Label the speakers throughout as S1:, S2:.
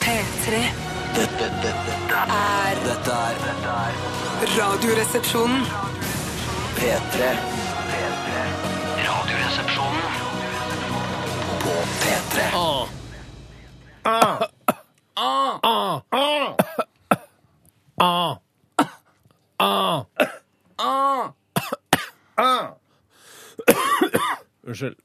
S1: P3
S2: Dette, dette, dette,
S1: er
S2: dette er dette er
S1: Radioresepsjonen.
S2: P3. P3. Radioresepsjonen på P3.
S3: Unnskyld.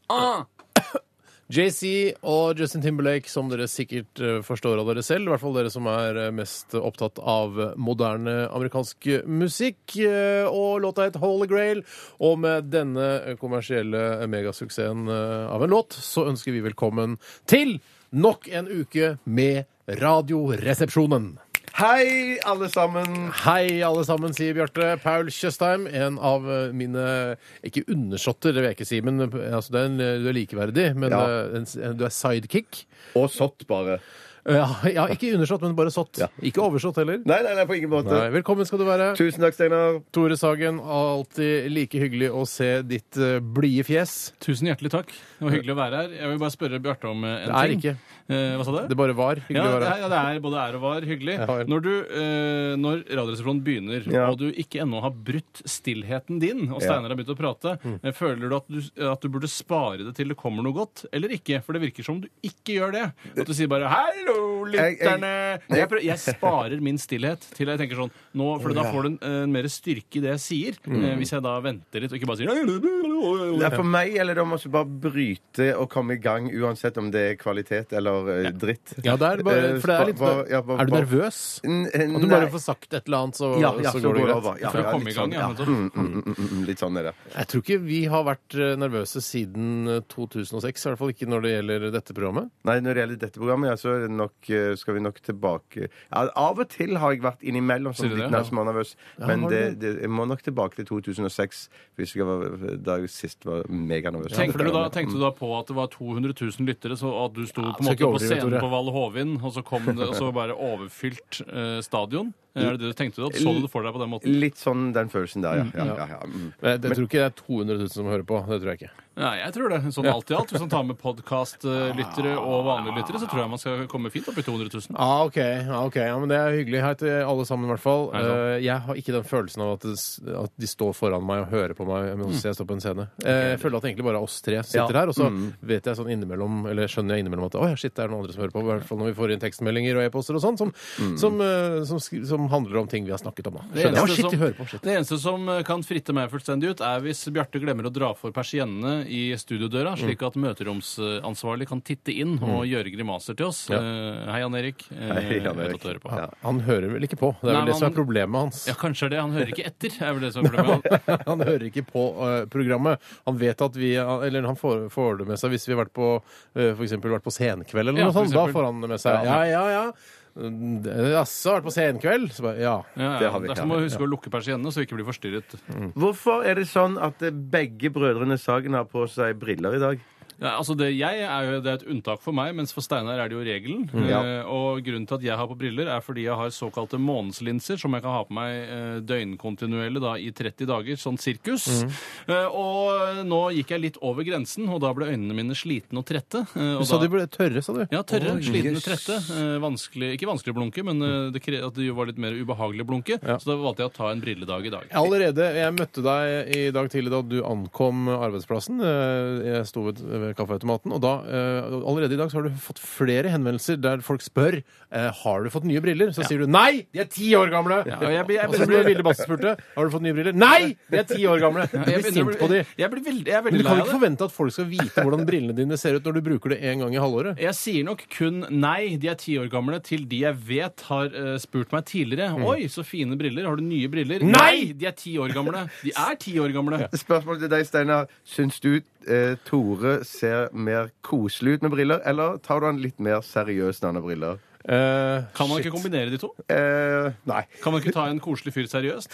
S3: JC Ah! og Justin Timberlake, som dere sikkert eh, forstår av dere selv, i hvert fall dere som er eh, mest opptatt av moderne amerikansk musikk, eh, og låta het Holy Grail. Og med denne kommersielle megasuksessen eh, av en låt, så ønsker vi velkommen til nok en uke med Radioresepsjonen.
S4: Hei, alle sammen.
S3: Hei, alle sammen, sier Bjarte. Paul Tjøstheim, en av eh, mine Ikke undersåtter, det vil jeg ikke si, men eh, altså, det er en, eh, du er likeverdig. Men
S4: Ja.
S3: eh, en, s- en- du er sidekick.
S4: Og sått, bare.
S3: Eh, Ja, ja, ikke undersått, men bare sått.
S4: Ja.
S3: Ikke oversått heller.
S4: Nei, nei, nei, på ingen måte.
S3: Nei, velkommen skal du være.
S4: Tusen takk, Steinar.
S3: Tore Sagen, alltid like hyggelig å se ditt eh, blide fjes.
S5: Tusen hjertelig takk. Det var hyggelig å være her. Jeg vil bare spørre Bjarte om eh, en
S3: Det er
S5: ting.
S3: ikke.
S5: Eh, hva sa du?
S3: Det bare var. Hyggelig
S5: ja,
S3: å være
S5: det er, ja, det er både er og var hyggelig.
S3: Ja vel.
S5: Når, du, eh, når Radioresepsjonen begynner,
S4: Ja.
S5: og du ikke ennå har brutt stillheten din, og Steinar har begynt å prate, eh, føler du at, du at du burde spare det til det kommer noe godt, eller ikke? For det virker som du ikke gjør det. At du sier bare 'hallo,
S4: Jeg- jeg-
S5: lytterne'. Jeg, prøv, jeg sparer min stillhet til jeg tenker sånn nå, For da får du en, en mer styrke i det jeg sier, eh, hvis jeg da venter litt og ikke bare sier
S4: Nei, for meg gjelder det om å bare bryte og komme i gang, uansett om det er kvalitet eller eh, dritt.
S3: Ja, det er, bare,
S4: Eh,
S3: for det er litt
S4: bare- ja, bare-
S3: Er du
S4: bare-
S3: nervøs?
S4: N-
S3: At du
S4: nei.
S3: bare får sagt et eller annet, så,
S4: ja, ja,
S3: så går det greit?
S4: over. Ja,
S5: For å
S4: ja,
S5: komme
S4: litt
S5: i gang,
S4: sånn,
S5: ja, nettopp.
S4: Mm, mm, mm, mm, litt sånn er det.
S3: Jeg tror ikke vi har vært eh, nervøse siden eh, 2006, i hvert fall ikke når det gjelder dette programmet.
S4: Nei, når det gjelder dette programmet, ja, så er det nok, eh, skal vi nok tilbake ja, Av og til har jeg vært innimellom
S5: Sier
S4: sånn
S5: du
S4: litt
S5: det?
S4: nervøs, nervøs men
S3: har du
S4: det, det, jeg må nok tilbake til 2006, hvis jeg var, eh, da jeg sist var meganervøs. Mm,
S5: Tenkte du, da, tenkte du da på at det var 200 000 lyttere, så at du sto på, en
S3: skal ikke
S5: måte på
S3: overdrive,
S5: scenen
S3: Tore.
S5: på Val Hovin, og så kom det og så bare overfylt eh, stadion? Er det det du tenkte? At så du det for deg på den måten?
S4: Litt sånn den følelsen der, ja. ja, ja, ja. Mm.
S3: Men Jeg, jeg tror ikke Eh, det er 200 000 som hører på. Det tror jeg ikke.
S5: Nei, jeg tror det. Sånn alt i alt. Hvis man tar med podkastlyttere og vanlige lyttere, så tror jeg man skal komme fint opp i 200 000.
S3: Ah, ok, ah, ok. Ja, men Det er hyggelig. Hei til alle sammen, i hvert fall.
S5: Hei sann.
S3: Eh, jeg har ikke den følelsen av at, det, s- at de står foran meg og hører på meg mens jeg står på en scene. Eh, jeg føler at egentlig bare oss tre sitter her, og så vet jeg sånn innimellom, eller skjønner jeg innimellom at å ja, shit, det er noen andre som hører på. I hvert fall når vi får inn tekstmeldinger og e-poster og sånn, som, som, eh, som, skri- som handler om ting vi har snakket om, da.
S5: Det
S3: Skjønner jeg. Å,
S5: eneste
S3: shit,
S5: som-
S3: de hører på. Shit.
S5: Det eneste som eh, kan fritte meg fullstendig ut, er hvis Bjarte glemmer å dra for persiennene i studiodøra, slik at møteromsansvarlig kan titte inn og gjøre grimaser til oss. Eh, Hei, Jan Erik. Eh,
S4: Hei, Jan
S5: jeg vet
S4: Erik.
S5: at du hører på.
S4: Ja.
S3: Han hører vel ikke på. Det er
S5: Nei,
S3: vel det som
S5: han-
S3: er problemet hans.
S5: Ja, kanskje det. Han hører ikke etter. er vel det som er problemet.
S3: Han hører ikke på eh, programmet. Han vet at vi Eller han får, får det med seg hvis vi har vært på eh, for eksempel vært på senkveld eller
S5: Ja,
S3: noe
S5: for
S3: sånt. Da
S5: eksempel.
S3: får han det med seg. Ja, ja, ja. Mm, Jaså, har vært på senkveld? Så bare, ja.
S5: Ja, ja.
S4: Det har vi
S5: Derfor må vi huske å lukke persiennene, så vi ikke blir forstyrret.
S4: Hvorfor er det sånn at eh, begge brødrene Sagen har på seg briller i dag?
S5: Ja, altså det, jeg er jo, det er et unntak for meg, mens for Steinar er det jo regelen.
S3: Mm.
S4: Ja.
S5: Eh, og grunnen til at jeg har på briller, er fordi jeg har såkalte månedslinser, som jeg kan ha på meg eh, døgnkontinuerlig da, i 30 dager, sånn sirkus.
S3: Mm.
S5: Eh, og nå gikk jeg litt over grensen, og da ble øynene mine slitne og trette. eh, og
S3: Du sa
S5: da-
S3: de ble tørre, sa du?
S5: Ja, tørre,
S3: Oi,
S5: slitne,
S3: jøss.
S5: trette. Eh, vanskelig, ikke vanskelig å blunke, men eh, det, kre- at det jo var litt mer ubehagelig å blunke.
S3: Ja.
S5: Så da valgte jeg å ta en brilledag i dag.
S3: Allerede, Jeg møtte deg i dag tidlig da du ankom arbeidsplassen. Eh, Jeg sto ved ved kaffeautomaten. og da, eh, Allerede i dag så har du fått flere henvendelser der folk spør eh, har du fått nye briller. Så sier du nei, de er ti år gamle!
S5: Ja, og jeg blir- jeg
S3: og så blir Vilde Basse spurte har du fått nye briller. Nei, de er ti år gamle! Du blir
S5: Jeg begynner å
S3: sint
S5: bli-
S3: på de.
S5: Jeg, blir veldig, jeg er
S3: Men
S5: veldig
S3: du
S5: lei
S3: kan
S5: av
S3: ikke
S5: det.
S3: forvente at folk skal vite hvordan brillene dine ser ut når du bruker det én gang i halvåret.
S5: Jeg sier nok kun nei, de er ti år gamle, til de jeg vet har eh, spurt meg tidligere. Oi, så fine briller. Har du nye briller?
S3: Mm. Nei!
S5: De er ti år gamle. De er ti år gamle.
S4: Spørsmålet til deg, Steinar. Syns du eh, Tore ser mer koselig ut med briller, eller tar du han litt mer seriøst når han har briller?
S3: Eh,
S5: Kan man
S3: shit.
S5: ikke kombinere de to?
S4: Eh, nei.
S5: Kan man ikke ta en koselig fyr seriøst?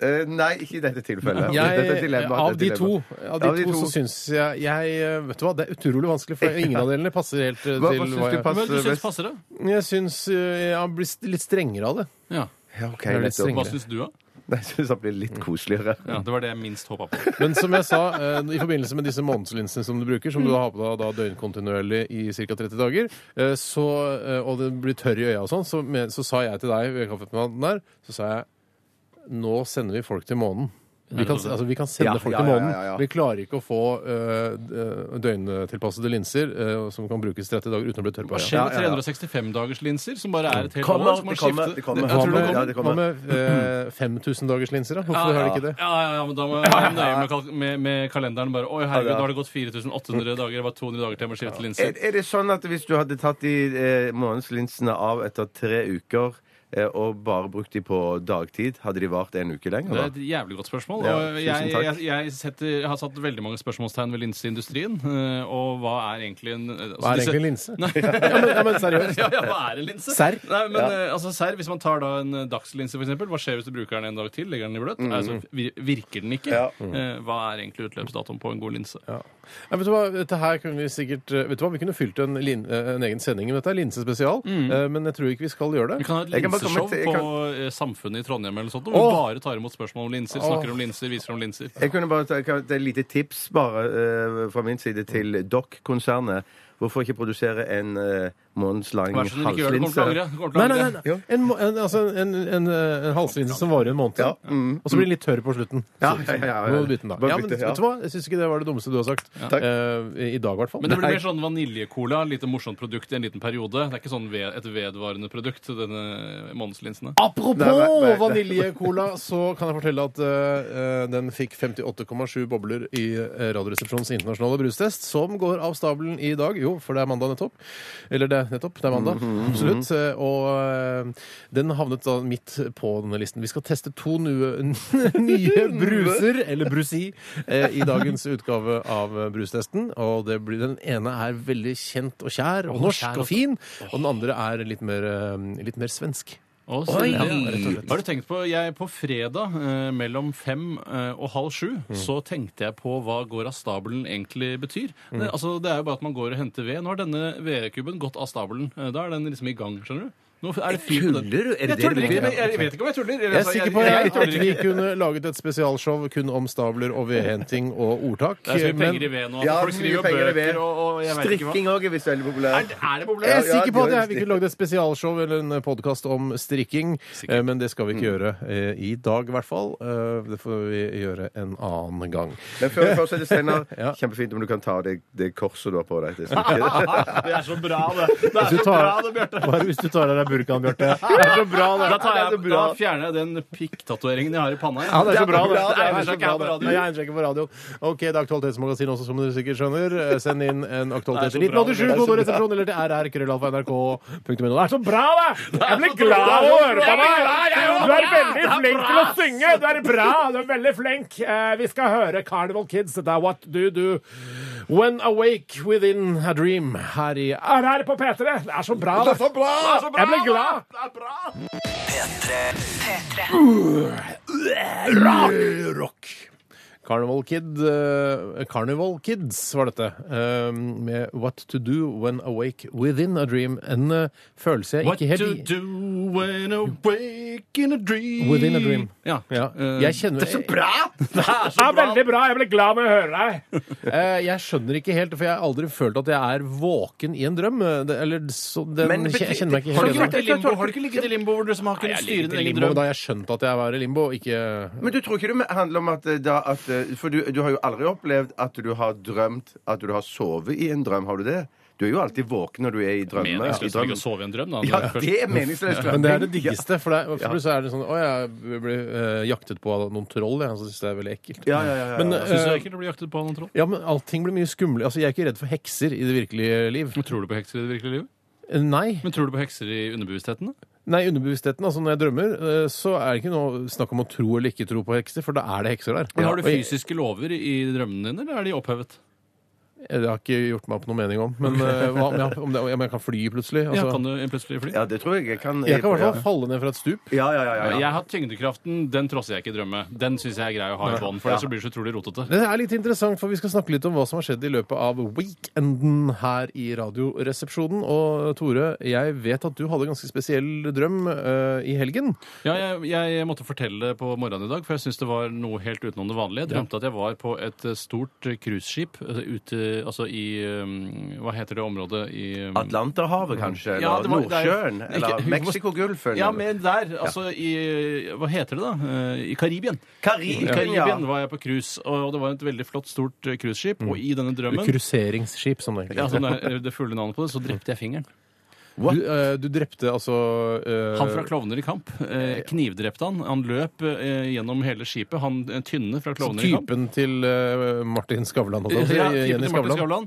S4: Eh, nei, ikke i dette tilfellet.
S3: Jeg,
S4: dette er et dilemma,
S3: av,
S4: dette
S3: de
S4: er et
S3: to,
S4: dilemma.
S3: av de to, så syns jeg, jeg Vet du hva, det er utrolig vanskelig, for ingen av delene passer helt eh, til
S4: Hva- hva syns du
S3: jeg-
S4: passer
S5: Men du syns
S4: best?
S5: passer det?
S3: Jeg syns eh, jeg har blitt litt strengere av det.
S5: Ja.
S4: Ja, ok,
S3: er litt
S4: nettopp.
S3: strengere.
S5: Hva syns du, da?
S4: Nei, jeg syns han blir litt koseligere.
S5: Ja, det var det jeg minst håpa på.
S3: Men som jeg sa, eh, i forbindelse med disse månedslinsene som du bruker, som du har på deg da døgnkontinuerlig i ca. 30 dager, eh, så, eh, og det blir tørr i øya og sånn, så, men- så sa jeg til deg ved kaffeautomaten der, så sa jeg nå sender vi folk til månen. Vi kan, altså, vi kan sende
S4: Ja,
S3: folk
S4: ja,
S3: til
S4: ja,
S3: månen.
S4: ja, ja.
S3: Vi klarer ikke å få eh, d- døgntilpassede linser eh, som kan brukes 30 dager uten å bli tørr på
S5: Hva
S3: øya.
S5: skjer med
S4: Ja, ja, ja.
S5: 365-dagerslinser, som bare er et helt
S4: Kommer,
S5: år? Som man
S4: det kommer,
S5: skifter-
S4: det kommer.
S5: Jeg
S3: Hva
S5: tror det
S3: med,
S5: kommer.
S4: Ja, det
S3: hva
S4: kommer.
S3: med eh, 5000 dagers linser, da? Hvorfor har de ikke det?
S5: Ja, ja, ja, men da må jeg være nøye med, kalk- med, med kalenderen. bare, Oi, herregud,
S4: Ja, ja.
S5: nå har det gått 4800 dager. Det var 200 dager til jeg må skifte linser.
S4: Er, er det sånn at hvis du hadde tatt de eh, månedslinsene av etter tre uker eh, og bare brukt de på dagtid, hadde de vart en uke lenger?
S5: Det er
S4: da?
S5: et jævlig godt spørsmål.
S4: Ja,
S5: og jeg,
S4: tusen takk.
S5: jeg, jeg, setter, jeg har satt veldig mange spørsmålstegn ved linseindustrien. eh, Og hva er egentlig en altså,
S3: Hva er
S5: disse-
S3: egentlig en linse?
S5: Nei.
S3: Ja, men, ja, men seriøst.
S5: Ja, ja, hva er en linse?
S3: Serr?
S5: Nei, men eh, altså, serr, Hvis man tar da en eh, dagslinse, for eksempel, hva skjer hvis du bruker den en dag til? Legger den i bløt?
S3: Mm.
S5: altså, vir- virker den ikke?
S4: Ja.
S5: Eh, Hva er egentlig utløpsdatoen på en god linse?
S3: Ja. Nei, vet du hva, dette her kunne vi sikkert eh, Vet du hva, vi kunne fylt en, lin, eh, en egen sending med dette, linsespesial, eh, men jeg tror ikke vi skal gjøre
S5: Mm.
S3: det.
S5: Vi kan ha et
S4: Jeg kan bare komme
S5: linseshow
S4: til- jeg
S5: på eh, Samfunnet i Trondheim eller noe sånt, hvor
S3: Åh!
S5: vi bare tar imot spørsmål om linser, snakker om linser, viser om linser.
S4: Jeg kunne bare ta, kan, Det er et lite tips bare eh, fra min side til Dock-konsernet. Hvorfor ikke produsere en eh, månedslang
S5: Vær så snill, ikke gjør det. Du
S4: halslinse?
S5: kommer til å angre. Du kommer til å
S3: Nei, nei,
S5: angre.
S3: nei. nei. En, må- en, altså, en, en, eh, en halslinse som varer en måned,
S4: Ja,
S5: Mm.
S3: og så blir den litt tørr på slutten.
S4: Ja, ja, ja, ja.
S3: Så Må du bytte den da.
S4: Bare
S3: Ja, men
S4: bytte, ja.
S3: vet du hva, jeg syns ikke det var det dummeste du har sagt.
S4: Takk.
S3: Eh, I dag, i hvert fall.
S5: Men det blir mer sånn vaniljecola, et lite morsomt produkt i en liten periode. Det er ikke sånn ved, et vedvarende produkt, denne månedslinsene.
S3: Apropos
S4: Nei, nei, nei, nei.
S3: vaniljecola, så kan jeg fortelle at eh, den fikk 58,7 bobler i eh, Radioresepsjonens internasjonale brustest, som går av stabelen i dag. Jo, for det er mandag nettopp. Eller det er nettopp. Det er mandag. Absolutt. Eh, Og eh, den havnet da midt på denne listen. Vi skal teste to nye, nye bruser, eller brusi, eh, i dagens utgave av eh, brustesten. Og det blir, den ene er veldig kjent og kjær, og
S5: kjær
S3: norsk
S5: og-
S3: og fin, og den andre er litt mer, eh, litt mer svensk.
S5: Å, så
S3: Oi! Ja,
S5: bra.
S3: rett og slett.
S5: Har du tenkt på Jeg på fredag eh, mellom fem eh, og halv sju
S4: Mm.
S5: så tenkte jeg på hva går av stabelen egentlig betyr.
S4: Mm.
S5: Det, altså, det er jo bare at man går og henter ved. Nå har denne vedkubben gått av stabelen. Eh, da er den liksom i gang, skjønner du. Nå er det fyr på den.
S4: Tuller du? Er det
S5: Jeg
S4: det du
S5: tuller ikke,
S4: mener?
S5: men jeg vet ikke om jeg tuller. Altså,
S3: Jeg er sikker på
S5: jeg, jeg,
S3: at
S5: tuller
S3: vi
S5: ikke.
S3: kunne laget et spesialshow kun om stabler og vedhenting og ordtak.
S5: Det er så mye
S3: men
S5: penger i ved nå.
S4: Ja,
S5: Folk
S4: mye
S5: skriver jo
S4: penger i ved.
S5: bøker og, og jeg vet ikke hva.
S4: Strikking òg er visst veldig
S5: Er,
S4: populært.
S5: er det
S3: jeg
S5: problemet?
S3: er
S4: Ja,
S3: sikker på at
S4: det er
S3: jeg, vi kunne laget et spesialshow eller en podkast om strikking, eh, men det skal vi ikke
S5: Mm.
S3: gjøre eh, i dag, i hvert fall. Eh, Det får vi gjøre en annen gang.
S4: Men før vi fortsetter, Steinar,
S3: Ja.
S4: kjempefint om du kan ta av deg det korset du har på deg. Det er så-
S5: Det er så bra, det. Det er
S3: Du
S5: så
S3: tar-
S5: bra, det, Bjarte.
S3: Bare hvis du tar av deg burkaen, Bjarte. Det er så bra, det.
S5: Da, tar
S3: Det er
S5: jeg,
S3: så
S5: da
S3: bra.
S5: fjerner jeg den pikk-tatoveringen jeg har i panna. jeg.
S3: Ja, det er så bra, det.
S5: Det
S3: Det
S5: egner
S3: er så
S5: seg ikke her på
S3: bra, det. Nei,
S5: radioen.
S3: jeg egner seg ikke på radioen. Ok, det er Aktualitetsmagasinet også, som dere sikkert skjønner. Eh, Send inn en aktualitet til
S5: Det er så bra, det.
S3: 1987, kodoresepsjon, eller til rr.krøllalfa.nrk.no. Det er så bra, det! Jeg blir
S5: så bra,
S3: glad av
S5: det
S3: å
S5: er så
S3: høre på
S5: bra, jeg blir glad,
S3: deg!
S5: jeg
S3: Du
S5: også.
S3: er veldig flink til å synge! Du er bra! Du er veldig flink. Eh, Vi skal høre Carnival Kids. Dette er What Do You Do When Awake Within A Dream her i RR på P3. Det er så bra, det! Jeg blir glad!
S2: P3.
S3: rock. Carnival, Kid, eh, Carnival Kids var dette, eh, med What to do when awake within a dream. En eh, følelse jeg
S5: What
S3: ikke helt
S5: to do when awake in a dream
S3: Within a dream.
S5: Ja.
S3: Ja.
S5: Eh,
S3: Jeg kjenner-
S5: Det er så bra! Det er så
S3: Ja,
S5: bra.
S3: veldig bra! Jeg ble glad når jeg hører deg. Eh, jeg skjønner ikke helt, for jeg har aldri følt at jeg er våken i en drøm. eh, Det, eller så, den,
S4: Men betyr-
S3: jeg kjenner meg ikke
S5: Har du
S3: helt igjen.
S5: ikke vært i limbo? Har du ikke ligget i limbo hvor du liksom har kunnet styre din egen drøm?
S3: Da jeg skjønte at jeg var i limbo, ikke
S4: Men du tror ikke det handler om at, eh, da, at eh, For du, du har jo aldri opplevd at du har drømt at du har sovet i en drøm. Har du det? Du er jo alltid våken når du er i drømme. i
S5: Meningsløst å
S4: drøm.
S5: ligge og sove i en drøm, da.
S4: Ja,
S5: når jeg først-
S4: det er meningsløst.
S3: Men det er det diggeste. For, det, er- for så er det sånn Å, jeg ble eh, jaktet på av noen troll. Jeg syns det er veldig ekkelt.
S4: Ja, ja, ja, ja, ja.
S3: Men,
S5: Syns du
S3: eh,
S5: det er ekkelt å bli jaktet på av noen troll?
S3: Ja, men allting blir mye skumle. Altså, jeg er ikke redd for hekser i det virkelige liv.
S5: Men tror du på hekser i det virkelige livet?
S3: Nei.
S5: Men tror du på hekser i underbevisstheten? da?
S3: Nei, i underbevisstheten, altså når jeg drømmer, eh, så er det ikke noe snakk om å tro eller ikke tro på hekser, for da er det hekser der.
S5: Men har du
S3: Og jeg-
S5: fysiske lover i drømmene dine, eller er de opphevet?
S3: Eh, Det har ikke gjort meg opp noen mening om. Men eh, hva, om, jeg, om, det, om jeg kan fly plutselig?
S5: Ja,
S3: Altså,
S5: kan du plutselig fly?
S4: Ja, det tror jeg jeg kan.
S3: jeg kan i hvert fall falle ned fra et stup.
S4: Ja, ja, ja. ja, ja.
S5: Jeg har tyngdekraften, den trosser jeg ikke i drømme. Den syns jeg er grei å ha i bånn, for ellers så blir det så utrolig rotete.
S3: Det er litt interessant, for vi skal snakke litt om hva som har skjedd i løpet av weekenden her i Radioresepsjonen. Og Tore, jeg vet at du hadde en ganske spesiell drøm eh, i helgen.
S5: Ja, jeg, jeg måtte fortelle det på morgenen i dag, for jeg syns det var noe helt utenom det vanlige. Jeg drømte at jeg var på et eh, stort eh, cruiseskip eh, ute altså i eh, Hva heter det området i eh,
S4: Atlanterhavet, kanskje? Eller
S5: Ja, det var- det er-
S4: Nordsjøen?
S5: Ikke-
S4: Eller Mexicogolfen?
S5: Ja,
S4: eller-
S5: men der. Altså i Hva heter det, da? Eh, I Karibien. I
S4: Karibien, ja.
S5: Karibien var jeg på cruise, og det var et veldig flott, stort eh, cruiseskip.
S4: Mm.
S5: Og i denne drømmen
S3: Cruiseringsskip, som det egentlig
S5: ja,
S3: heter.
S5: sånn er det fulle navnet på det, så drepte jeg fingeren.
S3: Du, eh, du drepte altså eh,
S5: Han fra Klovner i kamp. Eh, knivdrepte han. Han løp eh, gjennom hele skipet. Han eh, tynne
S4: Sånn
S5: fra Klovner i kamp.
S3: Typen til eh, Martin Skavlan. holdt jeg på å si.
S5: Ja, typen
S3: Jenny
S5: til Martin
S3: Skavlan.
S5: Skavlan.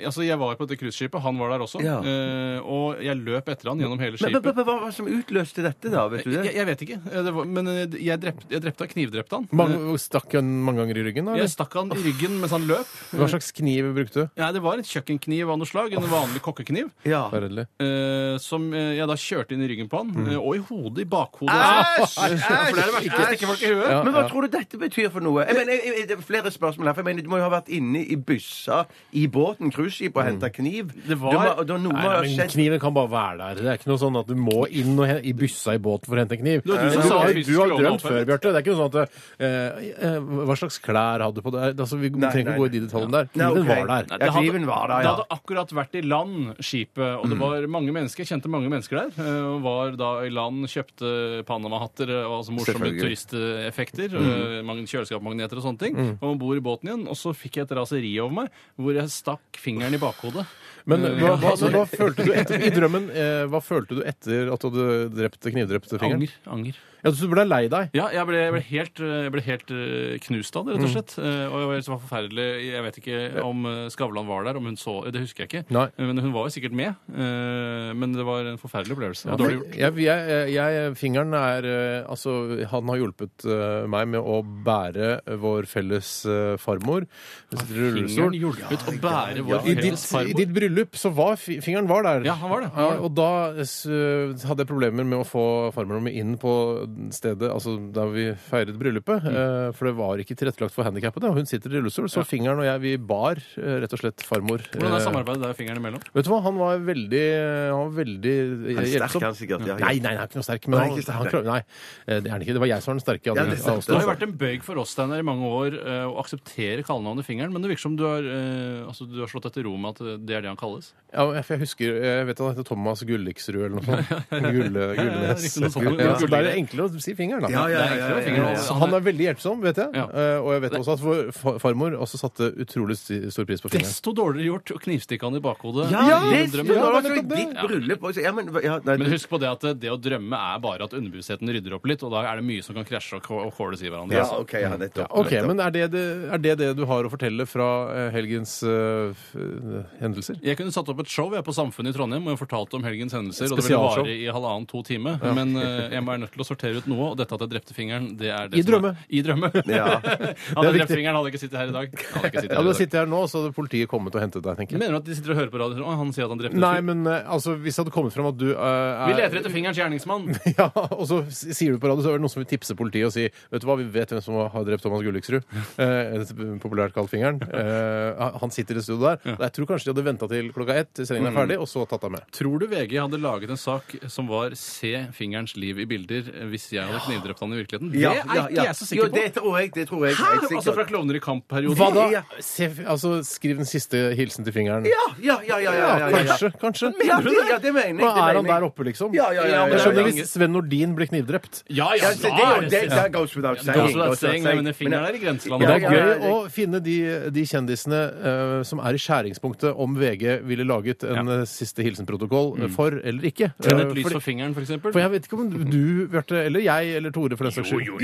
S5: Eh, altså, jeg var på dette cruiseskipet, han var der også.
S4: Ja.
S5: Eh, og jeg løp etter han gjennom
S4: Men,
S5: hele
S4: men,
S5: skipet.
S4: men, men, hva var det som utløste dette, da? Vet du det?
S5: Jeg, jeg vet ikke, Eh, det var, men eh, jeg drepte, jeg drepte han, knivdrepte han. Eh,
S3: Mange, stakk han mange ganger i ryggen? da,
S5: Jeg
S3: Eller?
S5: stakk han i ryggen mens han løp.
S3: Hva slags kniv brukte du?
S5: Nei, det var en kjøkkenkniv av noe slag, en vanlig kokkekniv,
S4: Ja.
S3: Forferdelig.
S5: eh, som eh, jeg da kjørte inn i ryggen på han,
S4: Mm.
S5: eh, og i hodet, i bakhodet.
S4: Æsj!
S5: Ja, For det er det verste, å stikke folk i huet.
S4: Men hva tror du dette betyr for noe? Jeg mener, jeg, jeg, det er flere spørsmål her, for jeg mener, Du må jo ha vært inne i byssa i båten, cruiseskip, og henta kniv.
S5: Det var-
S4: du må, da, noe må
S3: Nei,
S4: ha
S3: men
S4: skjedd.
S3: kniven kan bare være der. Det er ikke noe sånn at du må inn og he- i byssa i båten for å hente en kniv. Du,
S5: var du som
S3: har,
S5: sa
S3: Eh,
S5: at
S3: du
S5: vi
S3: har
S5: skulle
S3: drømt
S5: åpne
S3: før,
S5: litt.
S3: Bjarte. Det er ikke noe sånn at eh, eh, Hva slags klær hadde du på deg? Altså, vi trenger ikke
S4: nei,
S3: gå i de detaljene der.
S4: Nei,
S3: Kniven
S4: ok.
S3: var der.
S4: Ja, kniven var der,
S5: det
S4: ja. Mm.
S5: hadde akkurat vært i land, skipet, og det var mange mennesker. Jeg kjente mange mennesker der. eh, Og var da i land, kjøpte Panama-hatter eh, og altså morsomme
S4: Selvfølgelig. Mm.
S5: turisteffekter. eh, Mange kjøleskapmagneter og sånne ting. Og om bord i båten igjen. Og så fikk jeg et raseri over meg, hvor jeg stakk fingeren i bakhodet.
S3: Men
S5: Eh,
S3: hva, hva, men hva følte du etter, i drømmen? Eh, hva følte du etter at du hadde drept knivdrepte fingeren?
S5: Anger. anger.
S3: Ja, så du ble lei deg?
S5: Ja, jeg ble, jeg ble helt, eh, jeg ble helt eh, knust av det,
S4: Mm.
S5: rett og slett. Eh, Og jeg var, det var forferdelig. Jeg vet ikke om eh, Skavlan var der, om hun så Det husker jeg ikke.
S3: Nei.
S5: Eh, Men hun var jo sikkert med. eh, Men det var en forferdelig opplevelse. Og dårlig
S3: Jeg,
S5: gjort.
S3: jeg, jeg, jeg, fingeren er eh, Altså, han har hjulpet eh, meg med å bære vår felles eh, farmor. Hun sitter i
S5: Fingeren
S3: rullestol.
S5: hjulpet å bære vår
S3: I
S5: felles
S3: ditt, I
S5: farmor.
S3: ditt bryllup så var fi- fingeren var der.
S5: Ja, han var det, han var det.
S3: Ja, og da eh, s- hadde jeg problemer med å få farmoren min inn på stedet altså der vi feiret bryllupet.
S5: Mm.
S3: eh, For det var ikke tilrettelagt for handikappede. Og hun sitter i rullestol, så fingeren og jeg vi bar eh, rett og slett farmor.
S5: Hvordan er
S3: Eh,
S5: samarbeidet der fingrene imellom?
S3: Vet du hva, han var veldig, han var veldig eh,
S4: Han er Sterk,
S3: hjelpsom.
S4: han sikkert. Ja,
S3: Nei, nei, han er ikke noe sterk. Men
S4: Nei,
S3: han,
S4: ikke sterk,
S3: han
S4: nei.
S3: klarer, nei, eh, det er han ikke. Det var jeg som var den sterke. av
S4: Ja,
S3: de-
S4: det er
S3: av
S4: sant,
S3: oss
S5: Det
S3: to.
S5: har jo vært en bøyg for oss Steiner, i mange år eh, å akseptere kallenavnet Fingeren, men det virker som du har, eh, altså, du har slått etter ro med at eh, det er det han kalles.
S3: Ja, men jeg, for jeg husker Jeg vet at han heter Thomas Gulliksrud eller noe sånt. Gulle, Gullnes.
S5: riktig, noe sånt.
S3: Gull- Ja, så det er
S5: Gulle-
S3: enklere å si fingeren, da.
S4: Ja, ja, ja, ja, ja, ja,
S3: Så han er veldig hjelpsom, vet jeg.
S5: Ja.
S3: Eh, Og jeg vet også at vår fa- farmor også satte utrolig sti- stor pris på fingeren.
S5: Desto dårligere gjort å knivstikke han i bakhodet.
S4: Ja,
S5: i
S4: det
S5: en drøm.
S4: det var
S3: Ja,
S4: jo
S3: nettopp det.
S4: ditt bryllup også. Ja, men, ja, nei,
S5: Men husk på det at eh, det å drømme er bare at underbevisstheten rydder opp litt, og da er det mye som kan krasje og kå- og kåles i hverandre.
S4: ja,
S5: altså.
S4: OK, ja, nettopp.
S3: Ok,
S4: nettopp.
S3: men er det, det, er det det du har å fortelle fra eh, helgens eh, f- eh, hendelser?
S5: Jeg kunne satt opp et show jeg på Samfunnet i Trondheim hvor jeg fortalte om helgens hendelser. Og det ville
S3: Spesialshow.
S5: vare i halvannen to time. Men eh, jeg må være nødt til å sortere ut noe, og dette at jeg drepte fingeren, det er det
S3: I
S5: som er-
S3: drømme.
S5: I drømme.
S4: Ja.
S5: hadde jeg
S3: viktig.
S5: drept fingeren, hadde jeg ikke sittet her i dag. Hadde jeg ikke sittet
S3: Ja, Du
S5: her i
S3: har
S5: dag.
S3: sittet her nå, så hadde politiet kommet og hentet deg, tenker jeg.
S5: Mener du at de sitter og hører på radioen og han sier at han drepte
S3: Nei,
S5: fyr?
S3: men eh, altså, hvis det hadde kommet fram at du eh,
S5: Vi
S3: er
S5: leter etter fingerens gjerningsmann.
S3: Ja, og så s- sier du på radio, så er det noen som vil tipse politiet og si Vet du hva, vi vet hvem som har drept Thomas Gulliksrud. Eh, populært kalt Fingeren. Eh, han sitter i studio der. Jeg tror kanskje de hadde venta til klokka ett til sendingen
S4: Mm.
S3: er ferdig, og så tatt deg med.
S5: Tror du VG hadde laget en sak som var 'Se fingerens liv i bilder' hvis jeg hadde knivdrept han i virkeligheten?
S4: Ja,
S5: det er
S4: ja,
S5: ikke
S4: ja.
S5: jeg så sikker
S4: Jo, det tror jeg. Det tror jeg.
S5: på.
S4: helt
S5: Hæ? Altså fra
S4: sikkert.
S5: Klovner i kamp-perioden?
S3: Hva da?
S4: Ja.
S3: Se, altså, skriv den siste hilsen til Fingeren.
S4: Ja, ja, ja, ja, ja, ja, ja, ja.
S3: kanskje. kanskje.
S4: Ja, det, ja, det mener jeg.
S3: Nå er
S4: det mener
S3: han
S4: jeg.
S3: der oppe, liksom.
S4: Ja, ja, ja, ja,
S3: Jeg skjønner
S4: ja, ja.
S3: hvis Sven Nordin blir knivdrept.
S5: Ja, ja,
S4: Ja,
S5: ja,
S4: så det, er jo-
S5: ja,
S4: det, det goes without saying.
S5: Goes without
S4: goes
S5: saying, nei, men det fingeren er i grenselandet.
S3: Det
S4: Ja,
S3: er
S4: ja, ja,
S3: gøy
S4: ja.
S3: å finne de, de kjendisene eh, som er i skjæringspunktet om VG VG ville laget en eh, siste hilsenprotokoll
S4: Mm.
S3: eh, for eller ikke.
S5: Tenn
S3: Eh,
S5: et lys
S3: fordi-
S5: for fingeren, for eksempel.
S3: for jeg vet ikke om du, Bjarte, eller jeg, eller Tore, for den saks skyld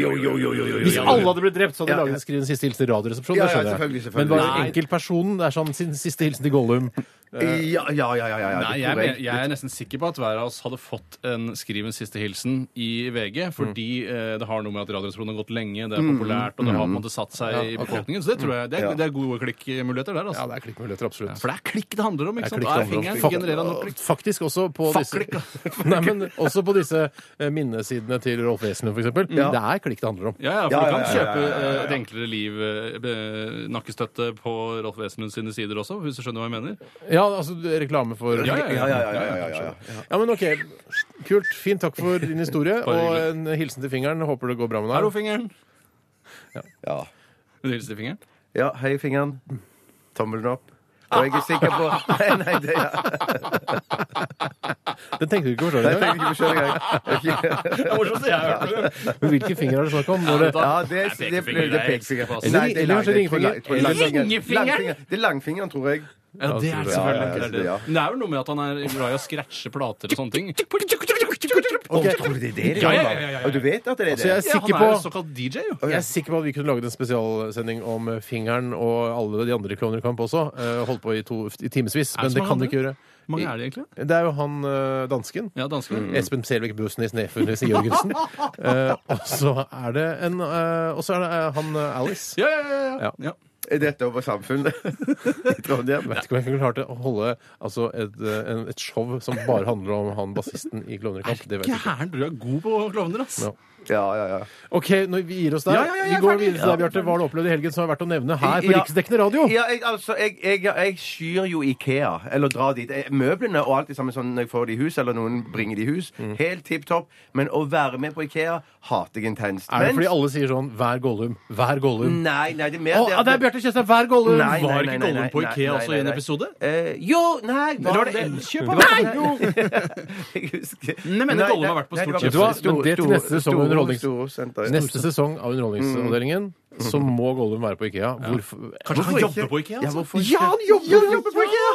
S3: Hvis
S5: Ja,
S3: alle hadde blitt drept, så hadde de
S4: Ja,
S3: laget
S4: ja.
S3: en skriv en siste hilsen til Radioresepsjonen.
S4: Ja,
S3: det
S4: ja,
S3: skjønner jeg.
S4: selvfølgelig,
S3: Men
S4: selvfølgelig.
S3: bare
S5: Nei.
S3: enkeltpersonen. Det er sånn sin siste hilsen til Gollum.
S4: Ja, ja, ja. ja, ja.
S5: Nei,
S4: det
S5: jeg,
S4: tror
S5: men- jeg er nesten sikker på at hver av oss hadde fått en skriv en siste hilsen i VG, fordi eh, det har noe med at Radioresepsjonen har gått lenge, det er populært, og det har på en måte satt seg i befolkningen. Så det tror jeg, det er,
S4: Ja.
S5: det er gode klikkmuligheter der, altså.
S3: det er klikkmuligheter, absolutt.
S5: For det er klikk det handler om, ikke
S3: Jeg
S4: sånn
S5: sant?
S3: klikker
S5: Da er
S3: andre
S5: fingeren
S3: fak-
S5: genererer nok klikk.
S3: Faktisk også på
S5: Fuck
S3: disse,
S5: klikk, da.
S3: Nei, men også på disse eh, minnesidene til Rolf Wesenlund, f.eks. Det er klikk det handler om.
S5: Ja, ja,
S4: Ja,
S5: for du
S4: ja,
S5: kan
S4: ja, ja,
S5: kjøpe
S4: ja, ja, ja.
S5: eh, Et enklere liv, eh, be- nakkestøtte på Rolf Wesenlund sine sider også, hvis du skjønner hva jeg mener.
S3: Ja, altså reklame for
S5: Ja,
S4: Ja, ja, ja, ja, ja, ja, ja.
S3: Ja, men OK. Kult. Fint. Takk for din historie. Og en hilsen til fingeren. Håper det går bra med
S5: Hallo,
S3: deg.
S5: fingeren!
S4: Ja.
S5: Vil du hilse til fingeren?
S4: ja, hei, fingeren. Tommelen opp. Og jeg er sikker på Nei, nei, det ja.
S3: Den tenkte du ikke over
S4: Nei,
S3: sånn
S4: jeg tenkte ikke på selv engang.
S5: Det er morsomt, jeg har hørt det.
S3: Men hvilken finger er det snakk om? Når det,
S4: Ja, det, det,
S5: Nei,
S4: det,
S5: pekefinger,
S4: det er
S5: jeg elsker
S4: pekefinger.
S5: på, altså.
S4: Nei, det er
S3: Eller- eller
S4: lang-
S3: kanskje
S4: jeg tror-
S3: ringfinger.
S4: jeg tror det er langfingeren.
S5: Ringfingeren?
S4: Langfingeren. Det er langfingeren, tror jeg.
S5: Ja, det er
S3: det.
S5: selvfølgelig
S4: Ja, ja, ja,
S5: ikke det.
S4: ja.
S5: Men det er jo noe med at han er glad i å scratche plater og sånne ting.
S4: Å, tror du det er Altså, det?
S5: Ja, ja, ja, ja, ja.
S4: Og du vet at det er
S3: så jeg er
S4: det?
S5: Ja,
S3: sikker
S5: han er jo
S3: på
S5: såkalt DJ, jo.
S3: jeg er sikker på at vi kunne laget en spesialsending om fingeren og alle de andre klovner i kamp også. Eh, Holdt på i, to, i timevis,
S5: Er
S3: men det kan
S5: det så mange
S3: vi
S5: andre?
S3: ikke gjøre.
S5: Hvor mange er det egentlig?
S3: Det er jo han eh, dansken.
S5: Ja, Mm. danskene.
S3: Espen Selvik Bøsnes Nefunnes Jørgensen. Eh, og så er det en eh, Og så er det eh, han eh, Alice.
S5: Ja, ja, ja, ja. ja.
S4: Er dette over samfunnet i Trondheim?
S3: Jeg vet ikke om jeg kunne klart det å holde altså, et, eh, en- et show som bare handler om han bassisten i Klovner i kamp. Det vet jeg ikke.
S5: Gæren, du er god på klovner, ass.
S3: Ja.
S4: Ja, ja, ja.
S3: OK, når vi gir oss der.
S5: Ja, ja, ja, jeg er
S3: vi går
S5: ferdig.
S3: videre til deg, Bjarte. Hva har du opplevd i helgen som er verdt å nevne her på
S4: Ja.
S3: Riksdekkende radio?
S4: Ja, jeg, altså, jeg, jeg, jeg skyr jo Ikea, eller drar dit. Jeg- Møblene og alt det samme sånn når jeg får det i hus, eller noen bringer det i hus.
S3: Mm.
S4: Helt tipp topp. Men å være med på Ikea hater jeg intenst.
S3: Er det
S4: Mens-
S3: fordi alle sier sånn 'vær Gollum', 'vær Gollum'?
S5: Mm.
S4: Nei, nei, det er mer
S3: Å, ja,
S4: at-
S3: det er Bjarte Tjøstheim! 'Vær Gollum'!
S4: Nei, nei,
S5: Var
S4: nei,
S5: ikke
S4: nei,
S5: Gollum på
S4: nei,
S5: Ikea
S4: nei,
S5: også
S4: nei,
S5: i en
S4: nei.
S5: episode?
S4: Eh, jo, nei
S5: Eller var det
S4: det-
S5: Elkjøp?
S4: Det var-
S5: Nei, jo!
S4: Jeg husker
S5: Nei, men Gollum har vært på
S4: nei, det
S5: Stort
S4: var-
S5: Kjøp.
S3: Vet du hva? Men det til neste sesong underholdnings-
S4: Stor- Stor- Stor- Stor senter.
S3: Neste sesong av Underholdningsavdelingen
S5: Mm.
S3: så må Gollum være på Ikea. Hvorfor?
S5: Kanskje han
S4: Hvorfor
S5: jobber
S4: ikke?
S5: på IKEA?
S4: Ja,
S5: Altså?
S4: hvorfor ikke?
S3: jobber, på Ikea!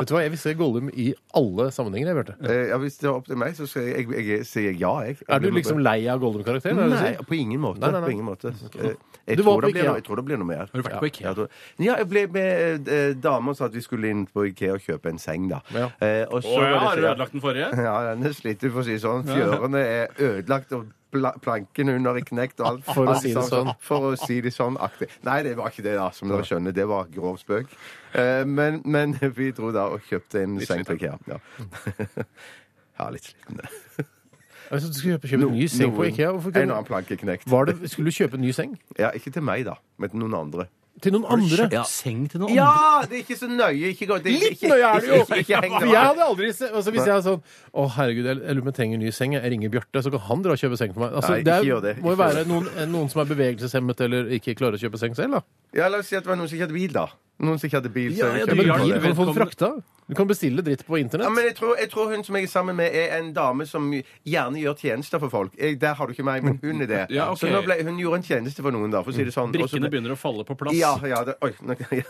S3: Vet du hva, Jeg vil se Gollum i alle sammenhenger. jeg Bjarte.
S4: Eh, ja, Hvis det er opp til meg, så sier jeg, jeg, jeg, sier jeg ja. Jeg.
S3: Er du liksom lei av Gollum-karakteren? er det du
S4: Nei,
S3: sier?
S4: på ingen måte.
S3: Nei, nei, nei.
S4: På ingen måte. Eh, Jeg,
S3: Du var
S4: tror
S3: på
S4: det blir
S3: Ikea.
S4: noe, jeg tror det blir noe mer.
S5: Har du vært på Ikea?
S4: Ja, jeg, tror- ja, jeg ble med eh, dame og sa at vi skulle inn på Ikea og kjøpe en seng, da.
S3: Ja.
S4: Eh, og så
S5: Å ja,
S4: var
S5: har
S4: det
S5: du
S4: så-
S5: ødelagt den forrige?
S4: Ja, den er slitt, du får si sånn. Fjørene er ødelagt, og pla plankene under er knekt og alt.
S3: For å
S4: alt
S3: si det sånn.
S4: For å si det sånn aktig. Nei, det var ikke det, da, som dere skjønner. Det var grov spøk. Eh, men, men vi dro da og kjøpte en seng på Ikea. Ja.
S3: Mm.
S4: ja, litt sliten.
S3: Altså, Du skulle kjøpe, kjøpe en ny seng på
S4: Noen-
S3: Ikea. Hvorfor
S4: En
S3: kunne,
S4: annen planke er knekt.
S3: var det, skulle du kjøpe en ny seng?
S4: Ja, ikke til meg, da, men til noen andre.
S3: Til noen andre?
S5: Kjøpt Seng til noen andre?
S4: Ja! Det er ikke så nøye. Ikke godt. Det
S3: Litt
S4: ikke-
S3: nøye er det jo.
S4: Ikke, ikke, ikke heng
S3: For
S4: det
S3: jeg
S4: opp.
S3: hadde aldri se, altså Hvis jeg er sånn Å, herregud, jeg, jeg lurer på om jeg trenger en ny seng. Jeg ringer Bjarte, så kan han dra og kjøpe seng for meg. Altså,
S4: Nei,
S3: det er,
S4: ikke gjør det.
S3: må jo
S4: Ikke gjør
S3: være noen, eh, noen som er bevegelseshemmet eller ikke klarer å kjøpe seng selv, da.
S4: Ja, la oss si at det var noen som ikke hadde bil, da. Noen som ikke hadde bil. så
S5: Ja, ja,
S4: kjøpte
S5: du
S3: Men
S5: gjør
S4: jeg
S5: det.
S3: bil
S4: det.
S3: kan du få den frakta. Du kan bestille dritt på internett.
S4: Ja, men jeg tror, jeg tror hun som jeg er sammen med, er en dame som gjerne gjør tjenester for folk. Jeg, der har du ikke meg, men hun er det.
S5: Ja, ok.
S4: Så nå ble, hun gjorde en tjeneste for noen, da, for å si det sånn. Og så
S5: Brikkene
S4: ble-
S5: begynner å falle på plass.
S4: Ja, ja, det, oi, nå, ja.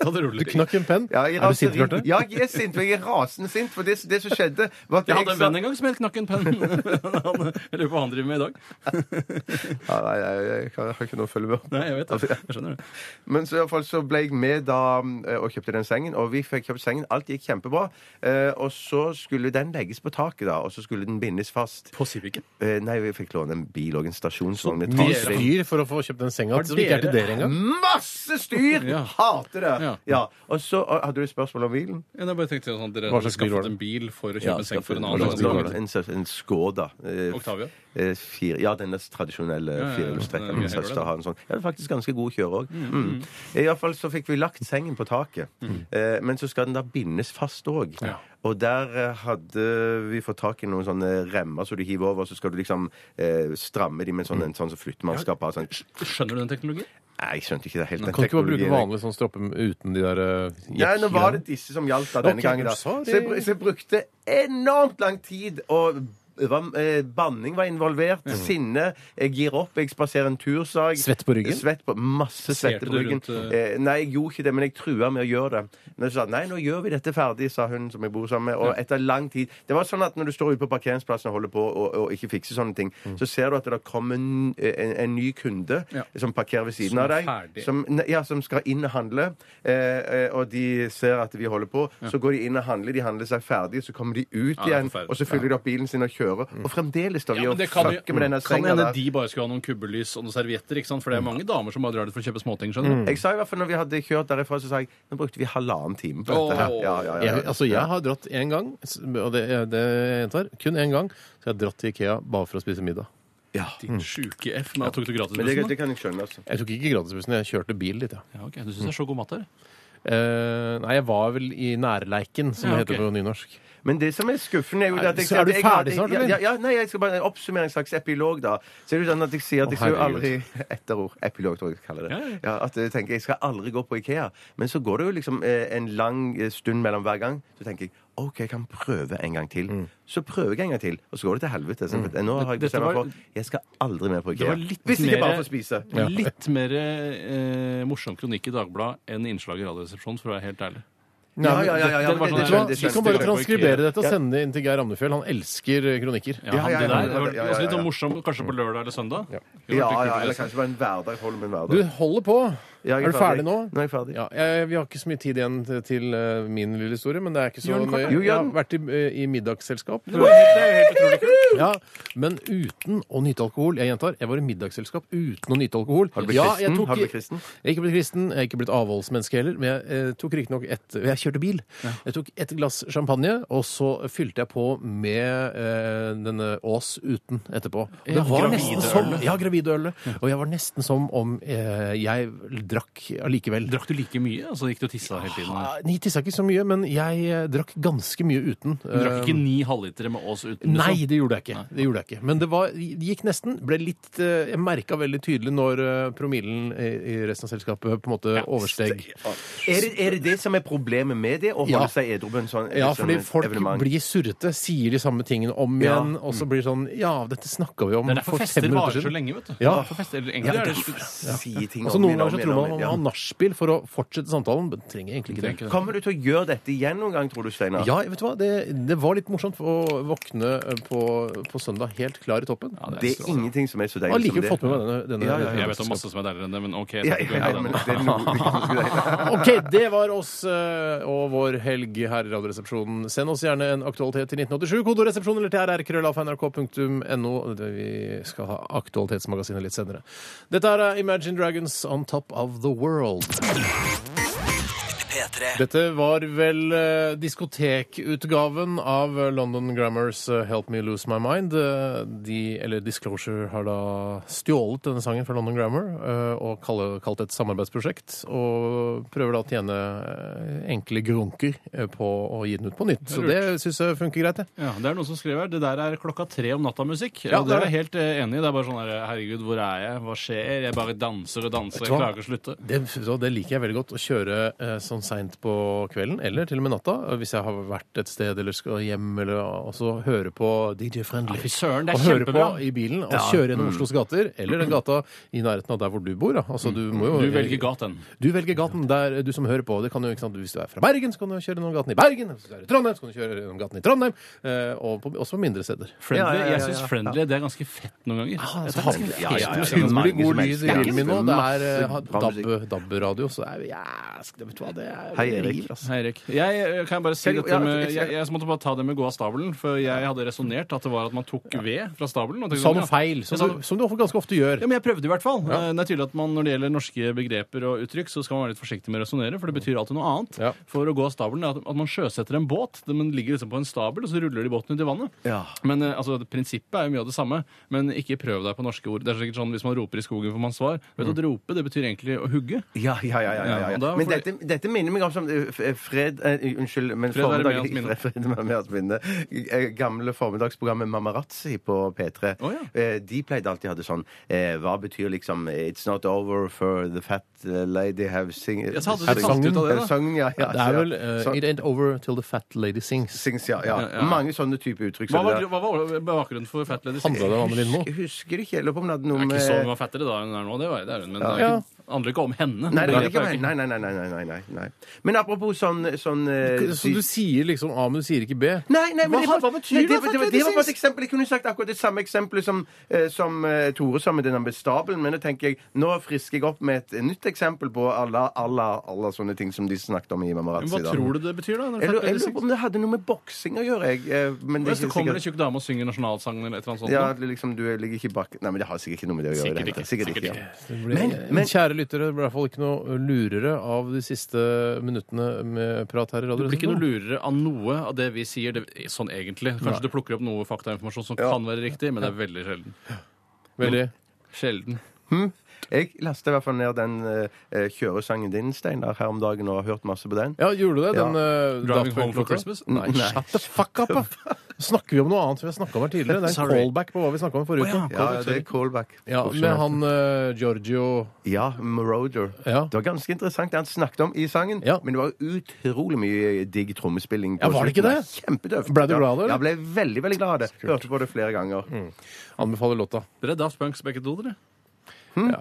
S5: Da det ruller.
S3: Knakk en penn.
S4: Ja, i
S3: er du sint,
S4: raseri-
S3: Bjarte?
S4: Ja, jeg er sint, for jeg er rasende sint. For det, det som skjedde var at
S5: Jeg hadde
S4: jeg
S5: en
S4: sa-
S5: venn en gang som het Knakk en penn. Han- Jeg lurer på hva han driver med i dag.
S4: ja, Nei, jeg, jeg, kan- jeg har ikke noe å følge med. Altså,
S5: Nei, jeg vet det. Jeg skjønner det.
S4: Men så i hvert fall så ble jeg med da eh, og kjøpte den sengen, og vi fikk kjøpt sengen. Alt gikk kjempebra. Eh, Og så skulle den legges på taket, da, og så skulle den bindes fast.
S5: På Civicen.
S4: Eh, Nei, vi fikk låne en bil og en stasjonsvogn. et
S3: Mye
S4: taksving.
S3: styr for å få kjøpt den senga som ikke er til dere engang.
S4: Masse styr!
S5: Ja.
S4: Hater det!
S5: Ja.
S4: Ja. Og så og hadde du et spørsmål om bilen?
S5: Ja, nei, bare tenkte jeg sånn, Dere
S3: Hva
S5: hadde
S3: slags bil var
S5: skaffet
S3: det?
S5: en bil for å kjøpe
S4: Ja,
S5: en seng for en
S4: skaffet-
S5: annen.
S3: slags bil var det?
S4: En, slags- en Skoda. eh,
S5: Octavia?
S4: eh, Fire, ja, den tradisjonelle
S5: ja, ja.
S4: 400-strekken.
S5: Ja,
S4: Min
S5: jeg hører
S4: søster
S5: det.
S4: har en sånn. Ja, det er faktisk ganske god kjøre òg. Mm. I hvert fall så fikk vi lagt sengen på taket.
S5: Mm.
S4: Eh, men så skal den da bindes fast òg. Og der eh, hadde vi fått tak i noen sånne remmer som du hiver over, og så skal du liksom eh, stramme de med
S5: Mm.
S4: sånn, en sånn som flyttemannskap har. Sånn.
S5: Skjønner du den teknologien?
S4: Nei, jeg skjønte ikke det helt. den
S3: Kan du ikke bare bruke
S4: teknologien.
S3: vanlig sånn stroppe uten de der eh,
S4: Nei, nå
S3: jekk-greiene?
S4: var det disse som gjaldt da denne
S3: Ok,
S4: gangen. da.
S3: sorry.
S4: Så jeg, br- så jeg brukte enormt lang tid å det var, eh, banning var involvert. Sinne. Jeg gir opp. Jeg spaserer en tursag.
S3: Svett på ryggen?
S4: Svett på, masse
S5: Passerte
S4: svette på
S5: du
S4: ryggen.
S5: rundt,
S4: Eh, nei, jeg gjorde ikke det, men jeg trua med å gjøre det. Men så sa jeg, nei, nå gjør vi dette ferdig, sa hun som jeg bor sammen med. Og etter lang tid Det var sånn at når du står ute på parkeringsplassen og holder på og, og ikke fikser sånne ting, så ser du at det kommer en, en, en ny kunde
S5: Mm. Ja.
S4: som parkerer ved siden
S5: Som
S4: av
S5: er
S4: deg.
S5: ferdig.
S4: Som, ne- ja, som skal inn og handle. Eh, eh, og de ser at vi holder på. Så går de inn og handler, de handler seg ferdig, så kommer de ut
S5: det er
S4: igjen,
S5: forferdelig.
S4: og så fyller de opp bilen sin og kjører. Og fremdeles står vi
S5: Ja, men
S4: og
S5: det kan jo
S4: fucker med denne
S5: kan
S4: senga
S5: hende
S4: der. Mm.
S5: de bare skulle ha noen kubbelys og noen servietter. ikke sant? For det er mange damer som bare drar dit for å kjøpe småting. skjønner du?
S4: Jeg sa i hvert fall når vi hadde kjørt derifra, så sa jeg nå brukte vi halvannen time på dette her.
S5: Åh.
S4: Ja, ja, ja,
S3: Jeg,
S4: ja.
S3: altså, jeg har dratt én gang, s- og det, det gjentar, kun én gang, så jeg har dratt til Ikea bare for å spise middag.
S4: ja.
S5: Din sjuke F. Men da tok du
S4: Mm. Men det,
S5: gratisbussen, da?
S4: det kan jeg skjønne, altså.
S3: Jeg tok ikke gratisbussen, jeg kjørte bil litt, ja.
S5: Ja, ok, Du syns det er så god mat der?
S3: Eh, nei, jeg var vel i nærleiken, som
S5: Ja,
S3: det heter
S5: ok.
S3: på nynorsk.
S4: Men det som er skuffende, er jo det at jeg
S3: Så er du
S4: jeg-
S3: ferdig snart, eller?
S4: Ja, ja, nei, jeg skal bare oppsummere en slags epilog, da. Så er det jo sånn at jeg sier at
S3: Å,
S4: jeg skal jo aldri
S3: herregud.
S4: Etterord. Epilog, tror jeg jeg kaller
S5: Ja, ja, ja.
S4: det. Ja, at jeg tenker jeg skal aldri gå på Ikea. Men så går det jo liksom eh, en lang eh, stund mellom hver gang. Så tenker jeg OK, jeg kan prøve en gang
S3: Mm.
S4: til. Så prøver jeg en gang til, og så går det til helvete. Så Nå har jeg
S5: Dette
S4: bestemt meg
S5: var-
S4: for jeg skal aldri mer på
S5: Det
S4: Ikea.
S5: var litt
S4: Hvis ikke bare
S5: mer-
S4: for å spise.
S5: Litt mer eh, morsom kronikk i Dagbladet enn innslag i Radioresepsjonen, for å være helt ærlig.
S4: Ja, ja, ja. ja, ja,
S3: Vet
S4: men
S5: Det var sånn
S4: det-
S3: du hva?
S4: det- det-
S3: Vi kan
S5: skjønte
S3: bare
S5: jeg.
S3: transkribere dette og sende det inn til Geir Amnefjell. Han elsker eh, kronikker.
S5: Ja, han,
S4: ja,
S5: det
S4: ja,
S5: der, det var
S4: ja, ja,
S5: også litt
S4: ja, ja.
S5: sånn morsom kanskje på lørdag eller søndag. Det var
S4: Ja,
S5: litt
S4: ja,
S5: kult å
S4: eller
S5: lese.
S4: kanskje bare en hverdag. Hold med en hverdag.
S3: Du holder på!
S4: Ja, jeg
S3: er du ferdig nå?
S4: Nå er jeg ferdig.
S3: Ja, jeg, vi har ikke så mye tid igjen til, til eh, min lille historie, men det er ikke så
S5: Gjør den kort,
S3: nøye.
S5: da.
S4: Jo, gjør
S3: Jeg har
S4: den.
S3: vært i, eh, i middagsselskap.
S5: Det var helt- det er helt utrolig kult.
S3: Ja, men uten å nyte alkohol. Jeg gjentar, jeg var i middagsselskap uten å nyte alkohol.
S4: Har du blitt
S3: ja,
S4: kristen?
S3: jeg tok-
S4: Har du blitt kristen?
S3: Jeg er ikke blitt kristen, jeg er ikke blitt avholdsmenneske heller, men jeg eh, tok riktignok et Jeg kjørte bil. Jeg tok et glass champagne, og så fylte jeg på med eh, denne Ås uten etterpå. Og det var nesten som Ja, gravidølet. Og jeg var nesten som om eh, jeg drakk allikevel.
S5: Drakk du like mye? Altså gikk du og tissa hele tiden?
S3: Ah, Nei, tissa ikke så mye, men jeg eh, drakk ganske mye uten.
S5: Du drakk
S3: Eh,
S4: um,
S5: ikke ni halvlitere med Ås uten? liksom?
S3: Nei, det gjorde jeg ikke. Det gjorde jeg ikke. Men det, var, det gikk nesten. Ble litt, eh, jeg merka veldig tydelig når eh, promillen i i resten av selskapet på en måte oversteg.
S4: Er det, er det det som er problemet med det, å holde
S3: Ja.
S4: seg edru på en sånn
S3: Ja,
S4: liksom,
S3: fordi folk
S4: evenement?
S3: blir surrete, sier de samme tingene om
S4: Ja.
S3: igjen, og så blir det sånn Ja, dette snakka vi om
S5: Det er derfor
S3: Mm, for
S5: fester
S3: fem minutter
S5: varer så
S3: siden.
S5: lenge, vet du.
S3: Ja.
S5: Derfor fester, eller egentlig er det
S4: Derfor Si ting
S3: Altså,
S4: om
S3: noen
S4: igjen, om
S3: ganger så
S4: igjen,
S3: tror
S4: om
S3: man man må ha
S4: igjen,
S3: nachspiel for å fortsette samtalen, men trenger egentlig ikke det.
S4: ja. Kommer du til å gjøre dette igjen noen gang, tror du, Steinar?
S3: Ja, vet du hva, det, det var litt morsomt å våkne på, på søndag helt klar i toppen.
S5: Ja, det er
S4: Det er
S5: strålende.
S4: ingenting som er så
S3: Jeg har
S4: deilig som
S3: likevel
S4: det.
S3: fått med meg denne. denne
S4: Ja, ja,
S5: Jeg vet om masse som er deiligere enn det, men OK. jeg
S4: Ja,
S5: skal ikke
S4: ja,
S5: gå inn
S4: ja,
S5: i
S4: men
S5: det.
S4: det er noe
S3: OK, det var oss eh, og vår helg her i Radioresepsjonen. Send oss gjerne en aktualitet til 1987, kodoresepsjon eller trr.nrk.no. Vi skal ha Aktualitetsmagasinet litt senere. Dette her er eh, Imagine Dragons On Top of the World.
S2: P3.
S3: Dette var vel eh, diskotekutgaven av London Grammars eh, Help Me Lose My Mind. Eh, de, eller Disclosure har da stjålet denne sangen fra London Grammar eh, og kalle, kalt det et samarbeidsprosjekt. Og prøver da å tjene eh, enkle grunker eh, på å gi den ut på nytt. Så det syns jeg funker greit, jeg.
S5: Ja, det er noen som skriver her. Det der er klokka tre om natta-musikk.
S3: Ja,
S5: og
S3: det
S5: det
S3: er
S5: er jeg helt eh, enig i. Det er bare sånn her Herregud, hvor er jeg? Hva skjer? Jeg bare danser og danser.
S3: Vet du
S5: Jeg
S3: hva?
S5: klarer ikke å slutte.
S3: Det, så det liker jeg veldig godt. Å kjøre eh, sånn seint på kvelden, eller til og med natta, eh, hvis jeg har vært et sted eller skal hjem, eller, eh, og så høre på DJ Friendly.
S5: Ja, fy søren, det er
S3: og høre på
S5: kjempebra.
S3: i bilen, og kjøre gjennom Oslos gater, eller den gata i nærheten av der hvor du bor. Da. Altså, du, må jo,
S5: Du velger gaten.
S3: Du velger gaten der du som hører på. Det kan jo, ikke sant? Hvis du er fra Bergen, så kan du kjøre gjennom gaten i Bergen. Hvis du er i Trondheim, så kan du kjøre gjennom gaten i Trondheim. Eh, og på, også på mindre steder.
S5: Friendly.
S4: Ja, ja, ja,
S5: Jeg
S4: ja,
S5: syns
S4: ja.
S5: friendly det er ganske fett noen ganger.
S3: Det
S5: Det
S3: er
S5: er ganske
S3: ganske
S4: ja, ja, ja.
S3: helt
S4: Det er mange
S3: utrolig
S4: som
S3: god lyd
S4: elsker
S3: i
S4: det.
S3: bilen min nå. Det er eh,
S4: Masse bra musikk.
S3: DAB- DAB-radio, så det er jæsk, det, vet du hva, det er
S4: Hei, Erik.
S3: river, altså.
S5: Hei, Erik. Jeg eh, kan jeg bare si
S4: Kan-
S5: dette
S4: ja,
S5: med,
S4: jeg-
S5: jeg, jeg måtte bare ta det med gå av stabelen, for jeg hadde resonnert at det var at man tok ved fra stabelen. og tenkte
S3: Sa
S5: sånn, ja.
S3: noe feil,
S5: Jeg
S3: som
S5: sa
S3: du, som du ganske ofte gjør.
S5: Ja, men jeg prøvde i hvert fall.
S3: Ja.
S5: Eh, Det er tydelig at man, Når det gjelder norske begreper og uttrykk, så skal man være litt forsiktig med å resonnere, for det betyr alltid noe annet.
S3: Ja.
S5: For å gå av stabelen er at at man sjøsetter en båt. Den man ligger liksom på en stabel, og så ruller de båten ut i vannet.
S4: Ja.
S5: Men eh, altså, det- Prinsippet er jo mye av det samme, men ikke prøv deg på norske ord. Det er sikkert sånn Hvis man
S3: Mm.
S5: roper i skogen får man svar. Vet du at Rope det betyr egentlig å hugge.
S4: Ja, ja, ja. ja, ja,
S5: Ja, og
S4: ja.
S5: da
S4: Men
S5: får-
S4: dette, dette minner minner meg om som eh, f- eh, Fred eh, Unnskyld, men
S5: Fred er
S4: formiddag-
S5: med hans minne.
S4: Fred er med hans minne. Eh, Gamle formiddagsprogrammet Mamarazzi på P3.
S5: Å, ja.
S4: Eh, De pleide alltid å ha det sånn eh, Hva betyr liksom eh, It's not over for the fat eh, lady have sing...
S5: Ja, så hadde
S3: de falt ut av
S5: det, da.
S4: Eh, Sang, ja, ja,
S3: Det er
S4: ja.
S3: vel eh,
S4: Sang-
S3: It ain't over till the fat lady sings.
S4: Sings, ja, ja.
S5: Ja, ja.
S4: Mange sånne type uttrykk.
S5: Hva
S4: som
S5: var,
S4: det der.
S5: hva var bakgrunnen for Fat Lady?
S3: Handla det om Anne Lindmo?
S4: Jeg husker ikke. Jeg lurer på om det hadde noe
S5: Det er
S4: med
S5: ikke sånn hun var fettere da enn hun er nå, det, var, det er hun. Men det er
S3: Ja.
S5: ikke, handler ikke om henne.
S4: Nei, det
S5: Det
S4: er
S5: vet
S4: ikke
S5: jeg
S4: meg.
S5: ikke.
S4: Nei, nei, nei, nei, nei, nei, nei, nei. Men apropos sånn, sånn eh,
S3: Så du sier liksom A, men du sier ikke B?
S4: Nei, nei, men
S5: Hva-
S4: det, var-
S5: hva betyr
S4: nei,
S5: det,
S4: det, var- det, var- det var bare et
S5: faktisk?
S4: eksempel. Jeg kunne sagt akkurat det samme eksempelet som, eh, som eh, Tore sa med den med stabelen, men nå tenker jeg, nå frisker jeg opp med et nytt eksempel på alle, alle, alle sånne ting som de snakket om i
S5: Men
S4: Mamarazzi.
S5: Hva tror du det betyr, da? når
S4: Jeg
S5: Fat
S4: lurer jeg lurer
S5: Lady
S4: på
S5: sings?
S4: om det hadde noe med boksing å gjøre, jeg. eh, Men det
S5: Hvis
S4: er
S5: det
S4: ikke
S5: kommer en
S4: sikkert.
S5: tjukk dame og synger nasjonalsangen eller et eller annet sånt
S4: Ja,
S5: nå?
S4: liksom, du ligger ikke bak Nei, men det har sikkert ikke noe med det å gjøre.
S5: Sikkert
S4: det hele
S5: ikke,
S4: tatt. Sikkert
S5: sikkert
S4: ikke. ja.
S3: Men, eh, kjære lyttere, det ble i hvert fall ikke noe lurere av de siste minuttene med prat her i
S5: Du
S3: Radio
S5: blir ikke noe
S3: Resepsjonen.
S5: lurere av noe av det vi sier, det, sånn egentlig. Kanskje du plukker opp noe faktainformasjon som kan være riktig, men det er veldig sjelden.
S3: Veldig.
S5: Sjelden.
S4: Jeg lasta i hvert fall ned den eh, eh, kjøresangen din, Steinar, her om dagen og har hørt masse på den.
S3: Ja, gjorde du det? Den,
S4: Ja.
S3: eh,
S5: Driving
S3: Daft Punk
S5: Home for
S3: låta?
S5: Christmas?
S3: Nei,
S4: Nei.
S3: shut the fuck up! da. Snakker vi om noe annet som vi har snakka om her tidligere? Det er en
S5: Sorry.
S3: callback på hva vi snakka om forrige uke.
S4: Ja, det er callback.
S3: Ja, med han eh, Giorgio
S4: Ja, Marauder.
S3: Ja.
S4: Det var ganske interessant det han snakket om i sangen,
S3: Ja.
S4: men det var utrolig mye digg trommespilling. på
S3: Ja, var det ikke
S4: slutten.
S3: det?
S4: Kjempedøft.
S3: Ble du
S4: Ja.
S3: glad av det, eller? Mm,
S4: Jeg ble veldig, veldig glad av det. Hørte på det flere ganger.
S3: anbefaler låta.
S5: Dere er Daft Punks begge to, dere. Hm?
S3: Ja,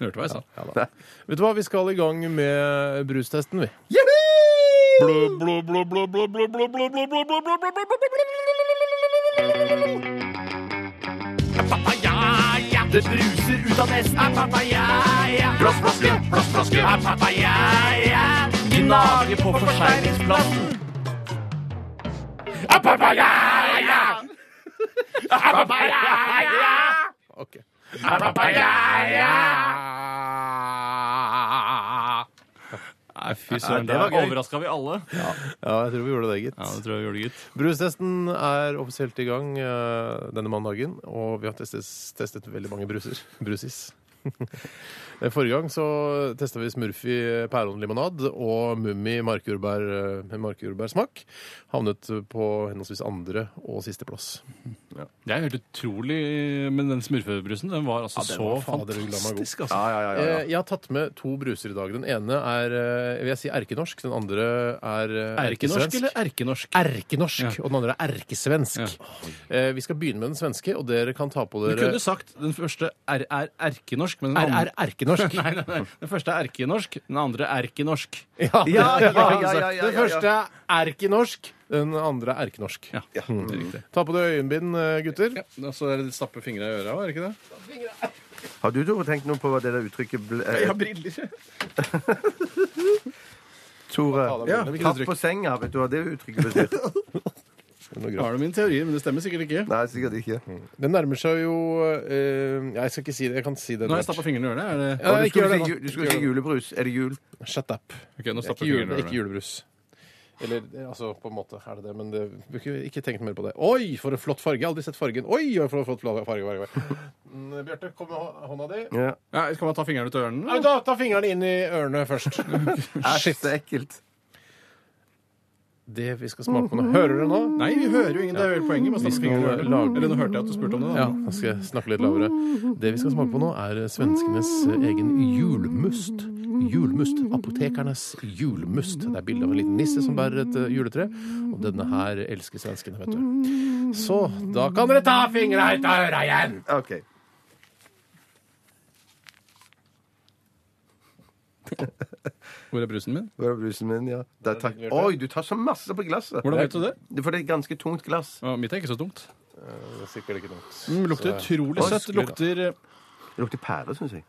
S5: Hørte hva jeg sa.
S3: ja da. Vet du hva, vi skal i gang med brustesten, vi.
S2: Det bruser ut av nesten. Er papaya. Plastflaske, plastflaske. Er papaya. Gnager på forseglingsplassen. Er papaya. Er papaya.
S3: Ok.
S2: Er papaya.
S5: Nei, fy søren.
S3: det
S5: Det
S3: var gøy.
S5: overraska vi alle. Ja,
S3: Ja, jeg tror vi gjorde det, gitt.
S5: det tror jeg vi gjorde, gitt.
S3: Brustesten er offisielt i gang eh, denne mandagen, og vi har testet, testet veldig mange bruser. Brusis. Eh, Forrige gang så testa vi Smurfy pæronlimonad og Mummi markjordbær eh, med markjordbærsmak. Havnet på henholdsvis andre- og sisteplass.
S5: Det er helt utrolig, men den smurfebrusen den var altså
S3: den
S5: så
S3: var fader, du la meg god.
S5: fantastisk. Altså.
S4: Ja, ja, ja, ja,
S3: Eh,
S4: ja.
S3: Jeg har tatt med to bruser i dag. Den ene er eh, vil jeg si erkenorsk, den andre er eh,
S5: Erkenorsk
S3: erkesvensk.
S5: eller erkenorsk?
S3: Erkenorsk,
S5: Ja.
S3: og den andre er erkesvensk. Eh, vi skal begynne med den svenske, og dere kan ta på
S5: Du
S3: dere
S5: kunne sagt den første er, er erkenorsk, men den
S3: Er,
S5: andre
S3: er erkenorsk.
S5: Nei, nei, nei. Den første er erkenorsk, den andre er erkenorsk.
S3: Ja, det
S4: Ja, ja,
S3: er bra
S4: ja, ja,
S3: sagt.
S4: ja, ja,
S3: Den
S4: ja.
S3: første er erkenorsk, den andre er erkenorsk.
S5: Ja, det er riktig.
S3: Ta på deg øyenbind, eh, gutter.
S5: Ja, Mm. så er det stappe fingra i øra, er det ikke det?
S4: Har du, Tore, tenkt noe på hva det der uttrykket ble, eh,
S5: briller.
S4: Tore,
S3: av deg
S4: ja,
S3: brillene, hvilket
S4: tatt
S3: uttrykk?
S4: på senga, vet du hva det uttrykket betyr?
S5: Har du min teori, men det stemmer sikkert ikke.
S4: Nei, sikkert ikke.
S3: Det nærmer seg jo eh, ja, Jeg skal ikke si det. Jeg kan si det.
S5: Nå har jeg
S3: etter hvert.
S5: stappa fingrene i øra. Er det
S3: Ja,
S4: Og du
S3: ikke gjør det
S4: skulle si,
S3: nå.
S4: ju- du skulle si julebrus. Er det jul?
S3: Shut up.
S5: Ok, nå
S3: Det er
S5: stapper
S3: ikke, jule,
S5: fingrene i
S3: ikke
S5: ørene.
S3: julebrus. Eller eh, altså, på en måte er det det, men det, ikke, ikke tenk mer på det. Oi, for en flott farge! Jeg har aldri sett fargen. Oi, for en flott farge. farge, farge. Mm, Bjarte, kom med hå- hånda di.
S4: Ja.
S5: Ja, kan man ta fingrene ut av ørene?
S3: Nei,
S5: eller?
S3: da, ta fingrene inn i ørene først. Mm,
S4: Æsj, så ekkelt.
S3: Det vi skal smake på nå. Hører dere nå?
S5: Nei, vi hører jo ingen. Det er jo hele poenget med å stappe
S3: skal
S5: fingrene i ørene.
S3: lage-
S5: Eller nå hørte jeg at du spurte om det.
S3: Ja,
S5: da.
S3: nå skal jeg snakke litt lavere. Det vi skal smake på nå, er svenskenes egen julmust. Julmust. Apotekernes julmust. Det er bilde av en liten nisse som bærer et eh, juletre. Og denne her elsker svenskene, vet du. Så da kan dere ta fingra ut av øra igjen!
S4: OK.
S5: Hvor er brusen min?
S4: Hvor er brusen min? Ja. Der, takk. Oi, du tar så masse på glasset.
S5: Hvordan vet du det?
S4: For det er et ganske tungt glass.
S5: Ja, mitt er ikke så tungt.
S3: Det er sikkert ikke dumt.
S5: Mm, lukter utrolig
S4: Oi,
S5: søtt.
S4: skulle da.
S5: Lukter, eh,
S4: Det lukter pære, syns jeg.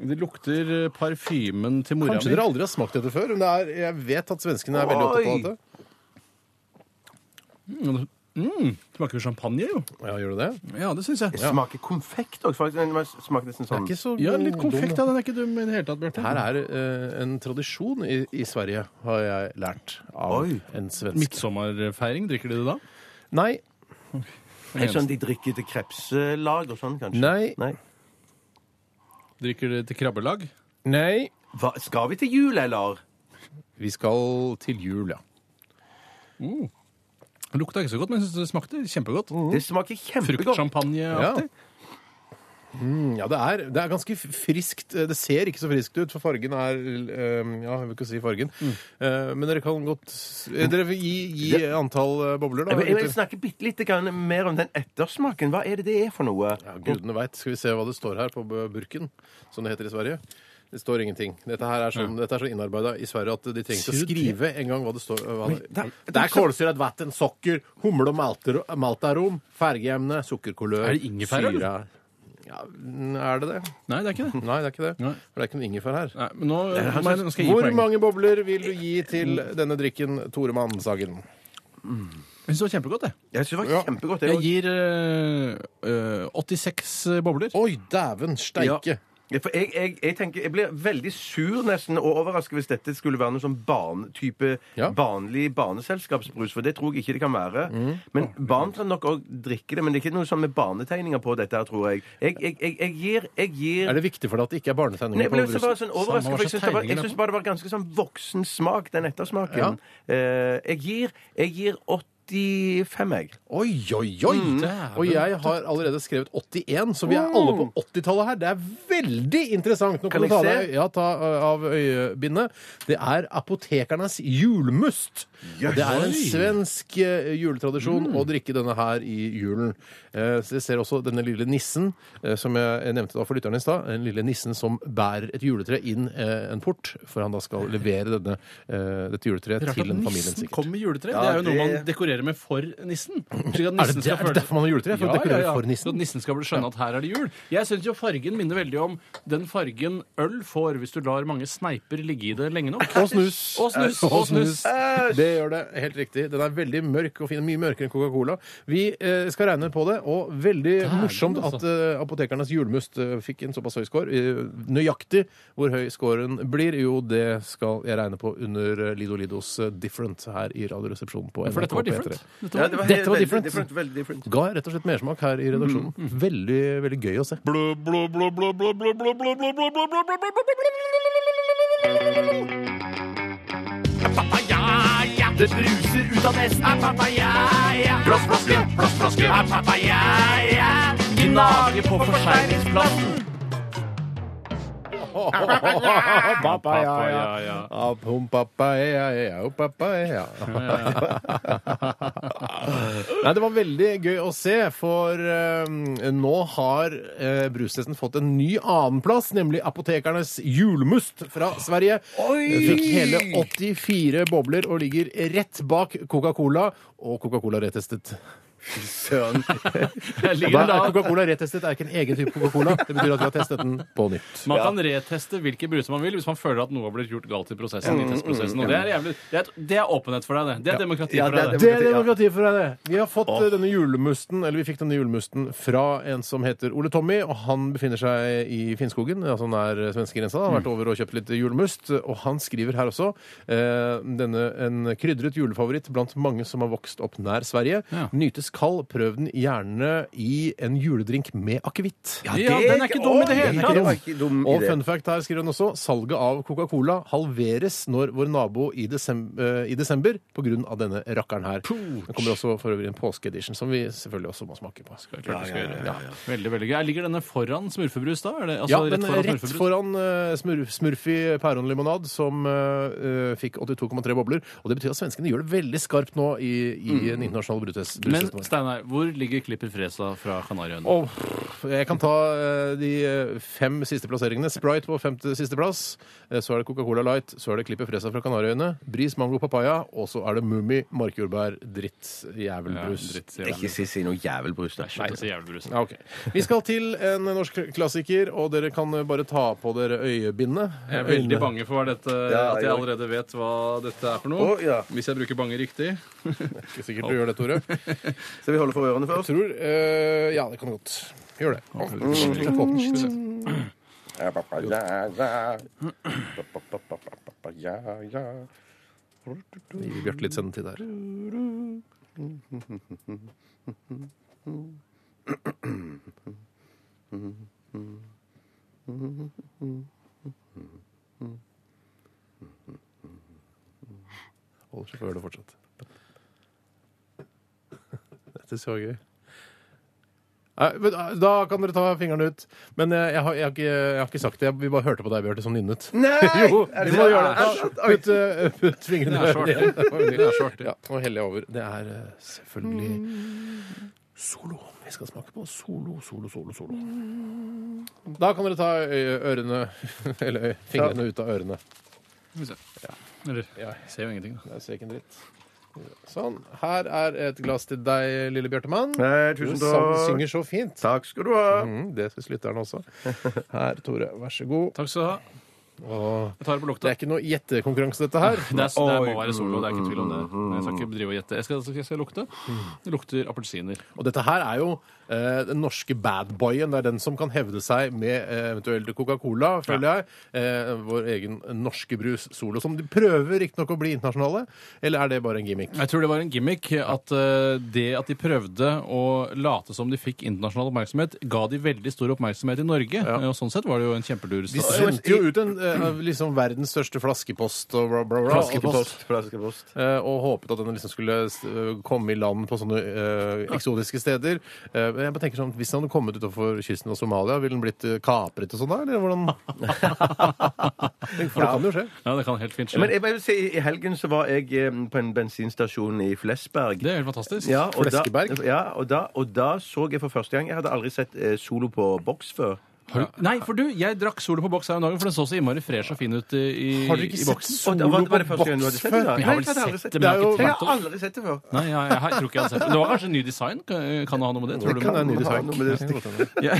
S5: det lukter eh, parfymen til mora
S3: Kanskje
S5: mi.
S3: dere aldri har smakt dette før, men det er, jeg vet at svenskene er veldig opptatt av dette.
S5: Mm, smaker jo champagne, jo.
S3: Ja, gjør du det?
S5: Ja, det syns jeg.
S4: Det smaker konfekt òg. Smaker nesten
S3: Det er
S4: sånn
S3: ikke så
S5: Ja, litt konfekt,
S3: dum.
S5: ja. Den er ikke dum i det hele tatt, Bjarte.
S3: Her er eh, en tradisjon i, i Sverige, har jeg lært av
S4: Oi.
S3: en svensk.
S5: Midtsommerfeiring, drikker de det da?
S3: Nei,
S4: Er det sånn de drikker til krepselag og sånn, kanskje?
S3: Nei.
S4: Nei.
S5: Drikker de til krabbelag?
S3: Nei.
S4: Hva, skal vi til jul, eller?
S3: Vi skal til jul, ja.
S5: Uh. Det lukta ikke så godt, men jeg synes Mm, det smakte kjempegodt.
S4: Det smaker kjempegodt.
S5: Fruktsjampanje.
S3: Ja. Mm, ja, det er, det er ganske friskt. eh, Det ser ikke så friskt ut, for fargen er eh, Ja, jeg vil ikke si fargen.
S4: Mm.
S3: Eh, Men dere kan godt s- eh, Dere vil gi, gi antall eh, bobler, da.
S4: Jeg vil, jeg vil
S3: gutter.
S4: snakke bitte lite grann mer om den ettersmaken. Hva er det det er for noe?
S3: Ja, gudene veit. Skal vi se hva det står her på b- burken, som det heter i Sverige. Det står ingenting. Dette her er sånn, dette er så innarbeida i Sverige at de trengte å
S5: Sier du det?
S3: skrive en gang hva det står. Hva det,
S4: det er-
S3: det er kålsyret vann, sukker, humle og malter- maltarom, fargeemne, sukkerkulør
S5: Er det ingefær, eller?
S3: syre. Ja, er det det?
S5: Nei, det er ikke det.
S3: Nei, det er ikke det.
S5: Nei.
S3: For det er ikke noe ingefær her.
S5: Nei, men nå,
S4: her
S5: nei,
S4: synes-
S5: nå skal jeg gi
S3: Hvor
S5: poeng.
S3: mange bobler vil du gi til denne drikken, Tore Mann-Sagen?
S5: Jeg synes det var kjempegodt, jeg.
S4: Jeg synes det
S3: Ja.
S4: var kjempegodt. det
S5: Jeg
S4: også.
S5: gir eh, eh, 86 bobler.
S3: Oi, dæven steike!
S4: Ja, for jeg, jeg, jeg tenker, jeg blir veldig sur nesten og overrasket hvis dette skulle være noe sånn barn, type
S3: Ja.
S4: barnlig barneselskapsbrus, for det tror jeg ikke det kan være. Men barn kan nok òg drikke det, men det er ikke noe sånn med barnetegninger på dette, her, tror jeg. Jeg, jeg, jeg, jeg gir, jeg gir
S3: Er det viktig for deg at det ikke er
S4: Nei,
S3: barnetegninger
S4: jeg
S3: på
S4: ble også bare
S3: brusen?
S4: sånn overrasket,
S5: Samme
S4: for jeg
S5: hva slags
S4: syns det, var- jeg
S5: tegninger det er
S4: synes bare det var ganske sånn voksen smak, den ettersmaken. Eh, jeg gir Jeg gir 85, jeg.
S3: Oi, oi, oi!
S5: dæven.
S3: Og jeg har allerede skrevet 81, så vi er alle
S5: Mm.
S3: på 80-tallet her. Det er veldig interessant. Nå kan
S4: Kan
S3: du
S4: jeg
S3: ta
S4: se?
S3: deg ja, ta, ø, av øyebindet. Det er apotekernes julmust. Og Det er en svensk ø,
S5: Mm.
S3: juletradisjon å drikke denne her i julen. Eh, Så jeg ser også denne lille nissen, eh, som jeg nevnte da for lytterne i stad. Den lille nissen som bærer et juletre inn eh, en port, for han da skal levere denne, eh, dette juletreet
S5: Rart
S3: til
S5: at
S3: den familien,
S5: nissen
S3: sikkert.
S5: kom med juletre.
S4: Ja,
S5: det er jo noe
S4: det-
S5: man dekorerer med for nissen. Slik at
S3: Er det, det,
S5: nissen skal
S3: er det
S5: føle-
S3: derfor man har juletre? For å dekorere for
S5: Så at
S3: nissen?
S5: nissen skal bli skjønne at her er det jul. Jeg syns jo fargen minner veldig om den fargen øl får hvis du lar mange sneiper ligge i det lenge nok.
S3: Og snus.
S5: Og snus. Og snus.
S3: Det gjør det. Helt riktig. Den er veldig mørk og fin. Mye mørkere enn Coca-Cola. Vi eh, skal regne på det, og veldig morsomt
S5: altså.
S3: at eh, Apotekernes julemust eh, fikk en såpass høy score. Eh, nøyaktig hvor høy scoren blir, jo, det skal jeg regne på under eh, Lido Lidos eh, Different her i Radioresepsjonen på
S5: For dette var
S3: NRK P3.
S5: different. Mm. Dette
S4: Ja,
S5: var
S4: det var,
S3: Dette var
S4: veldig
S3: different.
S4: different. Veldig different.
S3: Ga rett og slett mersmak her i redaksjonen. Veldig, veldig gøy å se.
S2: Papaya, det bruser ut av nest er papaya. Glassflaske, glassflaske er papaya. Gnage på forseglingsplassen.
S3: Papaya,
S5: Papaya, ja.
S3: Ah, pum, papaya, ja, oh, papaya. Nei, det var veldig gøy å se, for eh, nå har eh, brustesten fått en ny annenplass, nemlig Apotekernes julmust fra Sverige. Fikk hele 84 bobler og ligger rett bak Coca-Cola, og Coca-Cola rettestet.
S4: Søren.
S5: Jeg
S3: Og
S5: ligger
S3: da er
S5: da.
S3: Coca-Cola rettestet er ikke en egen type Coca-Cola. Det betyr at vi har testet den på nytt.
S5: Man kan reteste hvilke bruser man vil hvis man føler at noe har blitt gjort galt i prosessen. i testprosessen, og Det er, jævlig, det er, det er åpenhet for deg, det. Det er demokrati
S4: Ja,
S5: for deg.
S4: det
S5: det.
S4: er
S3: Det er demokrati for deg, det. Vi har fått eh, denne julemusten, eller vi fikk denne julemusten fra en som heter Ole Tommy, og han befinner seg i Finnskogen, altså nær eh, svenskegrensa. Han har vært over og kjøpt litt julemust, og han skriver her også eh, denne en krydret julefavoritt blant mange som har vokst opp nær Sverige.
S5: Ja.
S3: Nytes kald, prøv den gjerne i en juledrink med akevitt.
S5: Ja, den er ikke dum i
S4: Oi,
S5: det hele
S4: det var
S5: tatt!
S4: ikke dum
S3: Og
S4: idé.
S3: fun fact her skriver han også salget av Coca-Cola halveres når vår nabo i desember, i desember på grunn av denne rakkeren her. Det kommer også for øvrig en påskeedition som vi selvfølgelig også må smake på.
S5: Klart du skal gjøre det. Veldig, veldig gøy. Ligger denne foran smurfebrus, da? Er det,
S3: Ja,
S5: altså,
S3: men
S5: rett foran
S3: rett
S5: smurfebrus?
S3: foran uh, smurf, Smurfy pæronlimonad, som eh, eh, fikk 82,3 bobler. Og det betyr at svenskene gjør det veldig skarpt nå i, i den internasjonale brutest-
S5: Mm. Men
S3: brutesten vår.
S5: Steinar, hvor ligger Klipper Fresa fra Kanariøyene?
S3: Åh, jeg kan ta eh, de eh, fem siste plasseringene. Sprite på femte siste plass. Eh, Så er det Coca-Cola Light, så er det Klippet Fresa fra Kanariøyene, Bris Mango Papaya, og så er det Mummi markjordbær dritt jævelbrus.
S5: Ja, dritt, sier jeg.
S4: Ikke si, si noe jævelbrus, da.
S5: Slutt å si jævlbrus.
S3: Ja, ok. Vi skal til en norsk klassiker, og dere kan bare ta på dere øyebindet.
S5: Jeg er veldig
S3: Øynene.
S5: bange for hva dette,
S4: Ja,
S5: at jeg
S4: ja.
S5: allerede vet hva dette er for noe.
S4: Å, ja.
S5: Hvis jeg bruker bange riktig.
S3: Ikke sikkert du gjør det, Tore. Jeg
S4: Skal vi holde for ørene først?
S3: tror eh, Ja, det kan du godt. Gjør det. Åh,
S4: Ja, pappa, ja, ja. Pappa, pappa, pappa, ja, ja.
S3: Vi gir Bjarte litt sendetid her. Det så gøy. Nei, men, eh, Da kan dere ta fingrene ut. Men eh, jeg har, jeg har, ikke, jeg har ikke sagt det. Vi bare hørte på deg, Bjarte, som nynnet.
S4: Nei!
S3: Jo,
S4: Er
S3: vi må gjøre det.
S4: er sant? Oi.
S3: Putt, eh, putt fingrene
S5: Det er
S3: i
S5: svart,
S3: øret igjen.
S5: det. Det er svart, det.
S3: Ja, nå heller jeg over. Det er eh, selvfølgelig solo. Vi skal smake på solo, solo, solo, solo. Da kan dere ta ø- ørene Eller ø- fingrene ut av ørene.
S5: Skal vi se. Eller jeg ser jo ingenting, da.
S3: Jeg ser ikke en dritt. Sånn. Her er et glass til deg, lille Bjartemann.
S4: Nei,
S3: Du
S4: tusen
S3: sang-
S4: takk.
S3: synger så fint.
S4: Takk skal du ha.
S3: Mm, det syns lytterne også. Her, Tore. Vær så god.
S5: Takk skal du ha.
S3: Åh,
S5: Jeg tar det på
S3: det
S5: lukta.
S3: er ikke noe gjettekonkurranse, dette her.
S5: Det, er, det må være solo, det er ikke tvil om det.
S3: Mm,
S5: Men jeg skal ikke drive og gjette. Jeg skal, skal jeg skal lukte. Det lukter appelsiner.
S3: Og dette her er jo eh, den norske badboyen. Det er den som kan hevde seg med eh, eventuelt Coca-Cola, føler jeg. Eh, vår egen norske brus solo, som de prøver riktignok å bli internasjonale. Eller er det bare en gimmick?
S5: Jeg tror det var en gimmick at eh, det at de prøvde å late som de fikk internasjonal oppmerksomhet, ga de veldig stor oppmerksomhet i Norge. Eh, Og sånn sett var det jo en
S3: De
S5: kjempelur start.
S3: sendte jo ut en eh, liksom verdens største flaskepost og bla, bla, bla.
S4: Flaskepost. Flaskepost.
S3: Eh, og håpet at den liksom skulle eh, komme i land på sånne eh, eksotiske steder. Eh, men jeg bare tenker sånn, Hvis den hadde kommet utenfor kysten av Somalia, ville den blitt eh, kapret og sånn da? Eller hvordan? For det kan jo skje.
S5: Ja, det kan helt fint
S4: Men
S5: skje.
S4: jeg vil si, I helgen så var jeg eh, på en bensinstasjon i Flesberg.
S5: Det er helt fantastisk.
S4: Ja, og da,
S3: Fleskeberg?
S4: ja og, da, og da så jeg for første gang Jeg hadde aldri sett eh, Solo på boks før.
S5: Har du- Nei, for du, jeg drakk solo på boks her om dagen, for den så så innmari fresh og fin ut i, i,
S3: Har du ikke
S5: i
S3: sett
S5: boks.
S4: Og da,
S3: Solo
S4: var, var det
S3: på
S4: første gang du
S3: boks
S4: hadde sett det? da?
S3: før?
S4: Nei,
S5: Jeg har vel
S4: hadde aldri
S5: sett
S4: sett
S5: det,
S4: det.
S3: Det er jo-
S4: Jeg har aldri sett det før.
S5: men jeg har ikke tenkt over det. Nei, jeg, jeg, har- tror ikke jeg hadde sett det. Det var kanskje en ny design? Kan kan det ha noe med det? Tror
S3: Det kan
S5: du?
S3: være en ny
S4: Ha
S3: design.
S4: noe med det å
S3: Det kan godt hende.
S5: Jeg,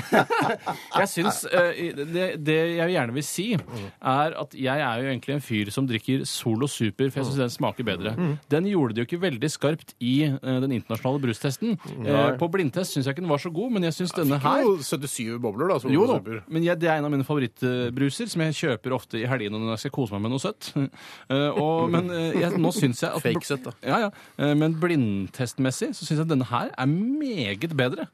S5: jeg syns eh, det, det jeg gjerne vil si, er at jeg er jo egentlig en fyr som drikker Solo Super, for jeg syns den smaker bedre.
S3: Mm.
S5: Den gjorde det jo ikke veldig skarpt i eh, den internasjonale brustesten.
S3: Mm.
S5: Eh, På blindtest syns jeg ikke den var så god, men jeg syns
S3: Det er
S5: denne her
S3: jo 77 bobler, da. Som
S5: jo da,
S3: super.
S5: men jeg, det er en av mine favorittbruser, som jeg kjøper ofte i helgene når jeg skal kose meg med noe søtt. Eh, og, men eh, jeg, nå syns jeg at
S3: Fake søtt, da.
S5: Ja, ja. Eh, men blindtestmessig så syns jeg denne her er meget bedre.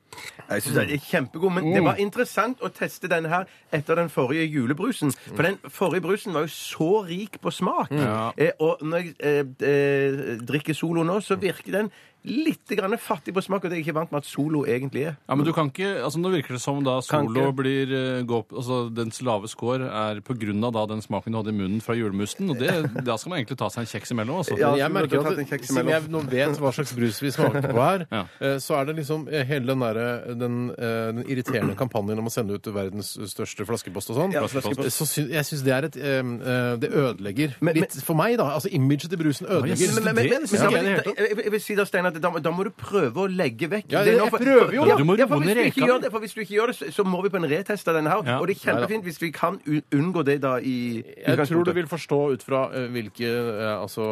S4: Jeg synes det er kjempegod, men det var interessant å teste denne her etter den forrige julebrusen. For den forrige brusen var jo så rik på smak. Eh, og når jeg eh, eh, drikker Solo nå, så virker den litt grann fattig på smak, og det er jeg ikke vant med at Solo egentlig er.
S5: Ja, men du kan ikke, altså Nå virker det som da
S4: Kan
S5: solo
S4: ikke.
S5: blir eh, gå opp, altså Dens lave score er på grunn av da den smaken du hadde i munnen fra julemusten. og det, Da skal man egentlig ta seg en kjeks imellom. altså.
S3: Men
S4: Ja.
S3: Mm. jeg
S4: så du
S3: merker
S4: har tatt en
S3: at
S4: kjeks
S3: Siden
S4: imellom.
S3: jeg nå vet hva slags brus vi smaker på her,
S5: Ja.
S3: eh, så er det liksom eh, hele den, derre- den, eh, den irriterende kampanjen om å sende ut verdens største flaskepost og sånn.
S4: Ja, flaskepost.
S3: Så sy jeg syns det er et eh, eh, Det ødelegger
S4: Men-
S3: litt for meg, da. Altså imaget til brusen
S5: jeg
S3: ødelegger.
S5: synes
S4: Men, men, men,
S5: det-
S4: men,
S5: det er
S4: da-
S5: ikke jeg i det hele tatt.
S4: jeg- jeg vil si da, Steinar, at da, da må du prøve å legge vekk
S3: Ja,
S4: det
S3: jeg-
S4: nå,
S3: jeg prøver jo.
S4: Ja,
S5: Du må
S4: ja, for
S5: roe
S4: hvis
S5: ned
S4: du ikke
S5: reka.
S4: gjør det, for hvis du ikke gjør det, så, så må vi på en retest av denne her.
S5: Ja.
S4: Og det er kjempefint hvis vi kan un- unngå det da i
S3: Jeg tror du vil forstå ut fra eh, hvilke eh, Altså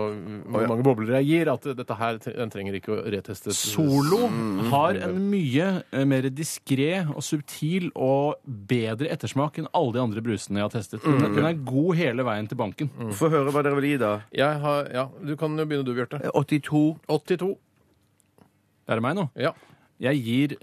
S3: hvor mange bobler jeg gir, at eh, dette her tre- den trenger ikke å retestes.
S5: Solo har en mye eh, mer diskré og subtil og bedre ettersmak enn alle de andre brusene jeg har testet. Den, den er god hele veien til banken.
S4: Få høre hva dere vil gi, da.
S3: Jeg har, ja, du kan jo begynne du, Bjarte.
S4: Eh, 82.
S3: 82.
S5: Er det meg nå?
S3: Ja.
S5: Jeg gir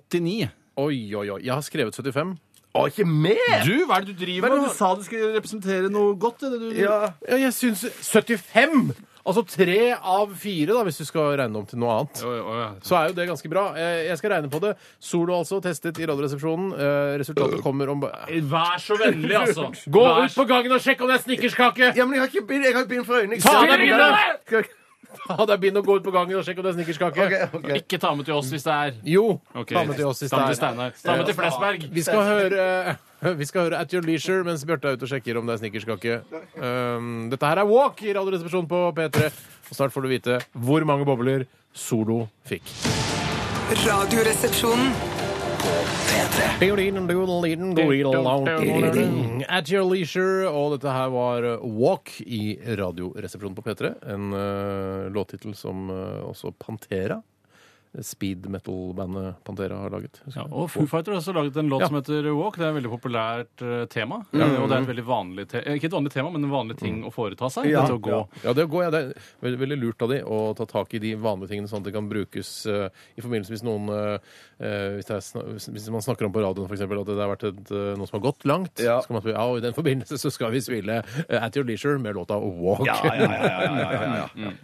S5: 89.
S3: Oi, oi, oi. Jeg har skrevet 75.
S4: Å, ikke mer!
S5: Du, hva er det du driver med? Du sa det skulle representere noe godt. Det, du,
S4: Ja.
S3: Ja, jeg syns 75! Altså tre av fire, da, hvis du skal regne om til noe annet.
S5: Oi, oi, oi.
S3: Så er jo det ganske bra. Eh, Jeg skal regne på det. Solo altså testet i Radioresepsjonen. Eh,
S4: Øh.
S3: Resultatet kommer om ba-
S5: Vær så vennlig, altså.
S3: Gå
S5: Vær
S3: ut på gangen og sjekk om det er snickerskake!
S4: Ja, men jeg har ikke bind, jeg har ikke bind for øynene. Jeg
S3: Ta
S4: ser
S3: deg
S4: ikke
S3: bindet!
S4: det. Skal jeg-
S3: Ja, det er begynn å gå ut på gangen og sjekk om det er snickerskake.
S4: Ok, ok.
S5: Ikke ta med til oss hvis det er
S3: Jo.
S5: Ok,
S3: Ta med til oss i
S5: Ta med til
S3: stein.
S5: Steinar. Ta med til Flesberg.
S3: Vi skal høre vi skal høre At Your Leisure mens Bjarte er ute og sjekker om det er snickerskake. Um, dette her er Walk i Radioresepsjonen på P3. Og snart får du vite hvor mange bobler Solo fikk.
S1: Radioresepsjonen.
S3: At Your Leisure, og dette her var Walk i Radioresepsjonen på P3. En uh, låttittel som eh, også uh, Pantera speed metal-bandet Pantera har laget.
S5: Ja, og Foo Fighter har også laget en låt
S3: Ja.
S5: som heter Walk. Det er et veldig populært eh, tema. Og det er et veldig vanlig te eh, Ikke et vanlig tema, men en vanlig ting å foreta seg.
S4: Ja.
S5: dette å gå.
S4: Ja.
S3: Ja, det, går, ja, det er veldig, veldig lurt av de å ta tak i de vanlige tingene, sånn at det kan brukes eh, i forbindelse hvis noen eh, hvis, det er, sna- hvis- hvis man snakker om på radioen for eksempel, at det har vært et, eh, noen som har gått langt,
S4: Ja.
S3: så kan man si ja, og i den forbindelse så skal vi spille eh, At Your Leisure med låta Walk.
S4: Ja, ja, ja, ja, ja, ja, ja.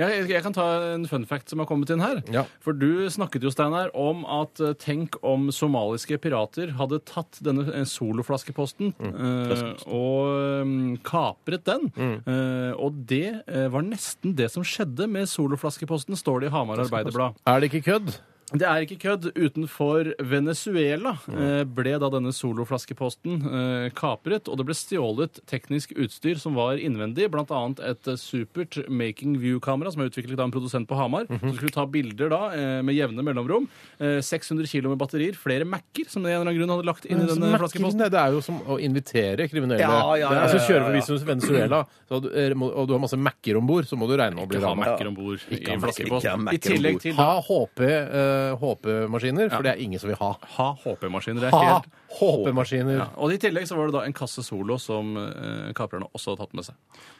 S5: Jeg, jeg- jeg kan ta en fun fact som har kommet inn her.
S3: Ja.
S5: For du snakket jo, Steinar, om at eh, tenk om somaliske pirater hadde tatt denne eh, soloflaskeposten eh, og mm, kapret den. Eh, og det eh, var nesten det som skjedde med soloflaskeposten, står det i Hamar Arbeiderblad.
S3: Er det ikke kødd?
S5: Det er ikke kødd. Utenfor Venezuela eh, ble da denne soloflaskeposten eh, kapret, og det ble stjålet teknisk utstyr som var innvendig, bl.a. et eh, supert Making View-kamera som er utviklet av en produsent på Hamar.
S4: Mhm.
S5: Som skulle ta bilder da eh, med jevne mellomrom. Eh, 600 kg med batterier, flere Mac-er som de av en eller annen grunn hadde lagt inn i
S3: Som
S5: denne
S3: merker-
S5: flaskeposten.
S3: Nei, Det er jo som å invitere kriminelle.
S4: Ja, ja, ja,
S3: altså
S4: ja,
S3: Kjøre
S4: ja,
S3: forbi som Venezuela, så du, eh, må- og du har masse Mac-er om bord, så må du regne med å bli
S5: Ikke ha
S3: rana.
S5: Mac-er om bord
S3: ha
S5: i en
S3: Mac-er.
S4: Ikke ha
S5: flaskepost.
S4: Mac-er
S5: I tillegg
S4: ombord.
S5: til
S3: Ha HP-maskiner, for det er ingen som vil ha.
S5: ha HP-maskiner. Det er
S3: Ha
S5: helt
S3: HP-maskiner.
S5: ja. Og i tillegg så var det da en kasse Solo som eh, kaprerne også hadde tatt med seg.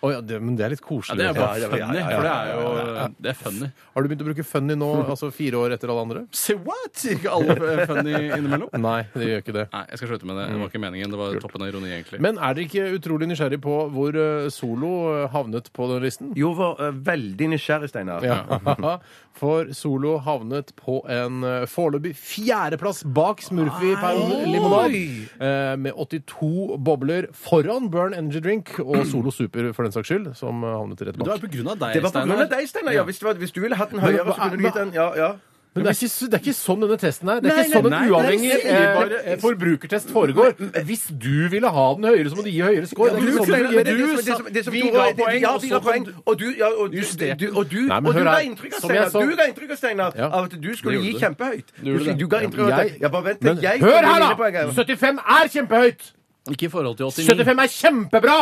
S3: Å ja, det, men det er litt
S5: Ja,
S3: koselig.
S5: det er jo
S4: Ja,
S5: bare
S4: ja,
S5: funny.
S4: ja, ja, ja,
S5: For det
S4: ja,
S5: er
S4: ja,
S5: jo det er funny.
S3: Har du begynt å bruke funny nå, altså fire år etter alle andre?
S5: Say what? Ikke alle eh, funny innimellom?
S3: Nei, det gjør ikke det.
S5: Nei, jeg skal slutte med det. Det var ikke meningen. Det var toppen av ironi, egentlig.
S3: Men er dere ikke utrolig nysgjerrig på hvor eh, Solo eh, havnet på den listen?
S4: Jo, var eh, veldig nysgjerrig, Steinar.
S3: Ja. For Solo havnet på en eh, foreløpig fjerdeplass bak Smurfy per limonad. eh, Med 82 bobler foran Burn Energy Drink og Solo Super, for den saks skyld, som eh, havnet rett
S5: det
S3: bak.
S5: var på grunn av deg,
S4: Det var på grunn av deg, Steinar. Ja, hvis, det var- hvis du ville hatt den
S3: Men
S4: høyere,
S3: hva-
S4: så kunne du gitt den Ja, ja.
S3: Men det er, ikke, så- det er ikke sånn denne testen er. Det er
S4: Nei,
S3: ikke sånn
S4: nei,
S3: en
S4: nei,
S3: uavhengig
S4: jeg sier bare-
S3: eh, forbrukertest foregår. Hvis du ville ha den høyere, så må du gi høyere score. Det er
S4: Du,
S3: ikke sånn det
S4: Steinar, men det er
S3: fungerer. Du
S4: det som- det
S3: sa-
S4: som- det som
S3: vi
S4: Tore-
S3: ga
S4: det-
S3: poeng,
S4: ja,
S3: og
S4: vi
S3: så
S4: ga poeng,
S3: kom
S4: og du ja, og du,
S3: Justerte.
S4: du, og du,
S3: Nei, men
S4: og du
S3: hør
S4: ga
S3: her.
S4: inntrykk av
S3: Som jeg
S4: Steinar
S3: så-
S4: Du ga inntrykk av Steinar
S3: Ja.
S4: av at du skulle gi kjempehøyt. Du,
S5: gjorde du.
S4: du ga inntrykk av at
S3: Jeg-
S4: Ja, bare vent.
S3: Men
S4: jeg
S3: hør her,
S4: kommer inn i
S3: da!
S4: poenget.
S3: 75 er kjempehøyt!
S5: Ikke i forhold til 89.
S3: 75 er kjempebra!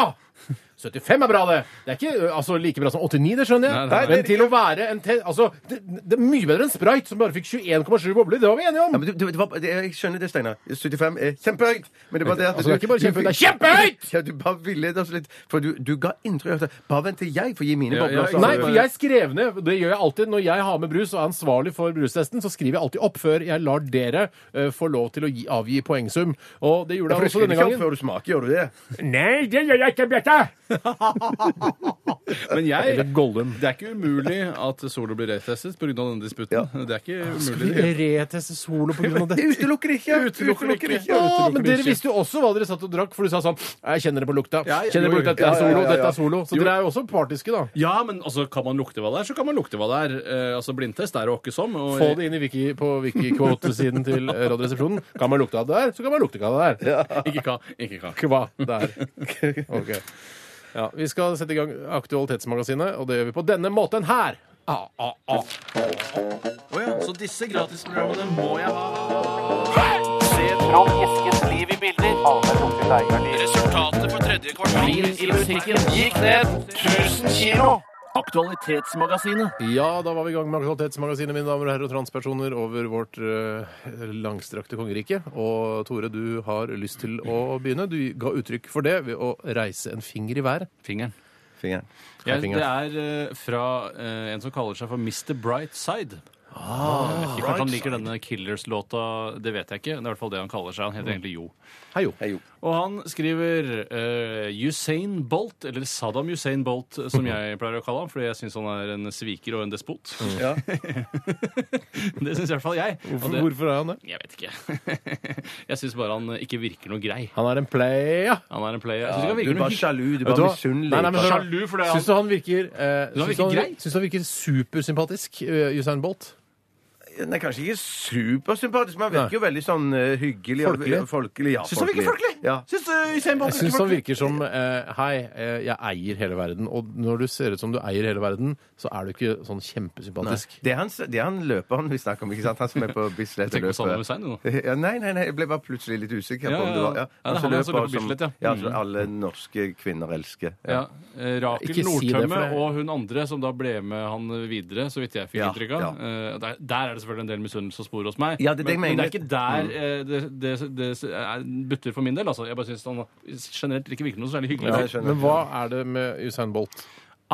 S3: 75 er bra, det. Det er ikke ø, altså, like bra som 89, det skjønner jeg.
S5: Nei, nei, nei.
S3: Men til å være en te... Altså, det, det er mye bedre enn Sprite, som bare fikk 21,7 bobler. Det var vi enige
S4: Ja,
S3: om.
S4: men du, du, det var, det, jeg skjønner det, Steinar. 75 er kjempehøyt. Men det var det at
S3: Altså, det er ikke bare
S4: du-
S3: kjempehøyt, det er kjempehøyt!
S4: Ja, du bare villeder oss litt. For du, du ga inntrykk av at Bare vent til jeg får gi mine
S5: Ja, ja,
S4: bobler. så-
S3: Nei, for jeg skrev ned Det gjør jeg alltid når jeg har med brus og er ansvarlig for brustesten. Så skriver jeg alltid opp før jeg lar dere ø, få lov til å gi, avgi poengsum. Og det gjorde
S4: For du
S3: jeg også
S4: skriver
S3: denne
S4: ikke opp
S3: gangen.
S4: før du smaker, gjør du det?
S3: Nei, det gjør jeg ikke, Bjarte!
S5: Men jeg
S3: Eller Gollum.
S5: Det er ikke umulig at Solo blir retestet pga. denne disputten. Det er ikke umulig. det.
S3: Reteste solo på grunn av
S4: Jeg utelukker det ikke! Utelukker det ikke.
S3: Ja, men
S5: utelukker
S3: dere
S5: ikke.
S3: visste jo også hva dere satt og drakk, for du sa sånn Jeg kjenner det på lukta.
S5: Ja, ja,
S3: Kjenner det på
S5: jo, jo.
S3: lukta, dette er
S4: Ja, ja, ja,
S3: solo,
S4: ja, ja.
S3: dette er solo. Så
S5: Jo.
S3: dere er jo også partiske, da.
S5: Ja, men altså, kan man lukte hva det er, så kan man lukte hva det er. Eh, altså, Blindtest er å åkke som. Og,
S3: Få det inn i wiki, på wiki-quote-siden til eh, Radioresepsjonen. Kan man lukte av det der, så kan man lukte ikke av det der.
S5: Ikke ka. Ikke ka.
S3: Kva der. Ok. Ja, vi skal sette i gang Aktualitetsmagasinet, og det gjør vi på denne måten her. Ah, ah, ah.
S5: Så disse gratisprogrammene må jeg ha. Resultatet på tredje kvartal i musikken gikk ned 1000 kilo. Aktualitetsmagasinet.
S3: Ja, da var vi i gang med Aktualitetsmagasinet, mine damer og herrer og transpersoner, over vårt eh, langstrakte kongerike. Og Tore, du har lyst til å begynne. Du ga uttrykk for det ved å reise en finger i været.
S5: Fingeren.
S4: Fingeren.
S5: Ja,
S3: fingeren.
S5: det er eh, fra eh, en som kaller seg for Mr. Brightside. Jeg vet ikke, Kanskje han liker denne Killers-låta, det vet jeg ikke. Det er i hvert fall det han kaller seg. Han heter egentlig Jo.
S3: Hei jo.
S4: Hei, jo.
S5: Og han skriver eh, Usain Bolt, eller Saddam Usain Bolt, som jeg pleier å kalle ham, fordi jeg syns han er en sviker og en despot.
S4: Ja.
S5: Det syns i hvert fall jeg. Og
S3: Hvorfor,
S5: det,
S3: hvorfor er han det?
S5: jeg vet ikke. Jeg syns bare han ikke virker noe grei.
S3: Han er en playa.
S5: Han er en player. Jeg synes ikke
S4: Du
S5: han
S4: er
S5: virker noe
S4: bare
S5: hyggelig.
S4: sjalu. Du er
S3: Vet du
S4: bare
S3: hva? Nei, nei, men
S4: misunnelig.
S3: hør da.
S5: Sjalu fordi han
S3: Syns du han virker eh,
S5: han
S3: syns
S5: virker
S3: du
S5: grei?
S3: Syns du han virker supersympatisk, eh, Usain Bolt?
S4: Nei, kanskje ikke supersympatisk, men han virker jo veldig sånn eh, hyggelig. og-
S3: Folkelig.
S4: folkelig ja,
S5: Syns han virker folkelig?
S4: Ja.
S5: Syns uh, Usain Bolt
S3: Jeg syns eh, han virker som eh, Hei, eh, jeg eier hele verden. Og når du ser ut som du eier hele verden, så er du ikke sånn kjempesympatisk.
S4: Det er han, det er han løperen vi snakker om, ikke sant? Han som er på Bislett
S5: Jeg tenker på
S4: og
S5: Saddam
S4: løper.
S5: Hussein, jo.
S4: Ja, nei, nei, nei, jeg ble bare plutselig litt usikker
S5: Ja,
S4: på om
S5: ja,
S4: det var
S5: ja. Ja, det er
S4: Han som
S5: han
S4: løper
S5: som løper på Bislett, ja. Mm.
S4: som alle norske kvinner elsker.
S5: Ja. eh, Rakel
S3: Ikke si det, for
S5: Nordtømme
S3: det-
S5: og hun andre som da ble med han videre, så vidt jeg fikk
S4: Ja,
S5: inntrykk av. Eh, Der, der er det selvfølgelig en del misunnelse og spor hos meg.
S4: Ja, det er det jeg
S5: men, men
S4: mener.
S5: det er ikke der eh, det, det, det er, butter for min del. Altså. Jeg bare syns han generelt ikke virker noe særlig hyggelig.
S4: Nei, jeg skjønner.
S3: Men hva er det med Usain Bolt?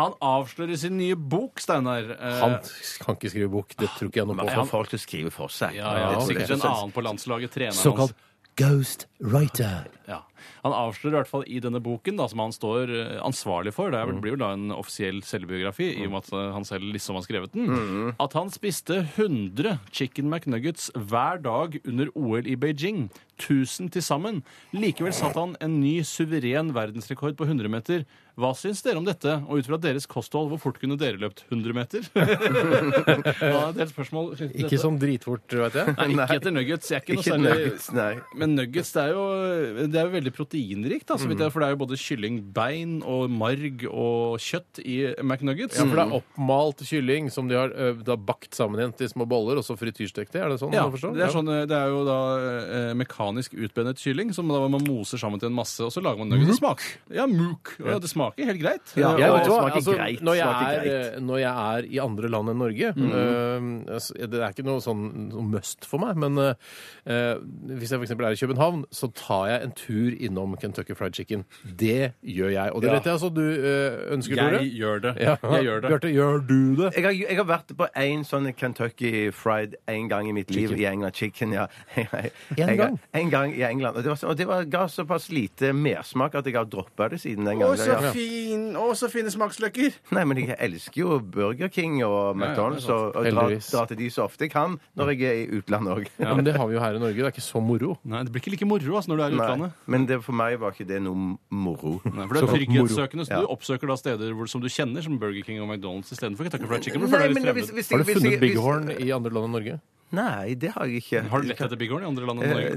S5: han avslører sin nye bok, Steinar. Eh,
S3: Han kan ikke skrive bok. Det tror ikke jeg noe
S4: Og
S3: på.
S4: får folk til å skrive for seg.
S5: ja, ja,
S3: Ja,
S5: Sikkert en annen på landslaget, treneren hans.
S3: Såkalt ghost writer.
S5: Ja. Han avslører i hvert fall i denne boken, da, som han står eh, ansvarlig for, det er vel- blir jo da en offisiell selvbiografi, i og med at eh, han selv liksom har skrevet den, at han spiste 100 Chicken McNuggets hver dag under OL i Beijing. 1000 til sammen. Likevel satte han en ny suveren verdensrekord på 100 meter. Hva syns dere om dette? Og ut fra deres kosthold, hvor fort kunne dere løpt 100 meter? Hva er deres spørsmål? Synes dere
S3: Ikke
S5: dette-
S3: sånn dritfort, veit jeg.
S5: Nei, ikke etter nuggets. Jeg er ikke noe
S4: Ikke
S5: særlig
S4: nuggets, nei.
S5: men nuggets det er jo, det er jo veldig proteinrikt, da, så vidt jeg, for det er jo både kylling, bein og marg og kjøtt i McNuggets.
S3: Ja, for det er oppmalt kylling som de har, ø, da bakt sammen igjen til små boller, og så frityrstekt det? Er det sånn?
S5: Ja,
S3: å forstå?
S5: det er, sånn, eh, det er jo da eh, mekanisk utbennet kylling som da man moser sammen til en masse, og så lager man nuggets. Det smaker. Ja, mook. Ja, det smaker helt greit.
S4: Ja,
S5: Eh,
S3: Jeg,
S4: og
S3: vet du hva,
S4: smaker
S3: altså,
S4: greit,
S3: når, jeg
S4: smaker
S3: er, eh, når jeg er i andre land enn Norge eh, altså, Det er ikke noe sånn noe must for meg, men eh, eh, hvis jeg f.eks. er i København, så tar jeg en tur innom Kentucky Fried Chicken. Det gjør jeg. Og det
S5: Ja.
S3: vet jeg altså du eh, ønsker, Tore.
S5: jeg gjør det. Jeg gjør det.
S3: Bjarte, gjør du det?
S4: Jeg har, jeg har vært på en sånn Kentucky Fried en gang i mitt liv i England. Chicken, ja. En
S3: gang?
S4: En gang i England. Og det, var, så- og det var, ga såpass lite mersmak at jeg har droppa det siden den
S5: Å,
S4: gangen.
S5: så fin! Å, så fine smaksløker!
S4: Nei, men jeg elsker jo Burger King og McDonald's
S5: Ja, ja,
S4: og, og drar
S3: Heldigvis.
S4: drar til de så ofte jeg kan når jeg er i utlandet òg.
S3: Ja, men det har vi jo her i Norge. Det er ikke så moro.
S5: Nei, Det blir ikke like moro altså, når du er i utlandet.
S4: Men det, for meg var ikke det noe moro.
S5: Nei, for det er
S3: Såkalt
S5: trygghetssøkende, så
S4: moro.
S5: du oppsøker da steder hvor, som du kjenner, som Burger King og McDonald's istedenfor Kentucky Fried Chicken. For det
S4: Nei,
S5: er litt
S4: men
S5: fremmed.
S4: hvis- hvis jeg-
S3: Har du
S4: hvis
S3: funnet
S4: jeg- hvis-
S3: Bighorn i andre land enn Norge?
S4: Nei, det har jeg ikke.
S5: Har du lett etter Bighorn i andre land
S4: Eh,
S5: enn Norge?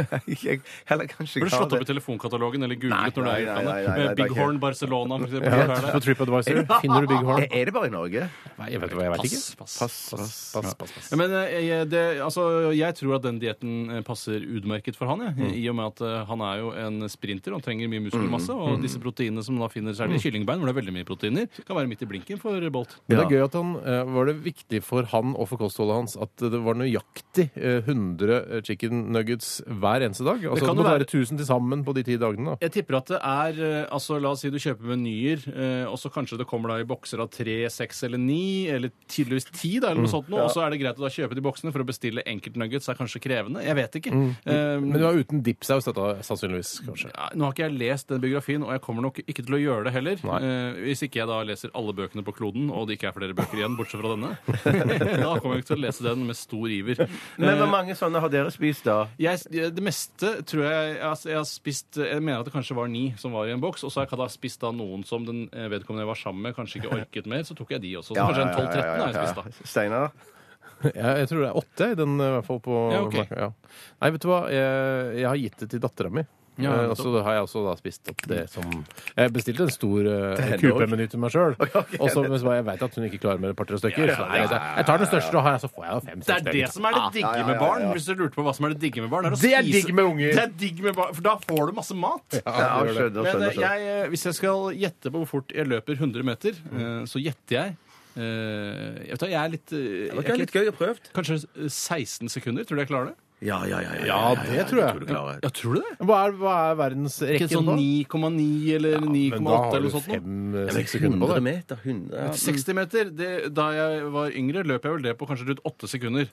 S4: Nei, jeg, heller kanskje ikke
S5: Har du
S4: har
S5: slått opp i
S4: det.
S5: telefonkatalogen eller googlet
S4: Nei,
S5: når du er
S4: nei,
S5: i
S4: nei, nei,
S5: utlandet?
S4: nei,
S5: Eh,
S4: det er
S5: Bighorn
S4: ikke-
S5: Barcelona, for eksempel.
S3: Ja,
S5: Hva er det?
S3: på TripAdvisor finner du Bighorn.
S4: Er det bare i Norge?
S5: Eh,
S3: Nei, jeg vet hva, jeg vet ikke.
S5: Pass, pass.
S3: Pass, pass, pass, pass.
S5: Ja, Men eh, jeg- det, altså, jeg tror at den dietten eh, passer utmerket for han, jeg.
S4: Mm.
S5: i og med at eh, han er jo en sprinter og trenger mye muskelmasse.
S4: Mm.
S5: Og disse proteinene som han da finner særlig i kyllingbein, hvor det er veldig mye proteiner, kan være midt i blinken for Bolt.
S3: Men det er gøy at han, eh, Var det viktig for han og for kostholdet hans at det var nøyaktig eh, 100 chicken nuggets hver eneste dag? Altså,
S5: kan
S3: det må
S5: jo
S3: være 1000 til sammen på de ti dagene. da.
S5: Jeg tipper at det er eh, altså La oss si du kjøper menyer, eh, og så kanskje det kommer da i bokser av tre, seks eller ni, eller tydeligvis ti, da, eller noe sånt noe. Og så er det greit å da kjøpe de boksene for å bestille enkeltnuggets. er kanskje krevende. Jeg vet ikke. Eh,
S3: Men det var uten dipsaus, dette sannsynligvis. kanskje.
S5: ja, nå har ikke jeg lest den biografien, og jeg kommer nok ikke til å gjøre det heller.
S3: Nei.
S5: Eh, hvis ikke jeg da leser alle bøkene på kloden, og det ikke er flere bøker igjen, bortsett fra denne. da kommer jeg ikke til å lese den med stor iver.
S4: Men hvor mange sånne har dere spist, da?
S5: Jeg, det meste tror jeg altså, Jeg har spist Jeg mener at det kanskje var ni som var i en boks. Og så har jeg da spist da noen som den eh, vedkommende jeg var sammen med, kanskje ikke orket mer. Så tok jeg de også. Så kanskje en 12-13 har jeg spist, da.
S4: Steinar?
S3: Jeg, jeg tror det er åtte i den, eh, i hvert fall. på...
S5: Ja, ok.
S3: ja. Nei, vet du hva? Jeg, jeg har gitt det til dattera mi.
S5: Ja,
S3: Eh,
S5: nettopp.
S3: og så har jeg også da spist opp det som Jeg bestilte en stor eh,
S4: dog.
S3: QP-meny til meg sjøl. Og så men så var jeg vet at hun ikke klarer mer enn et par-tre stykker.
S5: Ja, ja,
S3: så nei, jeg, jeg tar den største, og har jeg- så får jeg jo
S5: Det
S3: fem-seks.
S5: er det som er det digge med barn. Hvis du lurte på hva som er det digge med barn, er å
S3: Det er
S5: spise-
S3: digg med unger.
S5: Det er digg med barn, For da får du masse mat.
S4: Ja,
S3: det gjør det.
S4: skjønner,
S5: Men
S4: skjønner,
S5: eh,
S4: skjønner.
S5: jeg, eh, hvis jeg skal gjette på hvor fort jeg løper 100 meter,
S3: Mm.
S5: eh, så gjetter jeg eh, Jeg vet da, jeg er litt, eh, jeg er litt
S4: gøy å prøve.
S5: Kanskje eh, 16 sekunder. Tror du jeg klarer det?
S4: Ja, ja, ja.
S3: Ja, det tror jeg.
S4: du klarer.
S5: Ja, tror du det?
S3: Hva er, hva er verdensrekken
S5: Ikke sånn
S3: på?
S5: 9,9 eller 9,8
S3: Men da har
S5: eller
S3: du
S5: noe sånt. nå.
S4: eh,
S3: fem-seks sekunder på
S4: 100
S3: det.
S4: meter. 100 ja.
S5: 60 meter, det, da jeg var yngre, løp jeg vel det på kanskje rundt 8 sekunder.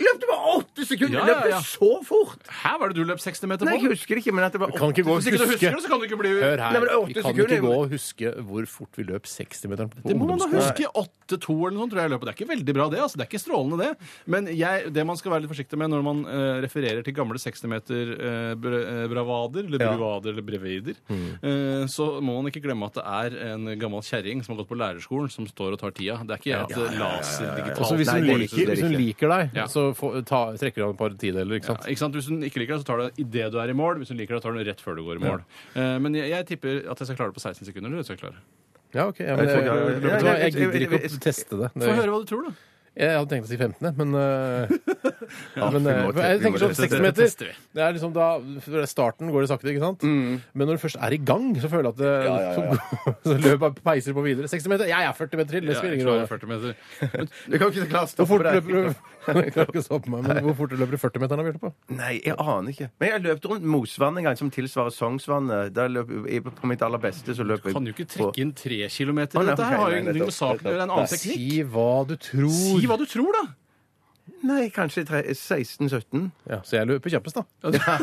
S4: løpte bare åtte sekunder!
S5: Ja,
S4: Ja,
S5: ja, ja.
S4: Løpte så fort!
S5: Hæ, var det du løp 60 meter
S4: Nei, jeg
S5: på?
S4: husker det ikke, men at det var
S3: Kan ikke gå og
S5: Hvis ikke du
S3: huske
S5: husker det, så kan du ikke bli
S3: Hør
S4: Nei,
S3: her.
S4: men det er åtte
S3: Vi kan
S4: sekunder,
S3: ikke gå
S4: men-
S3: og huske hvor fort vi løp 60-meteren på
S5: Det må man da
S3: ungdomsskolen.
S5: huske. 8-2 eller noe sånt, tror jeg jeg løper. Det er ikke veldig bra, det. altså. Det er ikke strålende, det. Men jeg, det man skal være litt forsiktig med når man eh, refererer til gamle 60 meter eh, br- eh, bravader, eller brivader eller brevider,
S3: Mm.
S5: eh, så må man ikke glemme at det er en gammel kjerring som har gått på lærerskolen, som står og tar tida. Det er ikke jeg at det laser digitalt.
S3: Altså, hvis,
S4: Nei,
S3: hun
S4: det
S3: liker,
S4: liker
S3: hvis hun
S4: ikke.
S3: liker deg,
S5: Ja.
S3: så får, ta, trekker han et par tideler. ikke sant?
S5: Ja, ikke sant? Hvis hun ikke liker det, så tar du det idet du er i mål. Hvis hun liker det, tar du det rett før du går i mål. Eh, men jeg, jeg tipper at jeg skal klare det på 16 sekunder. Eller skal jeg klare? det?
S3: Ja, ok. Ja, men
S4: Jeg tror
S3: jeg,
S4: ikke-
S3: jeg, vet
S4: Nei,
S3: du hva, jeg
S4: jeg- jeg-
S3: gidder ikke å
S4: jeg-
S3: teste det.
S5: Få
S3: Jeg
S5: høre hva du tror, da.
S3: hadde tenkt å si 15., men, øh, men
S4: vi
S3: øh, Jeg
S4: må teste- vi må
S3: tenker sånn
S4: teste det.
S3: 60 meter. Det er liksom da, fra Starten går det sakte, ikke sant?
S4: Mm.
S3: Men når du først er i gang, så føler jeg at det, Så, så løpet bare peiser på videre. 60 meter? Jeg er 40 meter til! Det
S5: Ja,
S3: spiller
S5: jeg
S3: ingen
S5: klarer
S3: rolle.
S5: 40 meter.
S4: Du kan ikke klare å
S3: Hvor
S4: stoppe
S3: fort
S4: deg.
S3: løper du? Jeg klarer ikke å stoppe meg, men hvor fort løper du 40-meteren, Bjarte? på?
S4: Nei, jeg aner ikke. Men jeg løpte rundt Mosvann en gang, som tilsvarer Sognsvannet. Der løp jeg på mitt aller beste, så løp jeg
S5: Kan jo ikke trekke inn tre kilometer.
S4: Å, nei,
S5: Dette her
S4: ok,
S5: har jo
S4: nei,
S5: ingenting
S4: nettopp,
S5: med saken å gjøre. Det er En
S4: nettopp.
S5: annen teknikk.
S3: Si hva du tror.
S5: Si hva du tror, da!
S4: Nei, kanskje tre- 16-17.
S3: Ja, så jeg løper kjappest, da.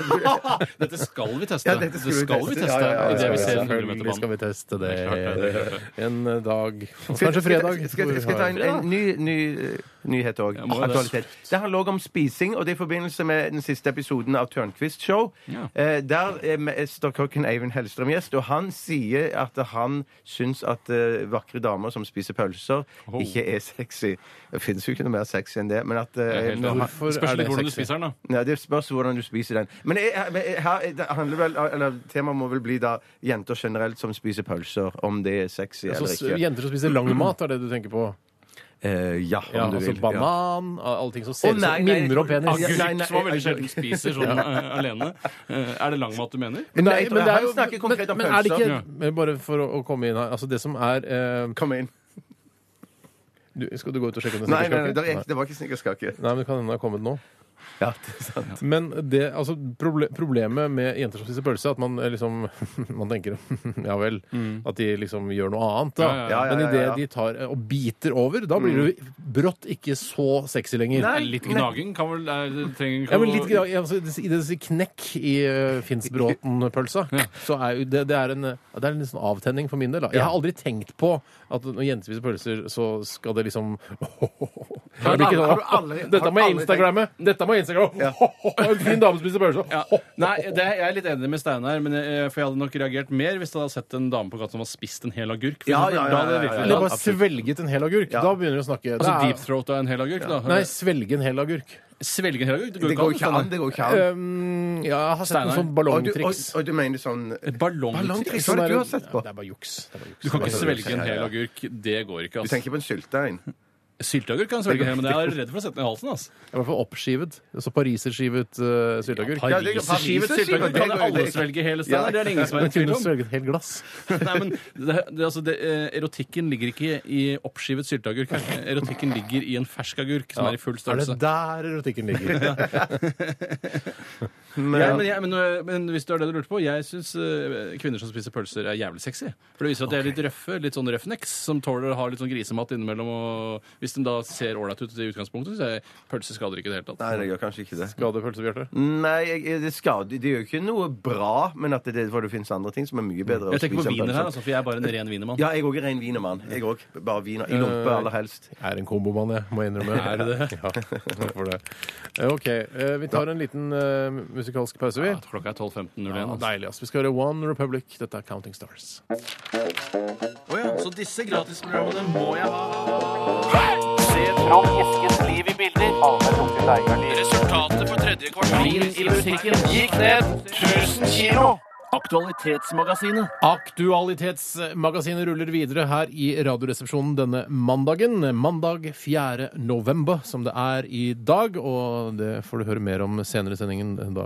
S5: Dette skal vi teste.
S4: Ja,
S5: det
S4: dette skal vi
S5: skal vi
S4: teste.
S5: teste.
S4: Ja, ja, ja, ja,
S5: I det vi
S4: ja, ja,
S5: ser en
S3: Selvfølgelig skal
S5: 100-meterbanen.
S3: vi teste det
S5: Det er klart det, det er
S3: en dag. Kanskje fredag.
S4: Skal, skal, skal jeg ta en, en ny, ny eh, nyhet òg?
S5: Ja, må jo det.
S4: Aktualitet. Det handler òg om spising, og det er i forbindelse med den siste episoden av Tørnquist Show.
S5: Ja.
S4: Eh, der er mesterkokken Eivind Hellstrøm gjest, og han sier at han syns at eh, vakre damer som spiser pølser,
S5: Oh.
S4: ikke er sexy. Det fins jo ikke noe mer sexy enn det, men at eh, når
S5: helt enig.
S4: han-
S3: Hvorfor
S5: Spørs
S3: er det
S5: litt hvordan
S4: liksom?
S5: du
S3: sexy?
S5: spiser den, da.
S4: Nei, Det spørs hvordan du spiser den. Men jeg, men jeg- her, eh, det handler vel, eller Temaet må vel bli da jenter generelt som spiser pølser, om det er sexy eller
S3: Så
S4: ikke.
S3: jenter som spiser lang mat, er det du tenker på?
S4: Eh, ja, om
S3: Ja,
S4: du
S3: altså
S4: vil. ja.
S3: banan, alle ting som ser ut
S4: Å, nei,
S3: som
S4: nei,
S3: minner om penis.
S4: Ja, nei,
S5: Agurk,
S4: nei,
S5: som man veldig
S4: jeg-
S5: sjelden spiser sånn eh, alene. Eh, er det langmat du mener?
S4: Men
S3: Nei,
S4: jeg tror- han snakker konkret om
S3: men, men er det
S4: pølser.
S3: ikke men Bare for å, å komme inn her. Altså, det som er eh,
S4: Kom inn.
S3: du, Skal du gå ut og sjekke om det
S4: Nei,
S3: er
S4: nei, nei, det,
S3: snickerskake?
S4: er, ikke- det var ikke snickerskake.
S3: Nei, men det kan hende det har kommet nå.
S4: Ja, det er sant.
S3: Men det, altså, proble problemet med jenter som spiser pølse, er at man eh, liksom Man tenker ja vel. At de liksom gjør noe annet, da.
S5: Mm. Ja, Mm.
S4: ja, ja,
S3: Men
S4: ja, ja, ja.
S3: idet de tar eh, og biter over, da blir du brått ikke så sexy lenger.
S4: Nei,
S5: Eh, Litt
S4: nei.
S5: gnaging kan vel er, trenger ikke
S3: Ja, men
S5: å-
S3: litt gra- altså, det- I det sier knekk i uh, Finnsbråten-pølsa, så er jo det, det, er en, eh, det er en litt sånn avtenning for min del. Da. Jeg har aldri tenkt på at når jenter spiser pølser, så skal det liksom Det blir ikke sånn,
S4: Har du aldri-
S3: Dette
S4: har
S3: må
S4: du
S3: jeg
S4: aldri
S3: Instagramme! Dette må jeg Instagramme! En fin dame spiser pølser!
S5: Ja. Nei, det, jeg er litt enig med Steinar, men jeg, for jeg hadde nok reagert mer hvis jeg hadde sett en dame på gata som hadde spist en hel agurk. for
S4: Ja,
S5: eksempel.
S4: ja, ja,
S5: Da hadde jeg
S4: ja, ja,
S5: virkelig-
S4: ja.
S3: Eller bare svelget en hel agurk. Da begynner du å snakke.
S5: Altså
S3: Det er-
S5: deep throat av en hel agurk, da.
S3: Nei, svelge en hel agurk.
S5: Svelge en hel agurk? Det
S4: Det går
S5: går jo
S4: ikke
S5: ikke
S4: an.
S5: an.
S4: Det går ikke an.
S3: Um, ja, jeg har sett noen
S5: Steinar.
S3: sånn
S4: Eh, Og du, og,
S3: ballongtriks.
S4: og du mener sånn
S5: Steinar. Ballongtriks?
S4: Ballongtriks? Hva er det du har sett på?
S3: Ja, Det er bare juks. Det er bare juks.
S5: Du kan
S4: Ja,
S5: ikke
S4: ja,
S5: svelge en
S4: ja, ja.
S5: hel agurk. Det går ikke.
S4: Du
S5: ass.
S4: tenker på en syltein?
S5: Sylteagurk kan jeg svelge, en hel, men jeg er redd for å sette den i halsen. ass.
S3: Jeg er I hvert fall oppskivet. Så pariserskivet uh, sylteagurk.
S4: Ja, det er-
S5: Pariserskivet
S4: Pariserskivet,
S5: sylteagurk
S4: det
S5: kan
S4: går jo-
S5: alle svelge hele Steinar. Det er det ingen som er i
S3: Jeg
S5: tvil
S3: kunne
S5: om.
S3: svelget et helt glass.
S5: Nei, men det, det, altså, det, eh, erotikken ligger ikke i oppskivet sylteagurk. Erotikken ligger i en fersk agurk som er i
S3: Er
S5: full
S3: det
S5: størrelse.
S3: der erotikken ligger?
S5: Ja, men, jeg, men, øh, men hvis det er det du lurte på, jeg syns øh, kvinner som spiser pølser, er jævlig sexy. For det viser at de er litt røffe, litt sånn røffnecks, som tåler å ha litt sånn grisemat innimellom. Og hvis de da ser ålreit ut i utgangspunktet, så er pølser skader ikke i det hele tatt.
S4: Nei, det gjør kanskje ikke det.
S3: Skade pølse, Bjarte?
S5: Mm.
S4: Nei, jeg, det skader Det gjør jo ikke noe bra, men at det, for det finnes andre ting som er mye bedre. å
S5: Jeg tenker
S4: spise enn
S5: på wiener
S4: pølser.
S5: her, altså, for jeg er bare en ren wienermann.
S4: Ja, jeg òg er ren wienermann. Jeg òg. Bare wiener. I lompe, aller helst.
S3: Jeg er en kombomann, jeg. Må jeg innrømme.
S5: Er du det?
S3: Ja, for det. Eh, OK. eh, Vi tar en liten eh, musikalsk pause, vi.
S5: Ja, klokka er 12.15.01.
S3: Ja,
S5: altså.
S3: deilig, ass. Vi skal høre One Republic. Dette er Counting Stars.
S5: Så disse gratisprogrammene må jeg ha. Resultatet på tredje kvartal i musikken gikk ned 1000 kilo. Aktualitetsmagasinet.
S3: Aktualitetsmagasinet ruller videre her i Radioresepsjonen denne mandagen. Mandag 4. november, som det er i dag. Og det får du høre mer om senere i sendingen, da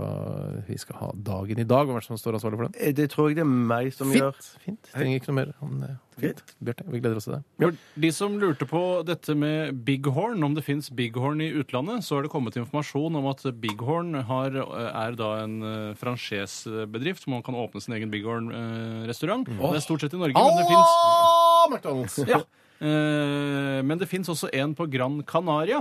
S3: vi skal ha dagen i dag. Hvem er det som står ansvarlig for den?
S4: Eh, Det tror jeg det er meg som gjør.
S3: Fint. Fint. Trenger ikke noe mer om det. Fint. Bjarte, vi gleder oss til det.
S5: For de som lurte på dette med bighorn, om det fins bighorn i utlandet, så er det kommet informasjon om at bighorn har, er da en eh, franchisebedrift hvor man kan eh, åpne sin egen bighorn-restaurant. Det er stort sett i Norge, men det fins
S3: Alla McDonald's!
S5: ja. Eh, Men det fins også en på Gran Canaria.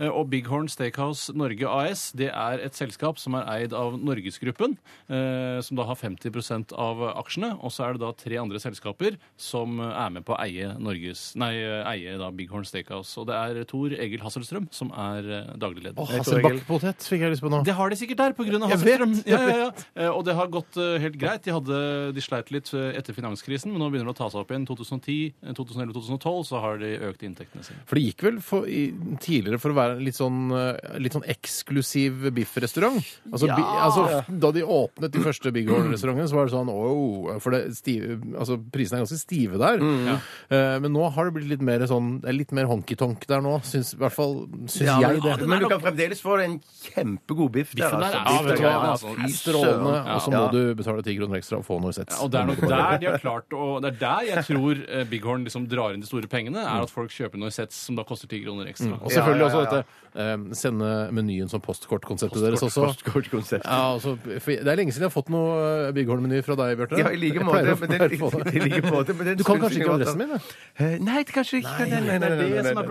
S5: Eh, Og Bighorn Steakhouse Norge AS det er et selskap som er eid av Norgesgruppen, eh, som da har 50 av aksjene. Og så er det da tre andre selskaper som eh, er med på å eie, Norges, nei, eh, eie da Bighorn Steakhouse. Og det er Tor Egil Hasselstrøm som er eh, daglig leder.
S3: Å, Hasselbakkpotet altså, fikk jeg lyst på nå.
S5: Det har de sikkert der, pga. Hasselstrøm. Ja, ja, ja. Eh, Og det har gått eh, helt greit. De, hadde, de sleit litt eh, etter finanskrisen, men nå begynner det å ta seg opp igjen. 2010, eh, 2011, 2012 så har de økt inntektene sine.
S3: For det gikk vel for, i, tidligere for å være en litt sånn, eh, litt sånn eksklusiv biffrestaurant. Altså, bi, altså, da de åpnet de første Big Horn-restaurantene, så var det sånn wow, For det stive, altså, prisene er ganske stive der.
S5: Mm.
S3: Eh, men nå har det blitt litt mer sånn Det er litt mer honky-tonk der nå, syns, i hvert fall syns
S4: Ja,
S3: jeg det.
S4: men, men du kan fremdeles få en kjempegod biff der.
S5: Biffen der er-
S4: Biff
S3: Ja, vet du
S4: der,
S3: hva,
S4: ja,
S3: altså,
S4: fy
S3: Strålende.
S4: søren.
S3: Og så må
S4: Ja.
S3: du betale ti kroner ekstra og få noe sett.
S5: Ja, og Det er nok der de har klart å, det er der jeg tror eh, Bighorn liksom drar inn de store pengene, er at folk kjøper Norsets som da koster 10 kroner ekstra.
S3: Og
S5: Ja.
S3: selvfølgelig
S4: Ja, ja, ja, ja.
S3: også dette eh, sende menyen som postkortkonseptet deres også.
S4: Postkortkonsept.
S3: Ja, altså, for det er lenge siden jeg har fått noe Bygholm-meny fra deg, Bjarte.
S4: Ja, i like
S3: Jeg
S4: måte.
S3: pleier å
S4: Men den,
S3: pleier å få det.
S4: i like måte men den
S3: Du kan
S4: synes
S3: kanskje
S4: jeg
S3: ikke
S4: var-
S3: adressen min? da?
S4: Eh, Nei, kanskje ikke. Nei, nei, nei,
S5: Det
S4: nei,
S5: er det
S4: nei,
S5: som er
S4: nei, nei.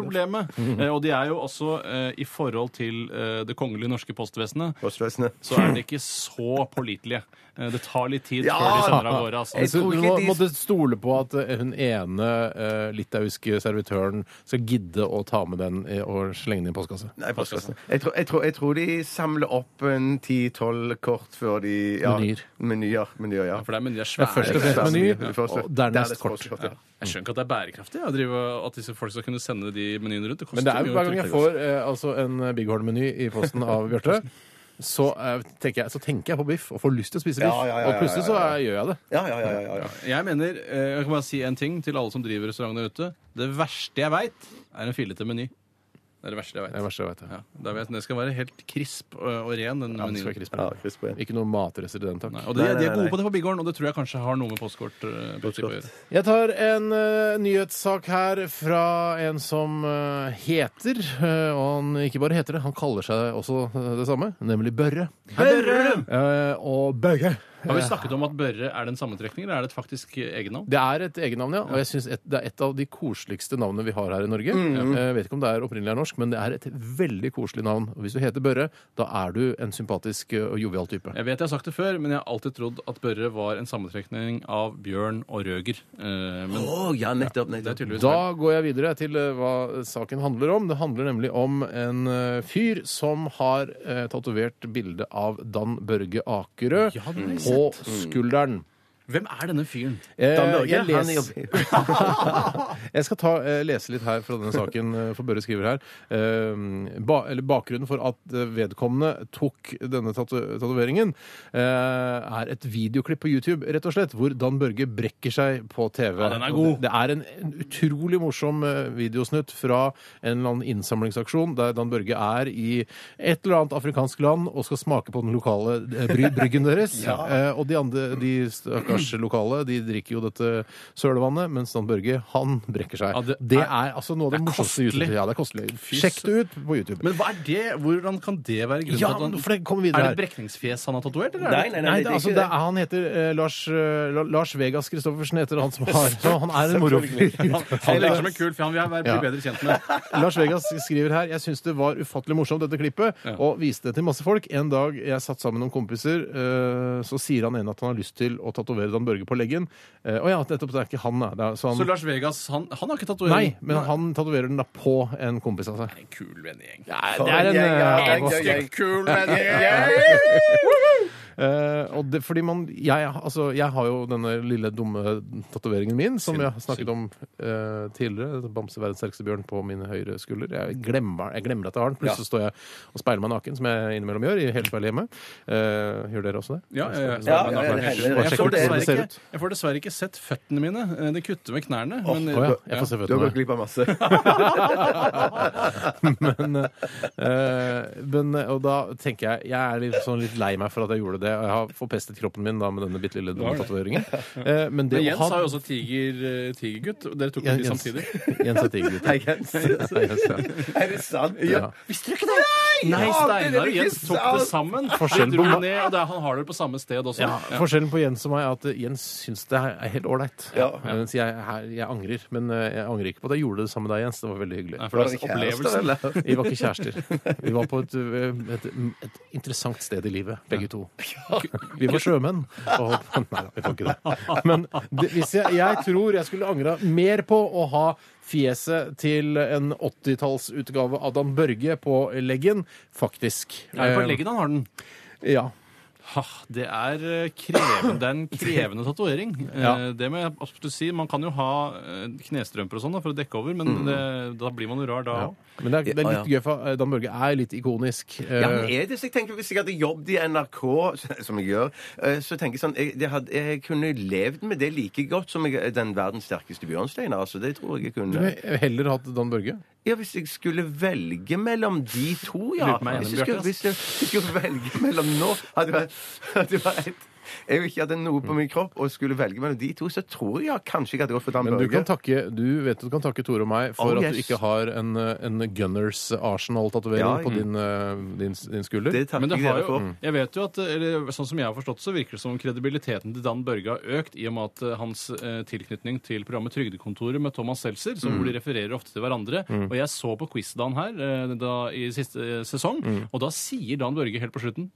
S5: problemet. Eh, Og de er jo også, eh, i forhold til eh, det kongelige norske postvesenet,
S4: Postvesenet.
S5: så er de ikke så pålitelige. Eh, Det tar litt tid
S4: Ja!
S5: før de sender av gårde. Altså.
S4: Jeg
S3: Så
S4: tror
S3: du
S4: ikke
S3: må,
S4: de-
S3: måtte stole på at eh, hun ene eh, litauiske servitøren skal gidde å ta med den eh, og slenge den i postkasse.
S4: Nei, postkassen. Jeg tror, jeg, tror, jeg tror de samler opp en 10-12 kort før de ja,
S3: Menyer.
S4: Menyer. Menyer, ja.
S5: For det er, men de er
S3: Det er først og
S5: svære.
S3: fremst meny,
S4: Det er først-
S3: og dernest
S4: dernest
S3: kort.
S4: postkort, ja.
S5: Jeg skjønner ikke at det er bærekraftig ja, å drive, at disse folk skal kunne sende de menyene rundt. Det koster
S3: Men det er jo
S5: mye å
S3: hver gang jeg
S5: trykke.
S3: får eh, altså en Bighorn-meny i posten av Bjarte, så, eh, tenker jeg, så tenker jeg på biff og får lyst til å spise biff.
S4: Ja, ja, ja,
S3: Og plutselig så eh, gjør jeg det.
S4: Ja, ja, ja, ja, ja, ja.
S5: Jeg mener, eh, jeg kan bare si en ting til alle som driver restauranter ute. Det verste jeg veit, er en fillete meny. Det er det verste jeg
S3: Det er det
S5: veit.
S3: verste jeg vet. Ja.
S5: Ja, da vet jeg at den skal være helt krisp og, og ren. Den
S3: Ja, det skal
S5: menyen.
S3: være krisp.
S4: ja Chris Breen.
S3: Ikke noe matrester i den, takk.
S5: Nei, og de,
S4: Nei, nei,
S5: de er
S4: nei,
S5: gode
S4: nei.
S5: på det på Bighorn, og det tror jeg kanskje har noe med postkortprinsippet å gjøre.
S3: Jeg tar en eh, nyhetssak her fra en som eh, heter eh, Og han ikke bare heter det, han kaller seg også eh, det samme, nemlig Børre. Eh, og Børre.
S5: Har vi snakket om at Børre er det en sammentrekning, eller er det et faktisk egennavn?
S3: Det er et egennavn, ja. Og jeg synes et, det er et av de koseligste navnene vi har her i Norge. Jeg vet ikke om det er opprinnelig er norsk, men det er et veldig koselig navn. Og hvis du heter Børre, da er du en sympatisk eh, og jovial type.
S5: Jeg vet jeg har sagt det før, men jeg har alltid trodd at Børre var en sammentrekning av Bjørn og Røger. Eh, Men
S4: Å, ja, nettopp.
S5: det er
S4: nettopp.
S5: tydeligvis
S3: Da går jeg videre til eh, hva saken handler om. Det handler nemlig om en eh, fyr som har eh, tatovert bilde av Dan Børge Akerø
S5: Ja, det har jeg
S3: på
S5: Mm.
S3: skulderen.
S5: Hvem er denne fyren?
S3: Eh,
S4: Dan Børge,
S3: jeg,
S4: han
S3: les,
S4: jobber
S3: jeg skal ta, eh, lese litt her fra denne saken, eh, for Børre skriver her. Eh, ba, eller bakgrunnen for at eh, vedkommende tok denne tatu- tatoveringen, eh, er et videoklipp på YouTube, rett og slett, hvor Dan Børge brekker seg på TV.
S5: Ja, den er god.
S3: Og Det, det er en, en utrolig morsom eh, videosnutt fra en eller annen innsamlingsaksjon der Dan Børge er i et eller annet afrikansk land og skal smake på den lokale eh, bry, bryggen deres. Eh, og de andre, de stakkars lokale, de drikker jo dette sølevannet, mens Dan Børge, han brekker seg.
S5: Ja,
S3: det,
S5: det
S3: er,
S5: er-
S3: altså noe av det,
S5: det er
S3: morsomste
S5: kostelig.
S3: YouTube. Ja, det er kostelig.
S5: Fy
S3: Sjekk det ut på YouTube.
S5: Men hva er det? Hvordan kan det være grunnen
S3: ja,
S5: til at han
S3: for det kommer videre
S5: Er
S3: her.
S5: det et brekningsfjes han har tatovert, eller?
S4: Nei, nei, nei,
S3: Nei,
S4: det
S3: det,
S4: er
S3: altså,
S4: ikke
S3: det
S4: det.
S3: er, han heter eh, Lars, eh, La- Lars Vegas Christoffersen, heter han som har så Han er en morofyr.
S5: Han virker som en kul fyr. Han vil jeg være- bli
S3: Ja.
S5: bedre kjent med.
S3: Lars Vegas skriver her Jeg syns det var ufattelig morsomt, dette klippet, og viste det til masse folk. En dag jeg satt sammen med noen kompiser, eh, så sier han en at han har lyst til å tatovere Dan Børge på leggen. Eh, Å ja, nettopp. Det er ikke han, da. Det er, så
S5: Så
S3: han,
S5: Lars Vegas, han, han har ikke
S3: nei,
S5: tatovering?
S3: men han tatoverer den da på en kompis av seg.
S5: En kul vennegjeng.
S3: Det er en, eh,
S4: Ja, ja, ja.
S5: Kul vennegjeng!
S3: Eh, og det, fordi man jeg, altså, jeg har jo denne lille dumme tatoveringen min, som jeg har snakket om eh, tidligere. Bamse verdens sterkeste bjørn på min høyre skulder. Jeg glemmer, jeg glemmer at jeg har den. Plutselig står jeg og speiler meg naken, som jeg innimellom gjør. i helt feil hjemme. Eh, gjør dere også det?
S5: Ja, ja, ja.
S4: Ja, ja, ja,
S5: Jeg
S4: heller.
S5: får
S3: Sjekk ut hvordan
S5: dessverre
S3: det ser
S5: ikke-
S3: ut.
S5: Jeg får dessverre ikke sett føttene mine. Eh, Det kutter med knærne. men-
S3: Å ja, jeg får se
S4: Du har gått
S3: føttene.
S4: glipp av masse.
S3: Men, eh, men, og da tenker jeg Jeg er litt, sånn litt lei meg for at jeg gjorde det. Og jeg har forpestet kroppen min da med denne bitte lille dumme
S5: har det.
S3: tatoveringen. Eh, men det
S5: Men
S3: å
S5: Jens
S3: ha-
S5: har jo også tiger, eh, tigergutt. og Dere tok
S3: Ja,
S5: dem de
S3: Jens.
S5: samtidig.
S3: Jens er tigergutt.
S4: Nei, Jens. Er det sant?
S3: Ja.
S4: Visste du ikke det?
S5: Nei, Steinar
S4: det
S5: og
S4: er
S5: Jens
S4: ikke
S5: tok det sammen.
S3: Forskjell
S5: De dro
S3: på-
S5: ned, og det er, Han har det på samme sted også.
S3: Ja,
S5: Ja.
S3: Forskjellen på Jens og meg er at Jens syns det her er helt ålreit.
S4: Ja.
S3: Mens jeg, her, jeg angrer. Men eh, jeg angrer ikke på at jeg gjorde det sammen med deg, Jens. Det var veldig hyggelig.
S5: Nei, for det er
S4: Kjærester,
S5: opplevelsen.
S4: eller?
S3: Vi var ikke kjærester. Vi var på et, eh, et, et interessant sted i livet, begge to. Vi var sjømenn. Og, nei da, vi var ikke det. Men det, hvis jeg, jeg tror jeg skulle angra mer på å ha fjeset til en 80-tallsutgave av Dan Børge på leggen, faktisk.
S5: Er det på leggen han har den?
S3: Eh, Ja.
S5: Ha, det er eh, krevende, det er en krevende tatovering. Eh,
S3: Ja.
S5: Det må jeg absolutt si. Man kan jo ha eh, knestrømper og sånn da, for å dekke over, men det, da blir man jo rar da.
S3: Men det er, det er litt gøy, for eh, Dan Børge er litt ikonisk.
S4: Ja,
S3: Eh,
S4: men er det så jeg tenker Hvis jeg hadde jobbet i NRK, som jeg gjør, eh, så tenker jeg sånn Jeg, det hadde, jeg kunne levd med det like godt som jeg, den verdens sterkeste bjørnsteiner. Altså, det tror jeg jeg
S3: Du
S4: kunne.
S3: vil heller hatt Dan Børge?
S4: Ja, Hvis jeg skulle velge mellom de to, ja.
S5: Lurer på meg,
S4: Hvis
S5: Bjarte,
S4: jeg skulle,
S5: ass.
S4: hvis jeg, hvis jeg skulle velge mellom nå Hadde det vært, hadde det vært jeg ikke hadde noe på min kropp og skulle velge mellom de to, så tror jeg kanskje jeg hadde gått for Dan
S3: Men du,
S4: Børge.
S3: kan takke, du vet at du kan takke Tore og meg for
S4: Oh,
S3: at du
S4: yes.
S3: ikke har en, eh, en Gunners Arsenal-tatovering
S4: Ja,
S3: på din, eh, din, din skulder.
S4: Det Mm. takker
S5: Men det
S4: jeg
S5: har
S4: dere
S5: jo, Mm.
S4: for.
S5: jeg vet jo at, eller sånn som jeg har forstått, så virker det som om kredibiliteten til Dan Børge har økt i og med at eh, hans eh, tilknytning til programmet Trygdekontoret med Thomas Seltzer,
S4: Mm.
S5: så hvor de refererer ofte til hverandre. Og jeg så på quiz-Dan her eh, da, i siste eh, sesong,
S4: Mm.
S5: og da sier Dan Børge helt på slutten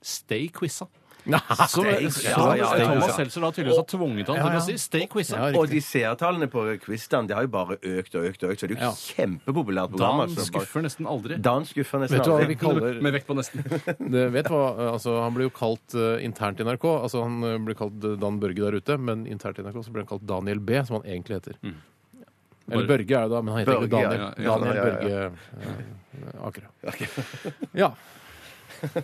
S5: 'stay quizza'. Så,
S4: Stay
S5: så,
S4: quizza. Ja, ja,
S5: så
S4: ja, ja.
S5: Thomas Seltzer da tydeligvis har tvunget han
S3: Ja,
S5: til
S3: ja.
S5: å si 'stay quizza'.
S3: Ja, riktig.
S4: Og de seertallene på Quizdan det har jo bare økt og økt og økt, så det er jo
S3: Ja.
S4: kjempepopulært program.
S5: Dan
S4: altså.
S5: skuffer nesten aldri.
S4: Dan skuffer nesten
S3: Vet du hva
S4: aldri.
S3: vi kaller
S5: Med vekt på nesten.
S3: det, vet hva, altså, Han ble jo kalt eh, internt i NRK. Altså, han eh, ble kalt eh, Dan Børge der ute, men internt i NRK så ble han kalt Daniel B, som han egentlig heter. Eller Børge er det da, men han heter
S4: Mm.
S3: egentlig
S4: Børge,
S3: Daniel,
S5: ja, ja, ja,
S3: Daniel
S4: ja, ja,
S3: Børge eh, Akerø. Ja.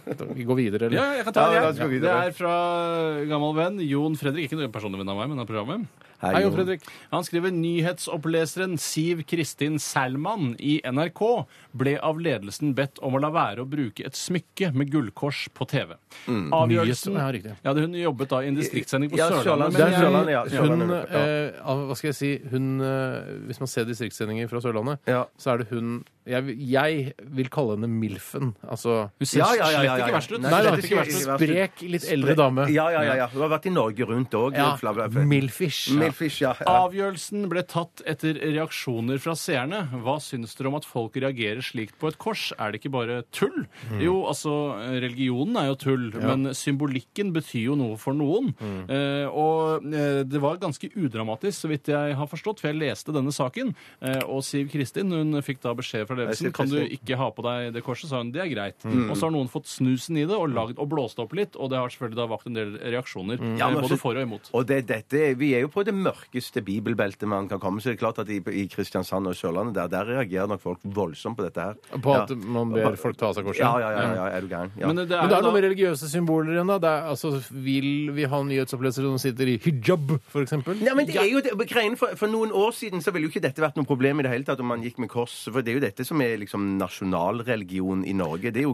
S3: Da- Vi går videre, eller?
S5: Ja, jeg kan ta
S4: Ja, la
S5: det.
S4: oss gå
S5: jeg. Det
S4: videre.
S5: er fra gammel venn Jon Fredrik. Ikke noen personlig venn av meg, men av programmet.
S3: Hei, Jon Fredrik.
S5: Han skriver nyhetsoppleseren Siv Kristin Salman i NRK ble av ledelsen bedt om å la være å bruke et smykke med gullkors på TV. Avgjørelsen
S3: Mm. Nyhets- ja, riktig.
S5: Ja, det- Hun jobbet da i en distriktssending på
S4: Ja,
S5: Sørlandet.
S4: Sørlandet,
S5: men
S4: det er
S5: jeg-
S4: Sørlandet, ja.
S3: Hun,
S4: Sørlandet, ja.
S3: eh, av- hva skal jeg si, hun, eh, hvis man ser distriktssendinger fra Sørlandet,
S4: Ja.
S3: så er det hun jeg, jeg vil kalle henne Milfen. Altså
S5: Hun ser
S4: Ja, ja, ja, ja,
S5: slett ikke
S4: ja.
S5: verst ut.
S4: Nei,
S3: Nei,
S5: Slett
S3: da,
S4: det er
S5: ikke
S4: ikke-
S5: verst ut.
S3: sprek, litt eldre dame.
S4: Ja, ja, ja, ja. Hun har vært i Norge rundt òg.
S3: Ja, Milfish.
S4: Milfish, ja. ja.
S5: Avgjørelsen ble tatt etter reaksjoner fra seerne. Hva syns dere om at folk reagerer slikt på et kors? Er det ikke bare tull?
S3: Mm.
S5: Jo, altså, religionen er jo tull, men symbolikken betyr jo noe for noen.
S3: Mm.
S5: Eh, og eh, det var ganske udramatisk, så vidt jeg har forstått, for jeg leste denne saken. Eh, og Siv Kristin hun fikk da beskjed fra ledelsen
S4: Siv
S5: kan du
S4: Kristin.
S5: ikke ha på deg det korset, sa hun. Det er greit.
S3: Mm.
S5: Og så har noen fått snusen i det og, lagd, og blåst opp litt, og det har selvfølgelig da vakt en del reaksjoner,
S4: Ja,
S5: eh,
S3: altså
S4: men
S5: både
S4: så-
S5: for og imot.
S4: Og det, dette, Vi er jo på det mørkeste bibelbeltet man kan komme. Så det er klart at i, i Kristiansand og Sørlandet der, der reagerer nok folk voldsomt på dette her.
S3: På at
S4: ja.
S3: man ber folk ta av seg korset?
S4: Ja, ja, ja, ja, er du gæren? Ja.
S5: Men det
S3: Men det
S5: jo
S3: er
S5: da-
S3: noe med religiøse symboler igjen, da. Det er, altså, vil vi ha nyhetsopplesere som sitter i hijab, for eksempel?
S4: Nei, men det er jo det, greien for, for noen år siden så ville jo ikke dette vært noe problem i det hele tatt om man gikk med kors. For det er jo dette som er liksom nasjonalreligion i Norge. Det er jo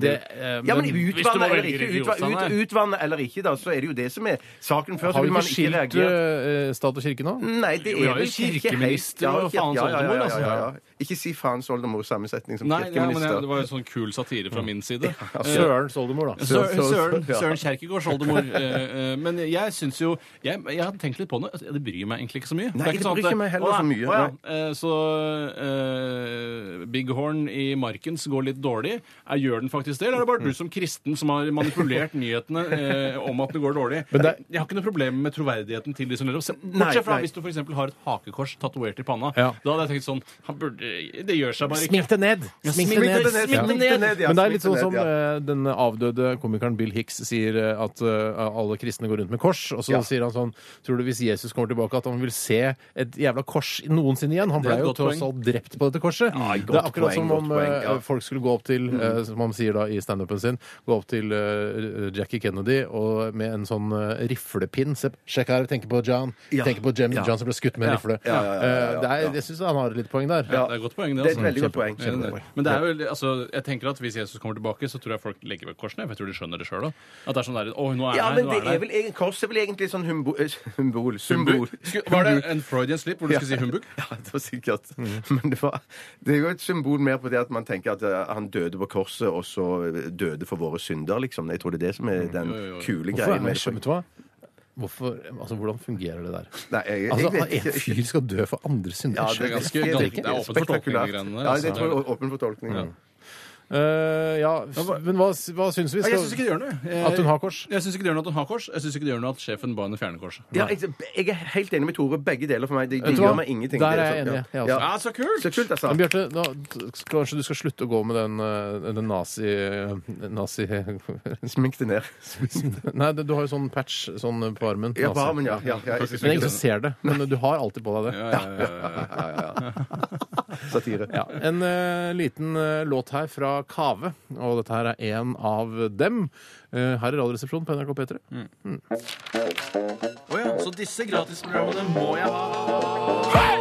S3: Det- men det, eh,
S4: ja, men
S3: men
S5: hvis du må
S4: utvanne eller,
S5: velge
S4: ikke,
S5: religion,
S4: utva-
S5: Steinar.
S4: ut, utvanne eller ikke, da, så er det jo det som er saken. Før så
S3: Har vi
S4: ville man
S3: ikke
S4: ikke
S3: skilt
S4: reagert.
S3: eh, stat og kirke nå?
S4: Nei, det
S5: Jo, vi har
S4: er
S5: jo
S4: vel ikke helt-
S5: kirkeminister og
S4: ja,
S5: faens
S4: ja, ja, ja,
S5: oldemor, altså.
S4: ja, ja, ja. Ikke si faens oldemor sammensetning som
S5: Nei, ja, men jeg, det
S4: kirkeminister.
S5: var jo sånn kul satire fra min side. Eh,
S3: Sørens oldemor, da.
S5: Søren,
S4: Søren-
S5: Søren,
S4: ja.
S5: Søren Kjerkegaards oldemor. eh, eh, Men jeg syns jo Jeg, jeg har tenkt litt på det. altså, Det bryr meg egentlig ikke så mye.
S4: Nei,
S5: er
S4: det
S5: sånn at
S4: bryr ikke meg heller
S5: å, nei,
S4: så mye,
S5: å, ja. Eh, Så eh, Big Horn i Markens går litt dårlig. Eh, Gjør den faktisk det, eller er det
S4: Mm.
S5: bare du som kristen som har manipulert nyhetene eh, om at det går dårlig?
S3: Men det-
S5: Jeg har ikke noe problem med troverdigheten til de som ler. av-
S4: Nei,
S5: Bortsett fra
S4: nei.
S5: hvis du f.eks. har et hakekors tatovert i panna.
S3: Ja.
S5: Da hadde jeg tenkt sånn han burde, Det gjør seg bare ikke.
S3: Smink det ned! Smink det ned!
S4: Smink det ned, ja,
S3: Men det er
S4: smink
S3: litt sånn
S4: ned,
S3: som
S4: ja.
S3: eh, den avdøde komikeren Bill Hicks sier eh, at eh, alle kristne går rundt med kors, og så
S4: Ja.
S3: sier han sånn Tror du hvis Jesus kommer tilbake, at han vil se et jævla kors noensinne igjen? Han
S5: Det
S3: ble
S5: er et
S3: jo
S5: godt
S3: tross
S5: poeng.
S3: alt drept på dette korset.
S4: godt
S3: det er akkurat
S4: poeng,
S3: som
S4: godt
S3: om
S4: poeng,
S3: eh,
S4: ja.
S3: folk skulle gå opp til, eh, som han sier da i standupen sin, gå opp til eh, Jackie Kennedy og med en sånn eh, riflepinn Se, Sjekk her, vi tenker på John.
S4: Ja.
S3: Tenker på Jim,
S4: Ja.
S3: John som ble skutt med en
S5: Ja.
S3: rifle.
S4: Ja, ja, ja, ja, ja.
S3: Eh, det er- Jeg syns han har et lite poeng der.
S5: Ja, er et godt poeng, det.
S4: Det er et
S5: altså.
S4: veldig godt poeng.
S5: Ja, det er det.
S4: Kjempepoeng.
S5: Men det er jo, altså, jeg tenker at hvis Jesus kommer tilbake, så tror jeg folk legger vekk korsene. For jeg tror de skjønner det sjøl òg. At det er sånn der Å, nå er
S4: Ja,
S5: jeg
S4: men
S5: her, nå
S4: det er
S5: er jeg her.
S4: vel egen, kors er vel egentlig sånn humbo, eh, humbol Symbol.
S5: Humbug. Skulle- Var det en Freudian slip hvor du skulle si humbug?
S4: Ja, det var sikkert. Men det, var, det er jo et symbol mer på det at man tenker at eh, han døde på korset, og så eh, døde for våre synder, liksom. Jeg tror det er det som er den
S5: Mm. jo, jo.
S4: kule
S3: Hvorfor er
S4: greien.
S3: det
S4: med
S3: skjønt,
S4: det.
S3: vet du hva? Hvorfor, altså, hvordan fungerer det der?
S4: Nei, jeg, jeg
S3: Altså,
S4: vet
S3: at en
S4: ikke.
S3: fyr skal dø for andre synder?
S4: Ja,
S3: Jeg
S5: det er ganske-
S4: det
S5: ganske- det er åpen for tolkning,
S4: spektakulært.
S5: de greiene der,
S4: Ja,
S5: altså.
S4: det tror jeg er åpen for tolkning.
S3: Eh, ja, s- men hva, hva syns vi?
S5: Jeg syns ikke det gjør noe. Jeg-
S3: At hun har kors?
S5: Jeg syns ikke det gjør noe at hun har kors. Jeg syns ikke det gjør noe at sjefen ba henne fjerne korset.
S4: Ja, jeg, jeg er helt enig med Tore. Begge deler for meg. De, de
S3: Vet du hva?
S4: gjør meg ingenting.
S3: Der
S4: Det
S3: er jeg
S4: sånn,
S3: enig, jeg også.
S4: Ja.
S5: Ja, så kult!
S4: Så kult, altså.
S3: Men Bjarte, da, kanskje du skal slutte å gå med den, eh, den nazi... nazi
S4: Smink det ned.
S3: Nei, du du har jo sånn patch sånn på armen.
S4: Ja, på
S3: nazi.
S4: armen, ja. ja, ja jeg,
S3: Men ingen som ser det. Men eh, du har alltid på deg det.
S5: Ja, ja, ja, ja.
S4: ja, ja, ja. Satire.
S3: Ja, En eh, liten eh, låt her fra Kave, og dette her er en av dem. Eh, her i Radioresepsjonen på NRK P3.
S5: Så disse gratisprogrammene må jeg ha.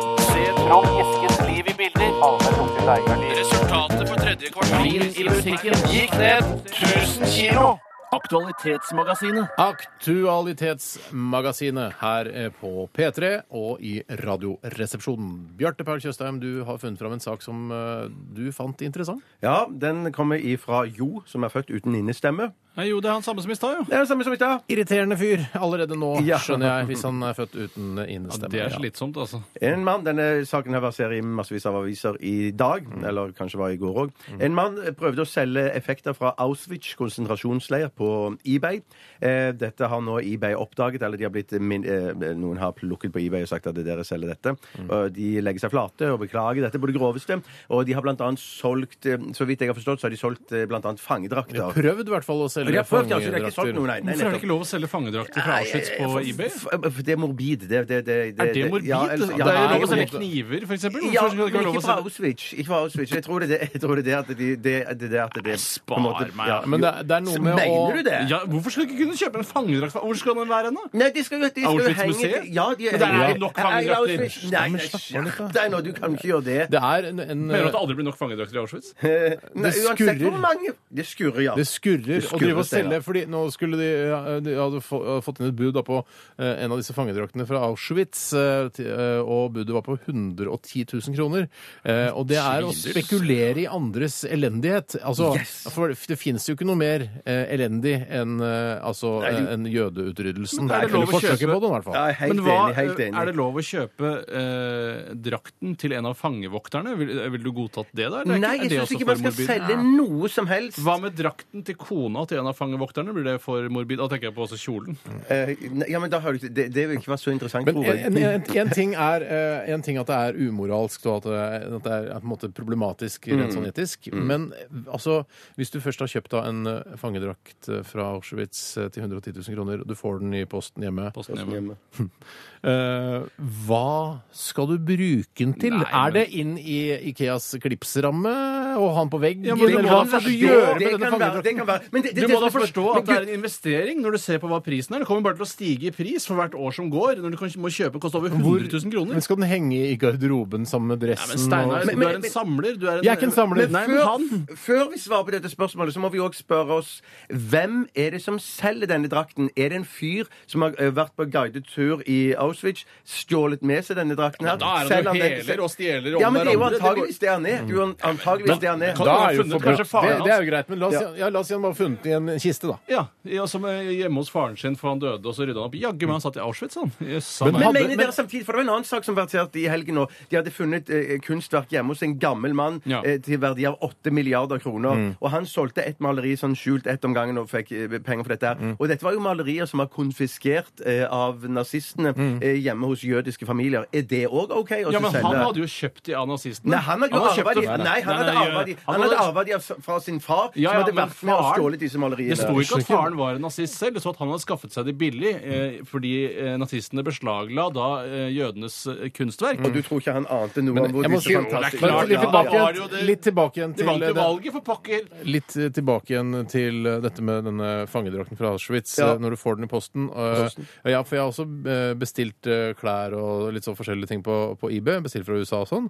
S5: Resultatet for tredje kvartal i musikken gikk ned 1000 kilo. Aktualitetsmagasinet.
S3: Aktualitetsmagasinet her eh, på P3 og i Radioresepsjonen. Bjarte Paul Tjøstheim, du har funnet fram en sak som eh, du fant interessant.
S4: Ja, den kommer ifra Jo, som er født uten innestemme.
S5: Nei, jo, det er han samme som i stad, jo.
S4: Det er det samme som i stad.
S3: Irriterende fyr allerede nå,
S4: Ja.
S3: skjønner jeg, hvis han er født uten innestemme.
S5: Det er
S3: Ja.
S5: slitsomt, altså.
S4: En mann, Denne saken her verserer i massevis av aviser i dag, eller kanskje var i går òg. En mann prøvde å selge effekter fra Auschwitz konsentrasjonsleir på eBay. Eh, dette har nå eBay oppdaget, eller de har blitt min, eh, noen har plukket på eBay og sagt at dere selger dette. Og de legger seg flate og beklager dette på det groveste. Og de har blant annet solgt, eh, så vidt jeg har forstått, så har de solgt eh, blant annet
S3: De har
S4: fangedrakter.
S3: prøvd i hvert fall å selge
S4: De har prøvd, altså. De har ikke solgt noe, nei. nei
S5: Hvorfor er det
S4: nettopp.
S5: ikke lov å selge fangedrakter fra Auschwitz på
S4: For-
S5: eBay?
S4: for- for Det er morbid. Det, det, det,
S5: Er det morbid?
S4: ja,
S5: det
S4: eller- ja,
S5: er jo lov å
S4: morbid.
S5: selge kniver, for eksempel.
S4: Ja, men
S5: Hvorfor skal det ikke være lov
S4: ikke
S5: å
S4: fra
S5: selge
S4: Auschwitz. Ikke fra Auschwitz. Jeg tror det er det, jeg tror det, er det at de- det, det, det, at det
S5: Spar
S4: på en måte-
S5: meg.
S3: Men det, er- det er noe med å
S4: Mener du det?
S5: ja, Hvorfor skal du ikke kunne kjøpe en fangedrakt? fra- Hvor skal den være henne?
S4: Nei, de skal jo de skal jo henge
S5: Auschwitz-museet?
S4: Ja, de
S5: Men der er
S4: ja.
S5: det nok
S4: Ja,
S5: fangedrakter.
S4: Auschwitz- Nei, nei, skjerp deg nå, du kan ikke gjøre det.
S3: Det er en, en
S5: Mener du at det aldri blir nok fangedrakter i Auschwitz?
S4: Nei,
S3: det
S4: uansett
S3: skurrer.
S4: hvor mange Det skurrer, ja.
S3: Det skurrer.
S4: Det
S3: å
S4: skurrer,
S3: drive og selge,
S4: Steinar.
S3: fordi nå skulle de, ja, de hadde få- uh, fått inn et bud da på eh, en av disse fangedraktene fra Auschwitz, eh, ti- eh, og budet var på 110 000 kroner. Eh, Og det er å spekulere i andres elendighet. Altså, For det fins jo ikke noe mer eh, elendig enn eh, altså, eh, enn jødeutryddelsen.
S5: Men er det lov
S3: Eller
S5: å
S3: forsøket
S5: kjøpe-
S3: på det, i hvert fall.
S4: Ja, jeg er helt
S5: Men hva,
S4: enig. Helt enig.
S5: Er det lov å kjøpe eh, drakten til en av fangevokterne? Vil, vil du godtatt det, da? eller
S4: Nei,
S5: er ikke- er
S4: jeg
S5: det
S4: syns
S5: også
S4: ikke
S5: for
S4: man skal
S5: morbid?
S4: selge noe som helst.
S5: Hva med drakten til kona til en av fangevokterne? Blir det for morbid? Da tenker jeg på også kjolen.
S4: Eh, nei, Ja, men da har du ikke Det, det vil ikke være så interessant,
S3: Men
S4: tror jeg.
S3: en, en, en, ting er, eh, en ting at det er umoralsk og at det er, at det er på en måte problematisk
S5: Mm.
S3: rent sånn etisk, men eh, altså, hvis du først har kjøpt da en eh, fangedrakt eh, fra Auschwitz eh, til 110 000 kroner, og du får den i posten hjemme,
S5: Posten hjemme.
S3: eh, hva skal du bruke den til?
S5: Nei, men-
S3: Er det inn i Ikeas klipsramme og ha den på veggen?
S5: Ja, men du må
S3: eller
S5: da
S3: hva skal du gjøre med
S4: Det
S3: denne
S4: kan være- det
S3: fangedrakten?
S4: kan være men det- det-
S5: Du
S4: det
S5: må
S4: som
S5: da
S4: er spørsmålet-
S5: forstå
S4: Men
S5: at det
S4: Gud,
S5: er en investering når du ser på hva prisen er. Det kommer bare til å stige i pris for hvert år som går. Når du kan- må kjøpe koste over 100 000 kroner.
S3: Men skal den henge i garderoben sammen med
S5: Nei,
S3: dressen?
S5: men Steinar,
S3: og-
S5: du er en samler. Du er en,
S3: Jeg er ikke en samler.
S5: Nei, men han
S4: Før vi svarer på dette spørsmålet, så må vi òg spørre oss hvem er det som selger denne drakten? Er det en fyr som har eh, vært på guidet tur i Auschwitz, stjålet med seg denne drakten her?
S5: Da er han
S4: selger
S5: jo
S4: den-
S5: heler og stjeler. om
S4: Ja, men det er jo
S5: andre. går- Mm.
S4: antageligvis det han er. Du, er antageligvis det han er.
S5: Kan-
S3: Da
S5: Han har
S3: er jo
S5: funnet
S3: forbudt.
S5: kanskje faren
S3: Det, det
S5: hans.
S3: er jo greit, men la oss, si- ja, la oss si han bare har funnet den i en kiste, da.
S5: Ja, ja, som eh, hjemme hos faren sin, for han døde, og så rydda han opp. Jaggu meg, han satt i Auschwitz, han. Jøss, han
S4: Men
S5: er-
S4: mener dere samtidig, for det var en annen sak som verserte i helgen nå. De hadde funnet eh, kunstverk hjemme hos en gammel mann
S5: Ja. Mm.
S4: eh, til verdi av 8 milliarder kroner. Og han solgte et maleri sånn skjult ett om gangen og fikk eh, penger for dette. her.
S5: Mm.
S4: Og dette var jo malerier som var konfiskert eh, av nazistene eh, hjemme hos jødiske familier. Er det òg OK? å
S5: Mm. ja, men han
S4: selge?
S5: hadde jo kjøpt de av nazistene.
S4: Nei, han hadde jo
S5: hadde
S4: arva
S5: kjøpt
S4: de.
S5: det-
S4: Nei, han hadde
S5: nei,
S4: arva de.
S5: han
S4: Han hadde
S5: hadde-
S4: arva de av- fra sin far,
S5: Ja, ja,
S4: som hadde
S5: men
S4: vært med og
S5: faren-
S4: stjålet disse maleriene.
S5: Det sto ikke at faren var en nazist selv, det sto at han hadde skaffet seg de billig eh, fordi eh, nazistene beslagla da eh, jødenes eh, kunstverk.
S4: Mm. Og du tror ikke han ante noe
S3: Men
S4: om hvor
S3: jeg må
S4: disse
S3: si-
S4: fantastiske
S5: det er
S3: Men
S5: klart,
S3: litt,
S5: ja.
S3: tilbake,
S5: Ja, det var jo det-
S3: igjen- litt tilbake igjen
S5: De
S3: til
S5: vant jo
S3: det-
S5: valget, for pokker!
S3: Litt eh, tilbake igjen til eh, dette med denne fangedrakten fra Auschwitz,
S4: Ja.
S3: eh, når du får den i posten. Eh, Ja, for jeg har også eh, bestilt eh, klær og litt sånn forskjellige ting på, på eBay, bestilt fra USA og sånn,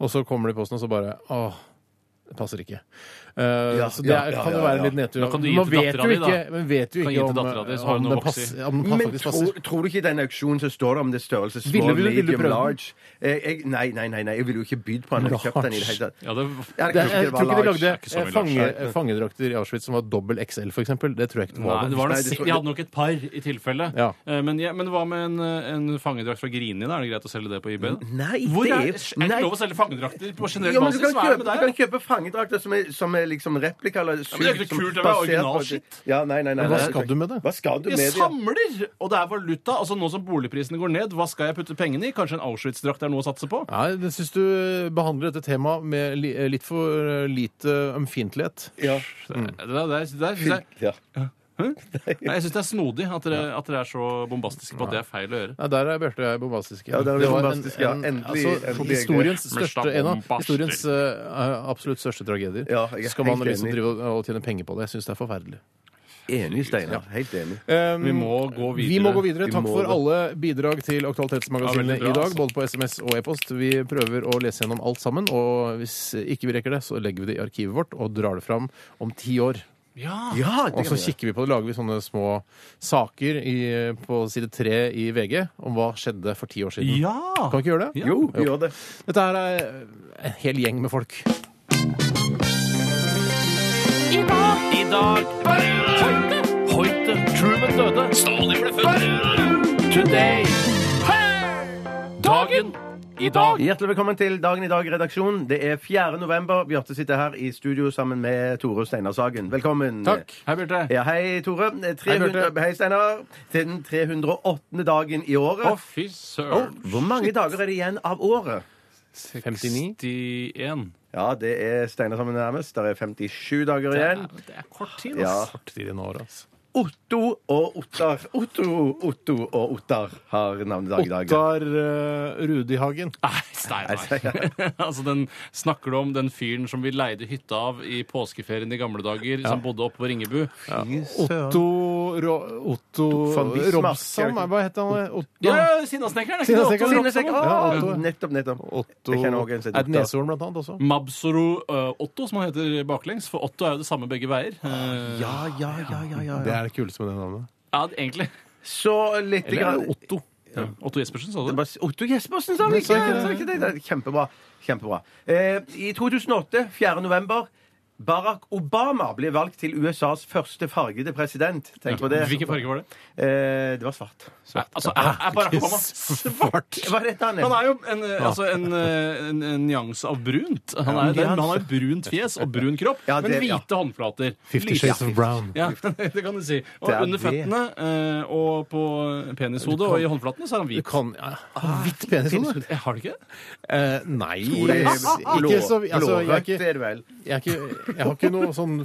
S3: og så kommer det i posten, og så bare åh, det passer ikke. Eh,
S4: Ja,
S3: så det
S4: ja,
S3: er,
S4: ja,
S3: kan jo
S4: ja,
S3: være
S4: ja.
S3: litt nedtur.
S5: Da kan du gi
S3: Man
S5: til
S3: vet
S5: dattera
S3: jo
S5: di, da.
S3: ikke, men vet jo
S5: Kan
S3: ikke
S5: gi til
S3: om,
S5: dattera di, så
S3: om
S5: har hun
S3: den
S5: noe å vokse i.
S3: passer. Om den
S4: Men
S3: faktisk passer.
S4: tror, tror du ikke i den auksjonen så står det om det er størrelse small,
S3: Ville- ville- ville du
S4: medium,
S3: prøvd den?
S4: large? Eh, Jeg, nei, nei, nei, nei, jeg ville jo ikke bydd på den. Jeg kjøpt den i det hele tatt.
S5: Ja, det,
S4: Ja,
S3: Det, jeg tror
S4: var
S3: ikke de
S4: large.
S3: lagde
S5: ikke så mye
S3: eh, fange, fangedrakter i Auschwitz som var dobbel XL, for eksempel. Det tror jeg ikke det
S5: nei,
S3: var.
S5: det var
S4: Nei,
S5: noe,
S4: det tror-
S5: jeg hadde nok et par i tilfelle.
S3: Ja.
S5: Eh, Men, jeg, men hva med en, eh, en fangedrakt fra Grini? da? Er det greit å selge det på eBay? da?
S4: Nei,
S5: Hvor
S4: det
S5: er,
S4: er-
S5: er det
S4: nei.
S5: ikke lov å selge fangedrakter på generell
S4: Ja, men du
S5: basis?
S4: kan
S5: Hva er det
S4: kjøpe,
S5: med
S4: du
S5: deg?
S4: kan kjøpe fangedrakter som er, som er liksom replika eller
S5: men det er ikke
S4: sykt, som
S5: kult, det er
S4: basert
S5: original
S4: på det.
S5: shit.
S4: Ja, nei, nei, nei,
S3: Men hva
S4: nei.
S3: skal du med det?
S4: Hva skal du
S5: Jeg
S4: med det?
S5: samler! Og det er valuta. altså Nå som boligprisene går ned, hva skal jeg putte pengene i? Kanskje en Auschwitz-drakt er noe å satse på?
S3: Nei, jeg syns du eh, behandler dette temaet med li- eh, litt for eh, lite ømfintlighet.
S4: Ja.
S5: Det der, det der, det der, synes jeg,
S4: Ja.
S5: Nei, jeg syns det er snodig at dere, at dere er så bombastiske på at det er feil å gjøre.
S3: Nei, der er Bjarte og jeg bombastiske.
S4: Ja, der er vi
S3: Det var en-
S4: bombastiske, ja.
S3: en-
S4: Endelig-
S3: altså,
S4: endelig er jeg
S3: historiens
S5: grei.
S3: største, en av
S5: Mørsta
S3: historiens eh, absolutt største tragedier.
S4: Ja, jeg er
S3: Så skal man
S4: helt
S3: liksom
S4: enig.
S3: drive og, og tjene penger på det. Jeg syns det er forferdelig.
S4: Enig, Steinar. Helt enig.
S5: Vi må gå videre.
S3: Mm. Ehm, Vi må gå videre.
S4: Vi
S3: Takk
S4: må
S3: for
S4: det.
S3: alle bidrag til
S5: Ja, veldig
S3: Aktualitetsmagasinet
S5: bra,
S3: i dag,
S5: altså.
S3: både på SMS og e-post. Vi prøver å lese gjennom alt sammen, og hvis ikke vi rekker det, så legger vi det i arkivet vårt og drar det fram om ti år.
S5: Ja,
S4: Ja, det
S3: Og så
S4: kan vi gjøre.
S3: kikker vi på det, lager vi sånne små saker i, på side tre i VG om hva skjedde for ti år siden.
S5: Ja!
S3: Kan vi ikke gjøre det?
S4: Jo, vi gjør det.
S3: Dette her er en hel gjeng med folk.
S5: I dag Hoite, Hoite, Truman døde. Stalin ble født. Today. Dagen i dag.
S4: Hjertelig velkommen til Dagen i dag-redaksjonen. Det er 4. november. Bjarte sitter her i studio sammen med Tore Steinar Sagen. Velkommen.
S5: Hei, Bjarte.
S4: Ja, hei, Tore. 300,
S3: Bjarte.
S4: hei, Steinar. Til den 308. dagen i året.
S5: Å, fy søren.
S4: Hvor mange dager er det igjen av året?
S3: 59.
S5: 61.
S4: Ja, det er Steinar som er nærmest. Det er 57 dager igjen.
S5: Det er kort tid,
S4: Ja.
S5: ass.
S3: Tidligere enn år, altså.
S4: Otto og Ottar. Otto, Otto og Ottar har navnedag i dag.
S3: Ottar eh, Rudihagen.
S5: Nei, Steinar. altså, den snakker du om den fyren som vi leide hytta av i påskeferien i gamle dager, som bodde oppe på Ringebu.
S3: Otto, Ro Otto
S4: Van Bismarck.
S3: Robson? Nei, Hva het han? Otto,
S5: Ja, Sinnasnekkeren! er ikke det
S3: Sinnasnekkeren.
S5: Otto
S4: Sinnesek-
S5: Roxholm?
S4: Ah,
S3: Ja, Otto.
S4: Nettopp, nettopp.
S3: Otto
S4: Jeg kjenner også en som heter
S3: Er det
S4: Ottar.
S3: Nesodden, blant annet, også?
S5: Mabsoro eh, Otto, som han heter baklengs. For Otto er jo det samme begge veier. Eh,
S4: Ja, ja, ja, ja, ja,
S3: Mm. Det er
S4: ja.
S3: det kuleste med det navnet.
S5: ja, egentlig.
S4: Så litt
S3: Eller er
S4: grann
S3: det Otto?
S5: Otto Jespersen, sa
S4: Det
S5: du?
S4: var Otto Jespersen, sa han
S3: Nei,
S4: ikke?
S3: sa ikke det.
S4: Sa ikke det. Det er Kjempebra. Kjempebra. Eh, I 2008, 4. november, Barack Obama ble valgt til USAs første fargede president. Tenk på det.
S5: Hvilken farge var det?
S4: Eh, det var svart.
S5: Nei, altså, er, er Barack Obama svart?
S4: Hva er dette,
S5: Han
S4: Anne?
S5: er jo en, eh, altså en, eh, en, en nyanse av brunt. Han er- det er- han har jo brunt fjes og brun kropp,
S4: Ja,
S5: men
S4: det- ja.
S5: hvite håndflater.
S3: Fifty
S5: Lyse-
S3: Shades of Brown.
S5: Ja, det kan du si. Og
S4: Det er
S5: under
S4: det.
S5: føttene eh, og på penishodet og i håndflatene så er han
S3: Du
S5: hvit.
S3: kan ja, Hvitt penishode?
S5: Eh, Har du ikke det?
S3: Eh, nei
S4: Det er
S3: Ikke så altså, jeg, er
S4: Blårødt
S3: ikke,
S4: er det vel.
S3: jeg, er ikke, jeg har ikke noe sånn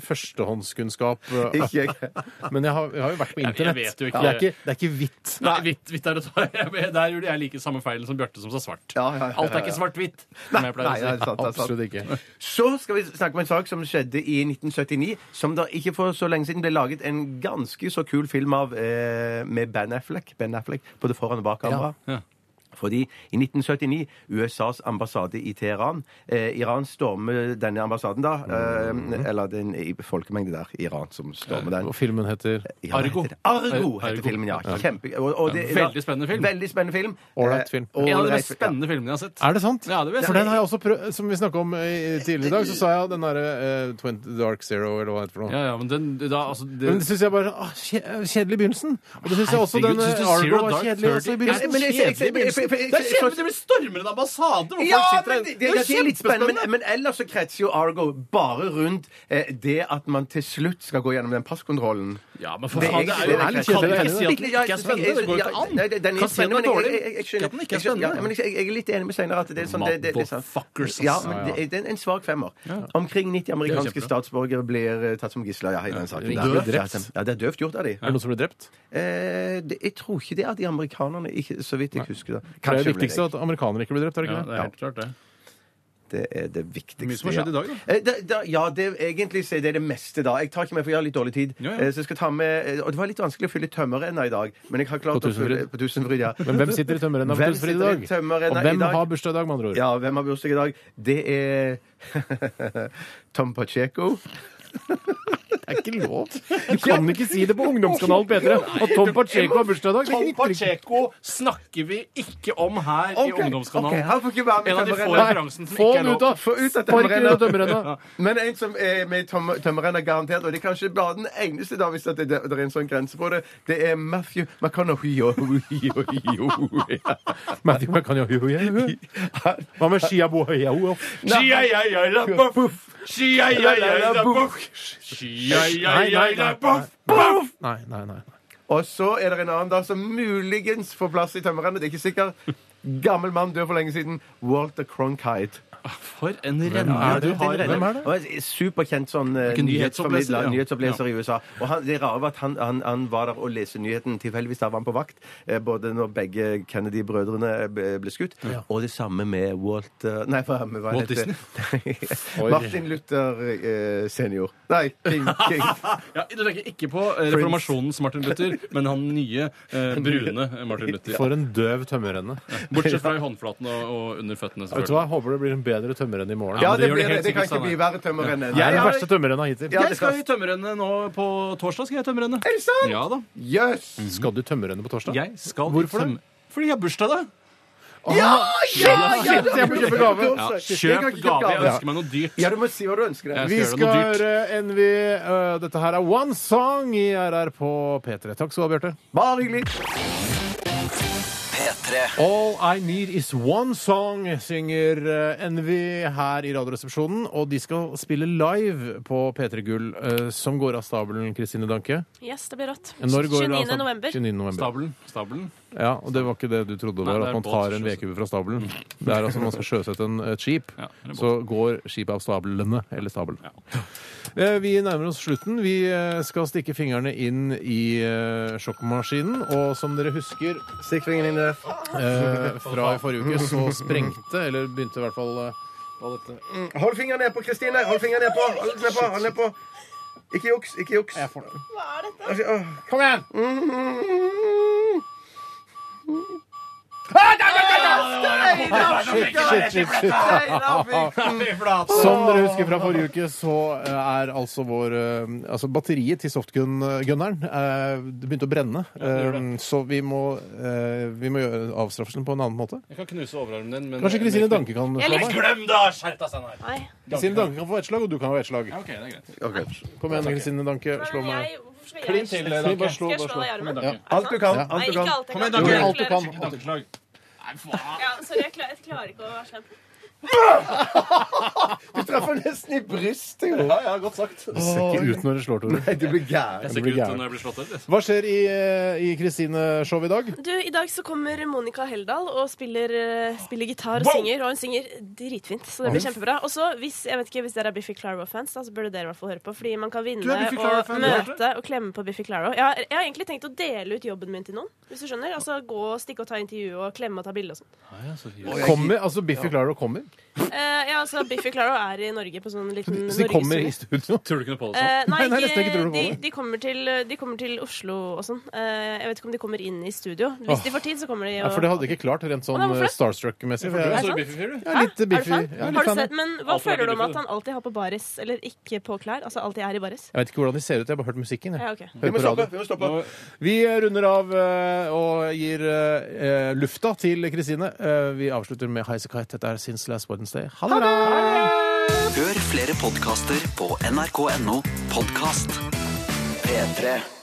S3: førstehåndskunnskap. eh,
S4: Ikke jeg.
S3: Men jeg har, jeg har jo vært på
S5: Jeg- jeg
S3: internett.
S5: vet jo ikke.
S3: Det, er ikke, det er ikke hvitt.
S5: Nei, hvitt, hvitt er det. Der gjorde jeg like samme feilen som Bjarte som sa svart.
S4: Ja, ja, ja, ja, ja.
S5: Alt er ikke svart-hvitt. som jeg pleier
S4: Nei,
S5: å si.
S4: det er sant, det er sant.
S3: Absolutt ikke.
S4: Så skal vi snakke om en sak som skjedde i 1979, som da ikke for så lenge siden ble laget en ganske så kul film av eh, med Ben Affleck, ben Affleck både foran og bak kamera.
S5: Ja.
S4: Fordi i 1979, USAs ambassade i Teheran eh, Iran stormer denne ambassaden, da. Eh,
S5: Mhm.
S4: Eller den i folkemengde der. Iran som stormer den.
S3: Og filmen heter
S4: Ja, hva
S5: Argo.
S4: heter det? Argo heter
S5: Argo.
S4: filmen, ja. Kjempe, og, og det,
S5: Ja, veldig spennende film.
S4: Veldig spennende film.
S3: Ålreit film.
S4: Eh,
S5: En av de
S4: ålreit
S5: mest
S4: film, ja.
S5: spennende filmene jeg har sett.
S3: Er det sant?
S5: Ja, det vil jeg
S3: For
S5: si.
S3: den har jeg også prøvd Som vi snakka om eh, tidligere i dag, så sa jeg den derre eh, 20 Dark Zero, eller hva det heter for noe.
S5: Ja, ja, men den, da, altså, det,
S3: Men det syns jeg bare ah, kje- Kjedelig i begynnelsen. Og det syns jeg også den
S5: Herregud,
S3: eh,
S5: synes du Zero
S3: Argo var
S5: Dark
S3: kjedelig
S5: 30?
S3: også i
S4: Ja, men
S3: begynnelsen.
S4: jeg, jeg, jeg, jeg, jeg, for- for-
S5: Det er kjedelig! Det blir stormer en ambassade! hvor folk
S4: Ja,
S5: sitter der.
S4: men det, det, det, er litt spennende. Men, men ellers så kretser jo Argo bare rundt eh, det at man til slutt skal gå gjennom den passkontrollen.
S5: Ja, men for
S4: Det er
S5: faen, det
S4: egentlig-
S5: er jo
S4: det er
S5: Kan
S3: litt
S5: du
S3: kjedelig,
S5: ikke si at
S4: Litt-
S5: den
S4: ja,
S5: ikke er spennende? Det går jo ikke
S4: ja, nei, det- den
S5: an!
S4: er
S5: Kan si at den er
S4: spennende, men jeg-
S5: dårlig.
S4: jeg- jeg skjønner-
S5: Ikke at den ikke er
S4: jeg skjønner- Ja, men
S5: spennende.
S4: jeg, jeg er litt enig med Steinar at det er sånn det, det, det er sånn-
S5: Motherfuckers, ass.
S4: Ja, men det, det er en svak femmer. Omkring 90 amerikanske
S5: Det er kjempebra.
S4: statsborgere blir eh, tatt som gisler ja, i den saken.
S3: Ja,
S4: der.
S3: døvt. drept.
S4: Ja, det er døvt gjort av de.
S3: Er det noen som ble drept?
S4: Eh, det, jeg tror ikke det er de amerikanerne, ikke, så vidt jeg husker. det.
S3: Det er
S4: Kanskje
S3: det viktigste
S4: ble
S3: at amerikanere ikke blir drept, er det
S5: Ja,
S3: ikke
S5: det
S3: det?
S5: er helt klart, det.
S4: Det er det viktigste.
S5: Mye som har skjedd
S4: ja.
S5: i dag, da.
S4: Eh, da, da. Ja, det, egentlig så er det det meste da. Jeg tar ikke med, for jeg har litt dårlig tid.
S5: Ja, ja.
S4: Eh, Så jeg skal ta med, eh, og det var litt vanskelig å fylle tømmerrenna i dag, men jeg har klart
S3: På
S4: å
S3: Tusenfryd.
S4: fylle på Tusenfryd. Ja.
S3: Men hvem sitter i tømmerrenna på
S4: Hvem
S3: Tusenfryd i
S4: sitter i
S3: dag?
S4: tømmerrenna
S3: Og hvem
S4: i dag?
S3: har bursdag i dag, med andre ord?
S4: Ja, hvem har bursdag i dag? Det er Tom Pacheco.
S3: Det er ikke lov! Du kan ikke si det på ungdomskanalen P3 at Tom Pacheco har bursdag i dag! Det er
S5: Tom
S3: ikke riktig.
S5: Pacheco snakker vi ikke om her
S4: Ok,
S5: i Ungdomskanalen.
S4: ok, han får ikke være med i
S5: En av de få
S4: tømmerrenna.
S5: referansen
S3: Få
S5: som ikke er
S3: den
S5: lov.
S3: ut, da!
S4: Få ut av
S3: Spark den ut av
S4: tømmerrenna.
S3: tømmerrenna!
S4: Men en som er med i tom- tømmerrenna, garantert, og det er kanskje bare den eneste da, hvis at det, det er en sånn grense på det, det er Matthew McConaughey.
S3: Matthew McConaughey. Hva med Shia Bohaya?
S5: Shia-ja-ja-la-poff. Shia-ja-ja-la-poff. Shia-ja-ja-la-poff. Poff.
S3: Nei, nei, nei.
S4: Og så er det en annen da som muligens får plass i tømmerrennet. Det er ikke sikkert. Gammel mann dør for lenge siden. Walter Cronkite.
S5: For en remmer du har.
S4: Hvem
S3: er det?
S4: Og en Superkjent sånn eh,
S5: Ikke nyhetsoppleser,
S4: nyhetsoppleser,
S5: ja.
S4: nyhetsoppleser i USA. Og han, det rare var at han, han, han var der og leste nyheten. Tilfeldigvis da var han på vakt, eh, både når begge Kennedy-brødrene eh, ble ble skutt, og det samme med Walter Nei, hva, med hva
S5: Walt
S4: heter det? Martin Luther eh, senior. Nei, King. King.
S5: Ja, du tenker ikke på eh, reformasjonens Martin Luther, men han nye, eh, brune Martin Luther.
S3: For en døv tømmerrenne.
S5: Bortsett fra i håndflaten og, og under føttene,
S3: Vet du hva,
S5: selvfølgelig.
S3: Jeg håper det blir en bedre tømmerrenne i morgen.
S4: Ja,
S5: men det
S4: det,
S5: gjør det
S4: blir det.
S5: helt
S4: Det kan
S5: sikkert,
S4: ikke bli verre tømmerrenn enn
S3: Jeg er den
S4: Ja,
S3: verste tømmerrenna hittil.
S4: Ja,
S5: Jeg skal i tømmerrennet nå på torsdag. skal jeg i tømmerrennet.
S4: Er det sant?
S5: Ja da.
S4: Jøss!
S3: Skal du tømmerrenne på torsdag?
S5: Jeg skal i
S3: Hvorfor det?
S5: tøm- Fordi jeg har bursdag, da.
S4: Ja! Ja! ja,
S3: Shit, jeg må kjøpe gave.
S4: Ja, Jeg kan
S5: Kjøp
S4: ikke
S5: gave. Jeg
S4: gave.
S5: ønsker meg noe dyrt.
S4: Ja, du må si hva du ønsker deg.
S5: Jeg
S3: Vi
S5: skal
S3: skal
S5: gjøre noe dyrt.
S3: høre Envy. øh, Dette her er One Song i RR på P3. Takk skal du ha, Bjarte.
S4: Bare hyggelig.
S1: P3
S3: All I Need Is One Song synger eh, Envy her i Radioresepsjonen. Og de skal spille live på P3 Gull, eh, som går av stabelen, Kristine Danke.
S6: Yes, det blir rått.
S3: Når går det sånn av stab-
S6: 29. november.
S3: 29. november.
S5: Stabelen. Stabelen.
S3: Ja, og det var ikke det du trodde det
S5: Nei,
S3: var,
S5: det er
S3: at man
S5: båt
S3: tar en
S5: som
S3: vedkubbe fra stabelen. Det er altså man skal sjøsette en, et skip,
S5: Ja, eller båt.
S3: så går skipet av stablene, eller stabelen. Eh, Vi nærmer oss slutten. Vi eh, skal stikke fingrene inn i eh, sjokkmaskinen, og som dere husker
S4: Stikk fingeren inn i det.
S3: eh, fra i forrige uke, så sprengte, eller begynte i hvert fall eh, hva dette
S4: Hold fingeren ned på, Kristine. Hold fingeren ned på. Hold ned på. Hold ned på. Ikke juks. Ikke juks. Hva er dette?
S3: Kom igjen! Shit, shit, shit. Som dere husker fra forrige uke, så eh, er altså vår eh, Altså batteriet til softgun-gunneren eh, det begynte å brenne. Eh, Så vi må, eh, vi må gjøre avstraffelsen på en annen måte.
S5: Jeg kan knuse overarmen din, men
S3: Kanskje Kristine Danke kan få
S6: Jeg liker-
S3: meg?
S5: Glem det! Skjerp deg, Steinar.
S6: Nei.
S3: Kristine Danke kan få ett slag, og du kan få ett slag.
S5: Ok, det er greit.
S3: Kom igjen, Kristine Danke. Slå
S6: Men
S3: meg.
S6: jeg, hvorfor skal
S5: Klin
S6: jeg
S5: til,
S6: Skal
S5: Danke.
S3: Bare slå,
S6: jeg
S3: bare
S6: slå deg i
S3: slå.
S6: armen?
S5: Danke.
S4: Alt du kan.
S6: Nei,
S4: Alt du
S6: ikke
S4: kan.
S6: alt
S5: Kom igjen,
S6: jeg
S5: Danke.
S6: klarer.
S3: Alt du kan.
S5: Ikke dankeslag. Nei, faen.
S6: Ja, sorry, jeg klarer, jeg klarer ikke å være slem.
S4: Du treffer nesten i brystet. jo.
S5: Ja, ja, godt sagt.
S3: Det ser ikke ut når det slår, Tore.
S4: Nei, du blir gæren.
S5: Jeg ser
S3: blir
S5: ikke ut
S3: gæren.
S5: når jeg blir slått av.
S3: Hva skjer i, eh, i Kristine-showet i dag?
S6: Du, I dag så kommer Monica Heldal og spiller, eh, spiller gitar og synger. Og hun synger dritfint, så det blir kjempebra. Og så, hvis, jeg vet ikke, hvis dere er Biffy Claro-fans, da, så burde dere i hvert fall høre på. Fordi man kan vinne
S5: er Biffy
S6: og
S5: Clyro-fan, du
S6: møte og klemme på Biffy Claro. Jeg, har- jeg har egentlig tenkt å dele ut jobben min til noen, hvis du skjønner. Altså gå og stikke og ta intervju og klemme og ta bilde og sånn.
S3: Kommer, altså Biffy Claro kommer?
S6: Eh, ja, altså Biffy Claro er i Norge på sånn liten
S3: Så de kommer i
S6: norgestur.
S3: studio?
S5: Tror du ikke noe på det sånn?
S6: Eh, nei,
S3: Nei, nei, nesten ikke tror du
S6: ikke,
S3: på
S6: de,
S3: det.
S6: de, kommer til, de kommer til Oslo og sånn. Eh, jeg vet ikke om de kommer inn i studio. Hvis de får tid, så kommer de.
S3: Ja, for det hadde jeg ikke klart rent sånn
S6: Å, nei,
S3: eh,
S6: hvorfor det?
S3: Starstruck-messig. for
S5: Jeg
S3: Jeg
S5: så
S6: sant?
S5: Biffy Fyr, du.
S3: jeg er litt
S6: Hæ?
S3: eh, Biffy.
S6: Er du fan?
S3: Jeg er
S6: Har
S3: litt
S6: du
S3: fan, jeg.
S6: sett, men hva
S5: Alt for
S6: føler du om
S5: Biffy,
S6: at han alltid har på baris? Eller ikke på klær? Altså alltid er i baris?
S3: Jeg vet ikke hvordan de ser ut, jeg har bare hørt musikken. Jeg.
S6: Ja, ok.
S3: Hører
S4: Vi må
S3: på radio.
S4: stoppe. Vi må stoppe.
S3: Vi runder av eh, og gir eh, eh, lufta til Kristine. Eh, vi avslutter med Highasakite. Dette er Since Last Wednesday. Ha det bra!
S1: Hør flere podcaster på nrk.no podcast P3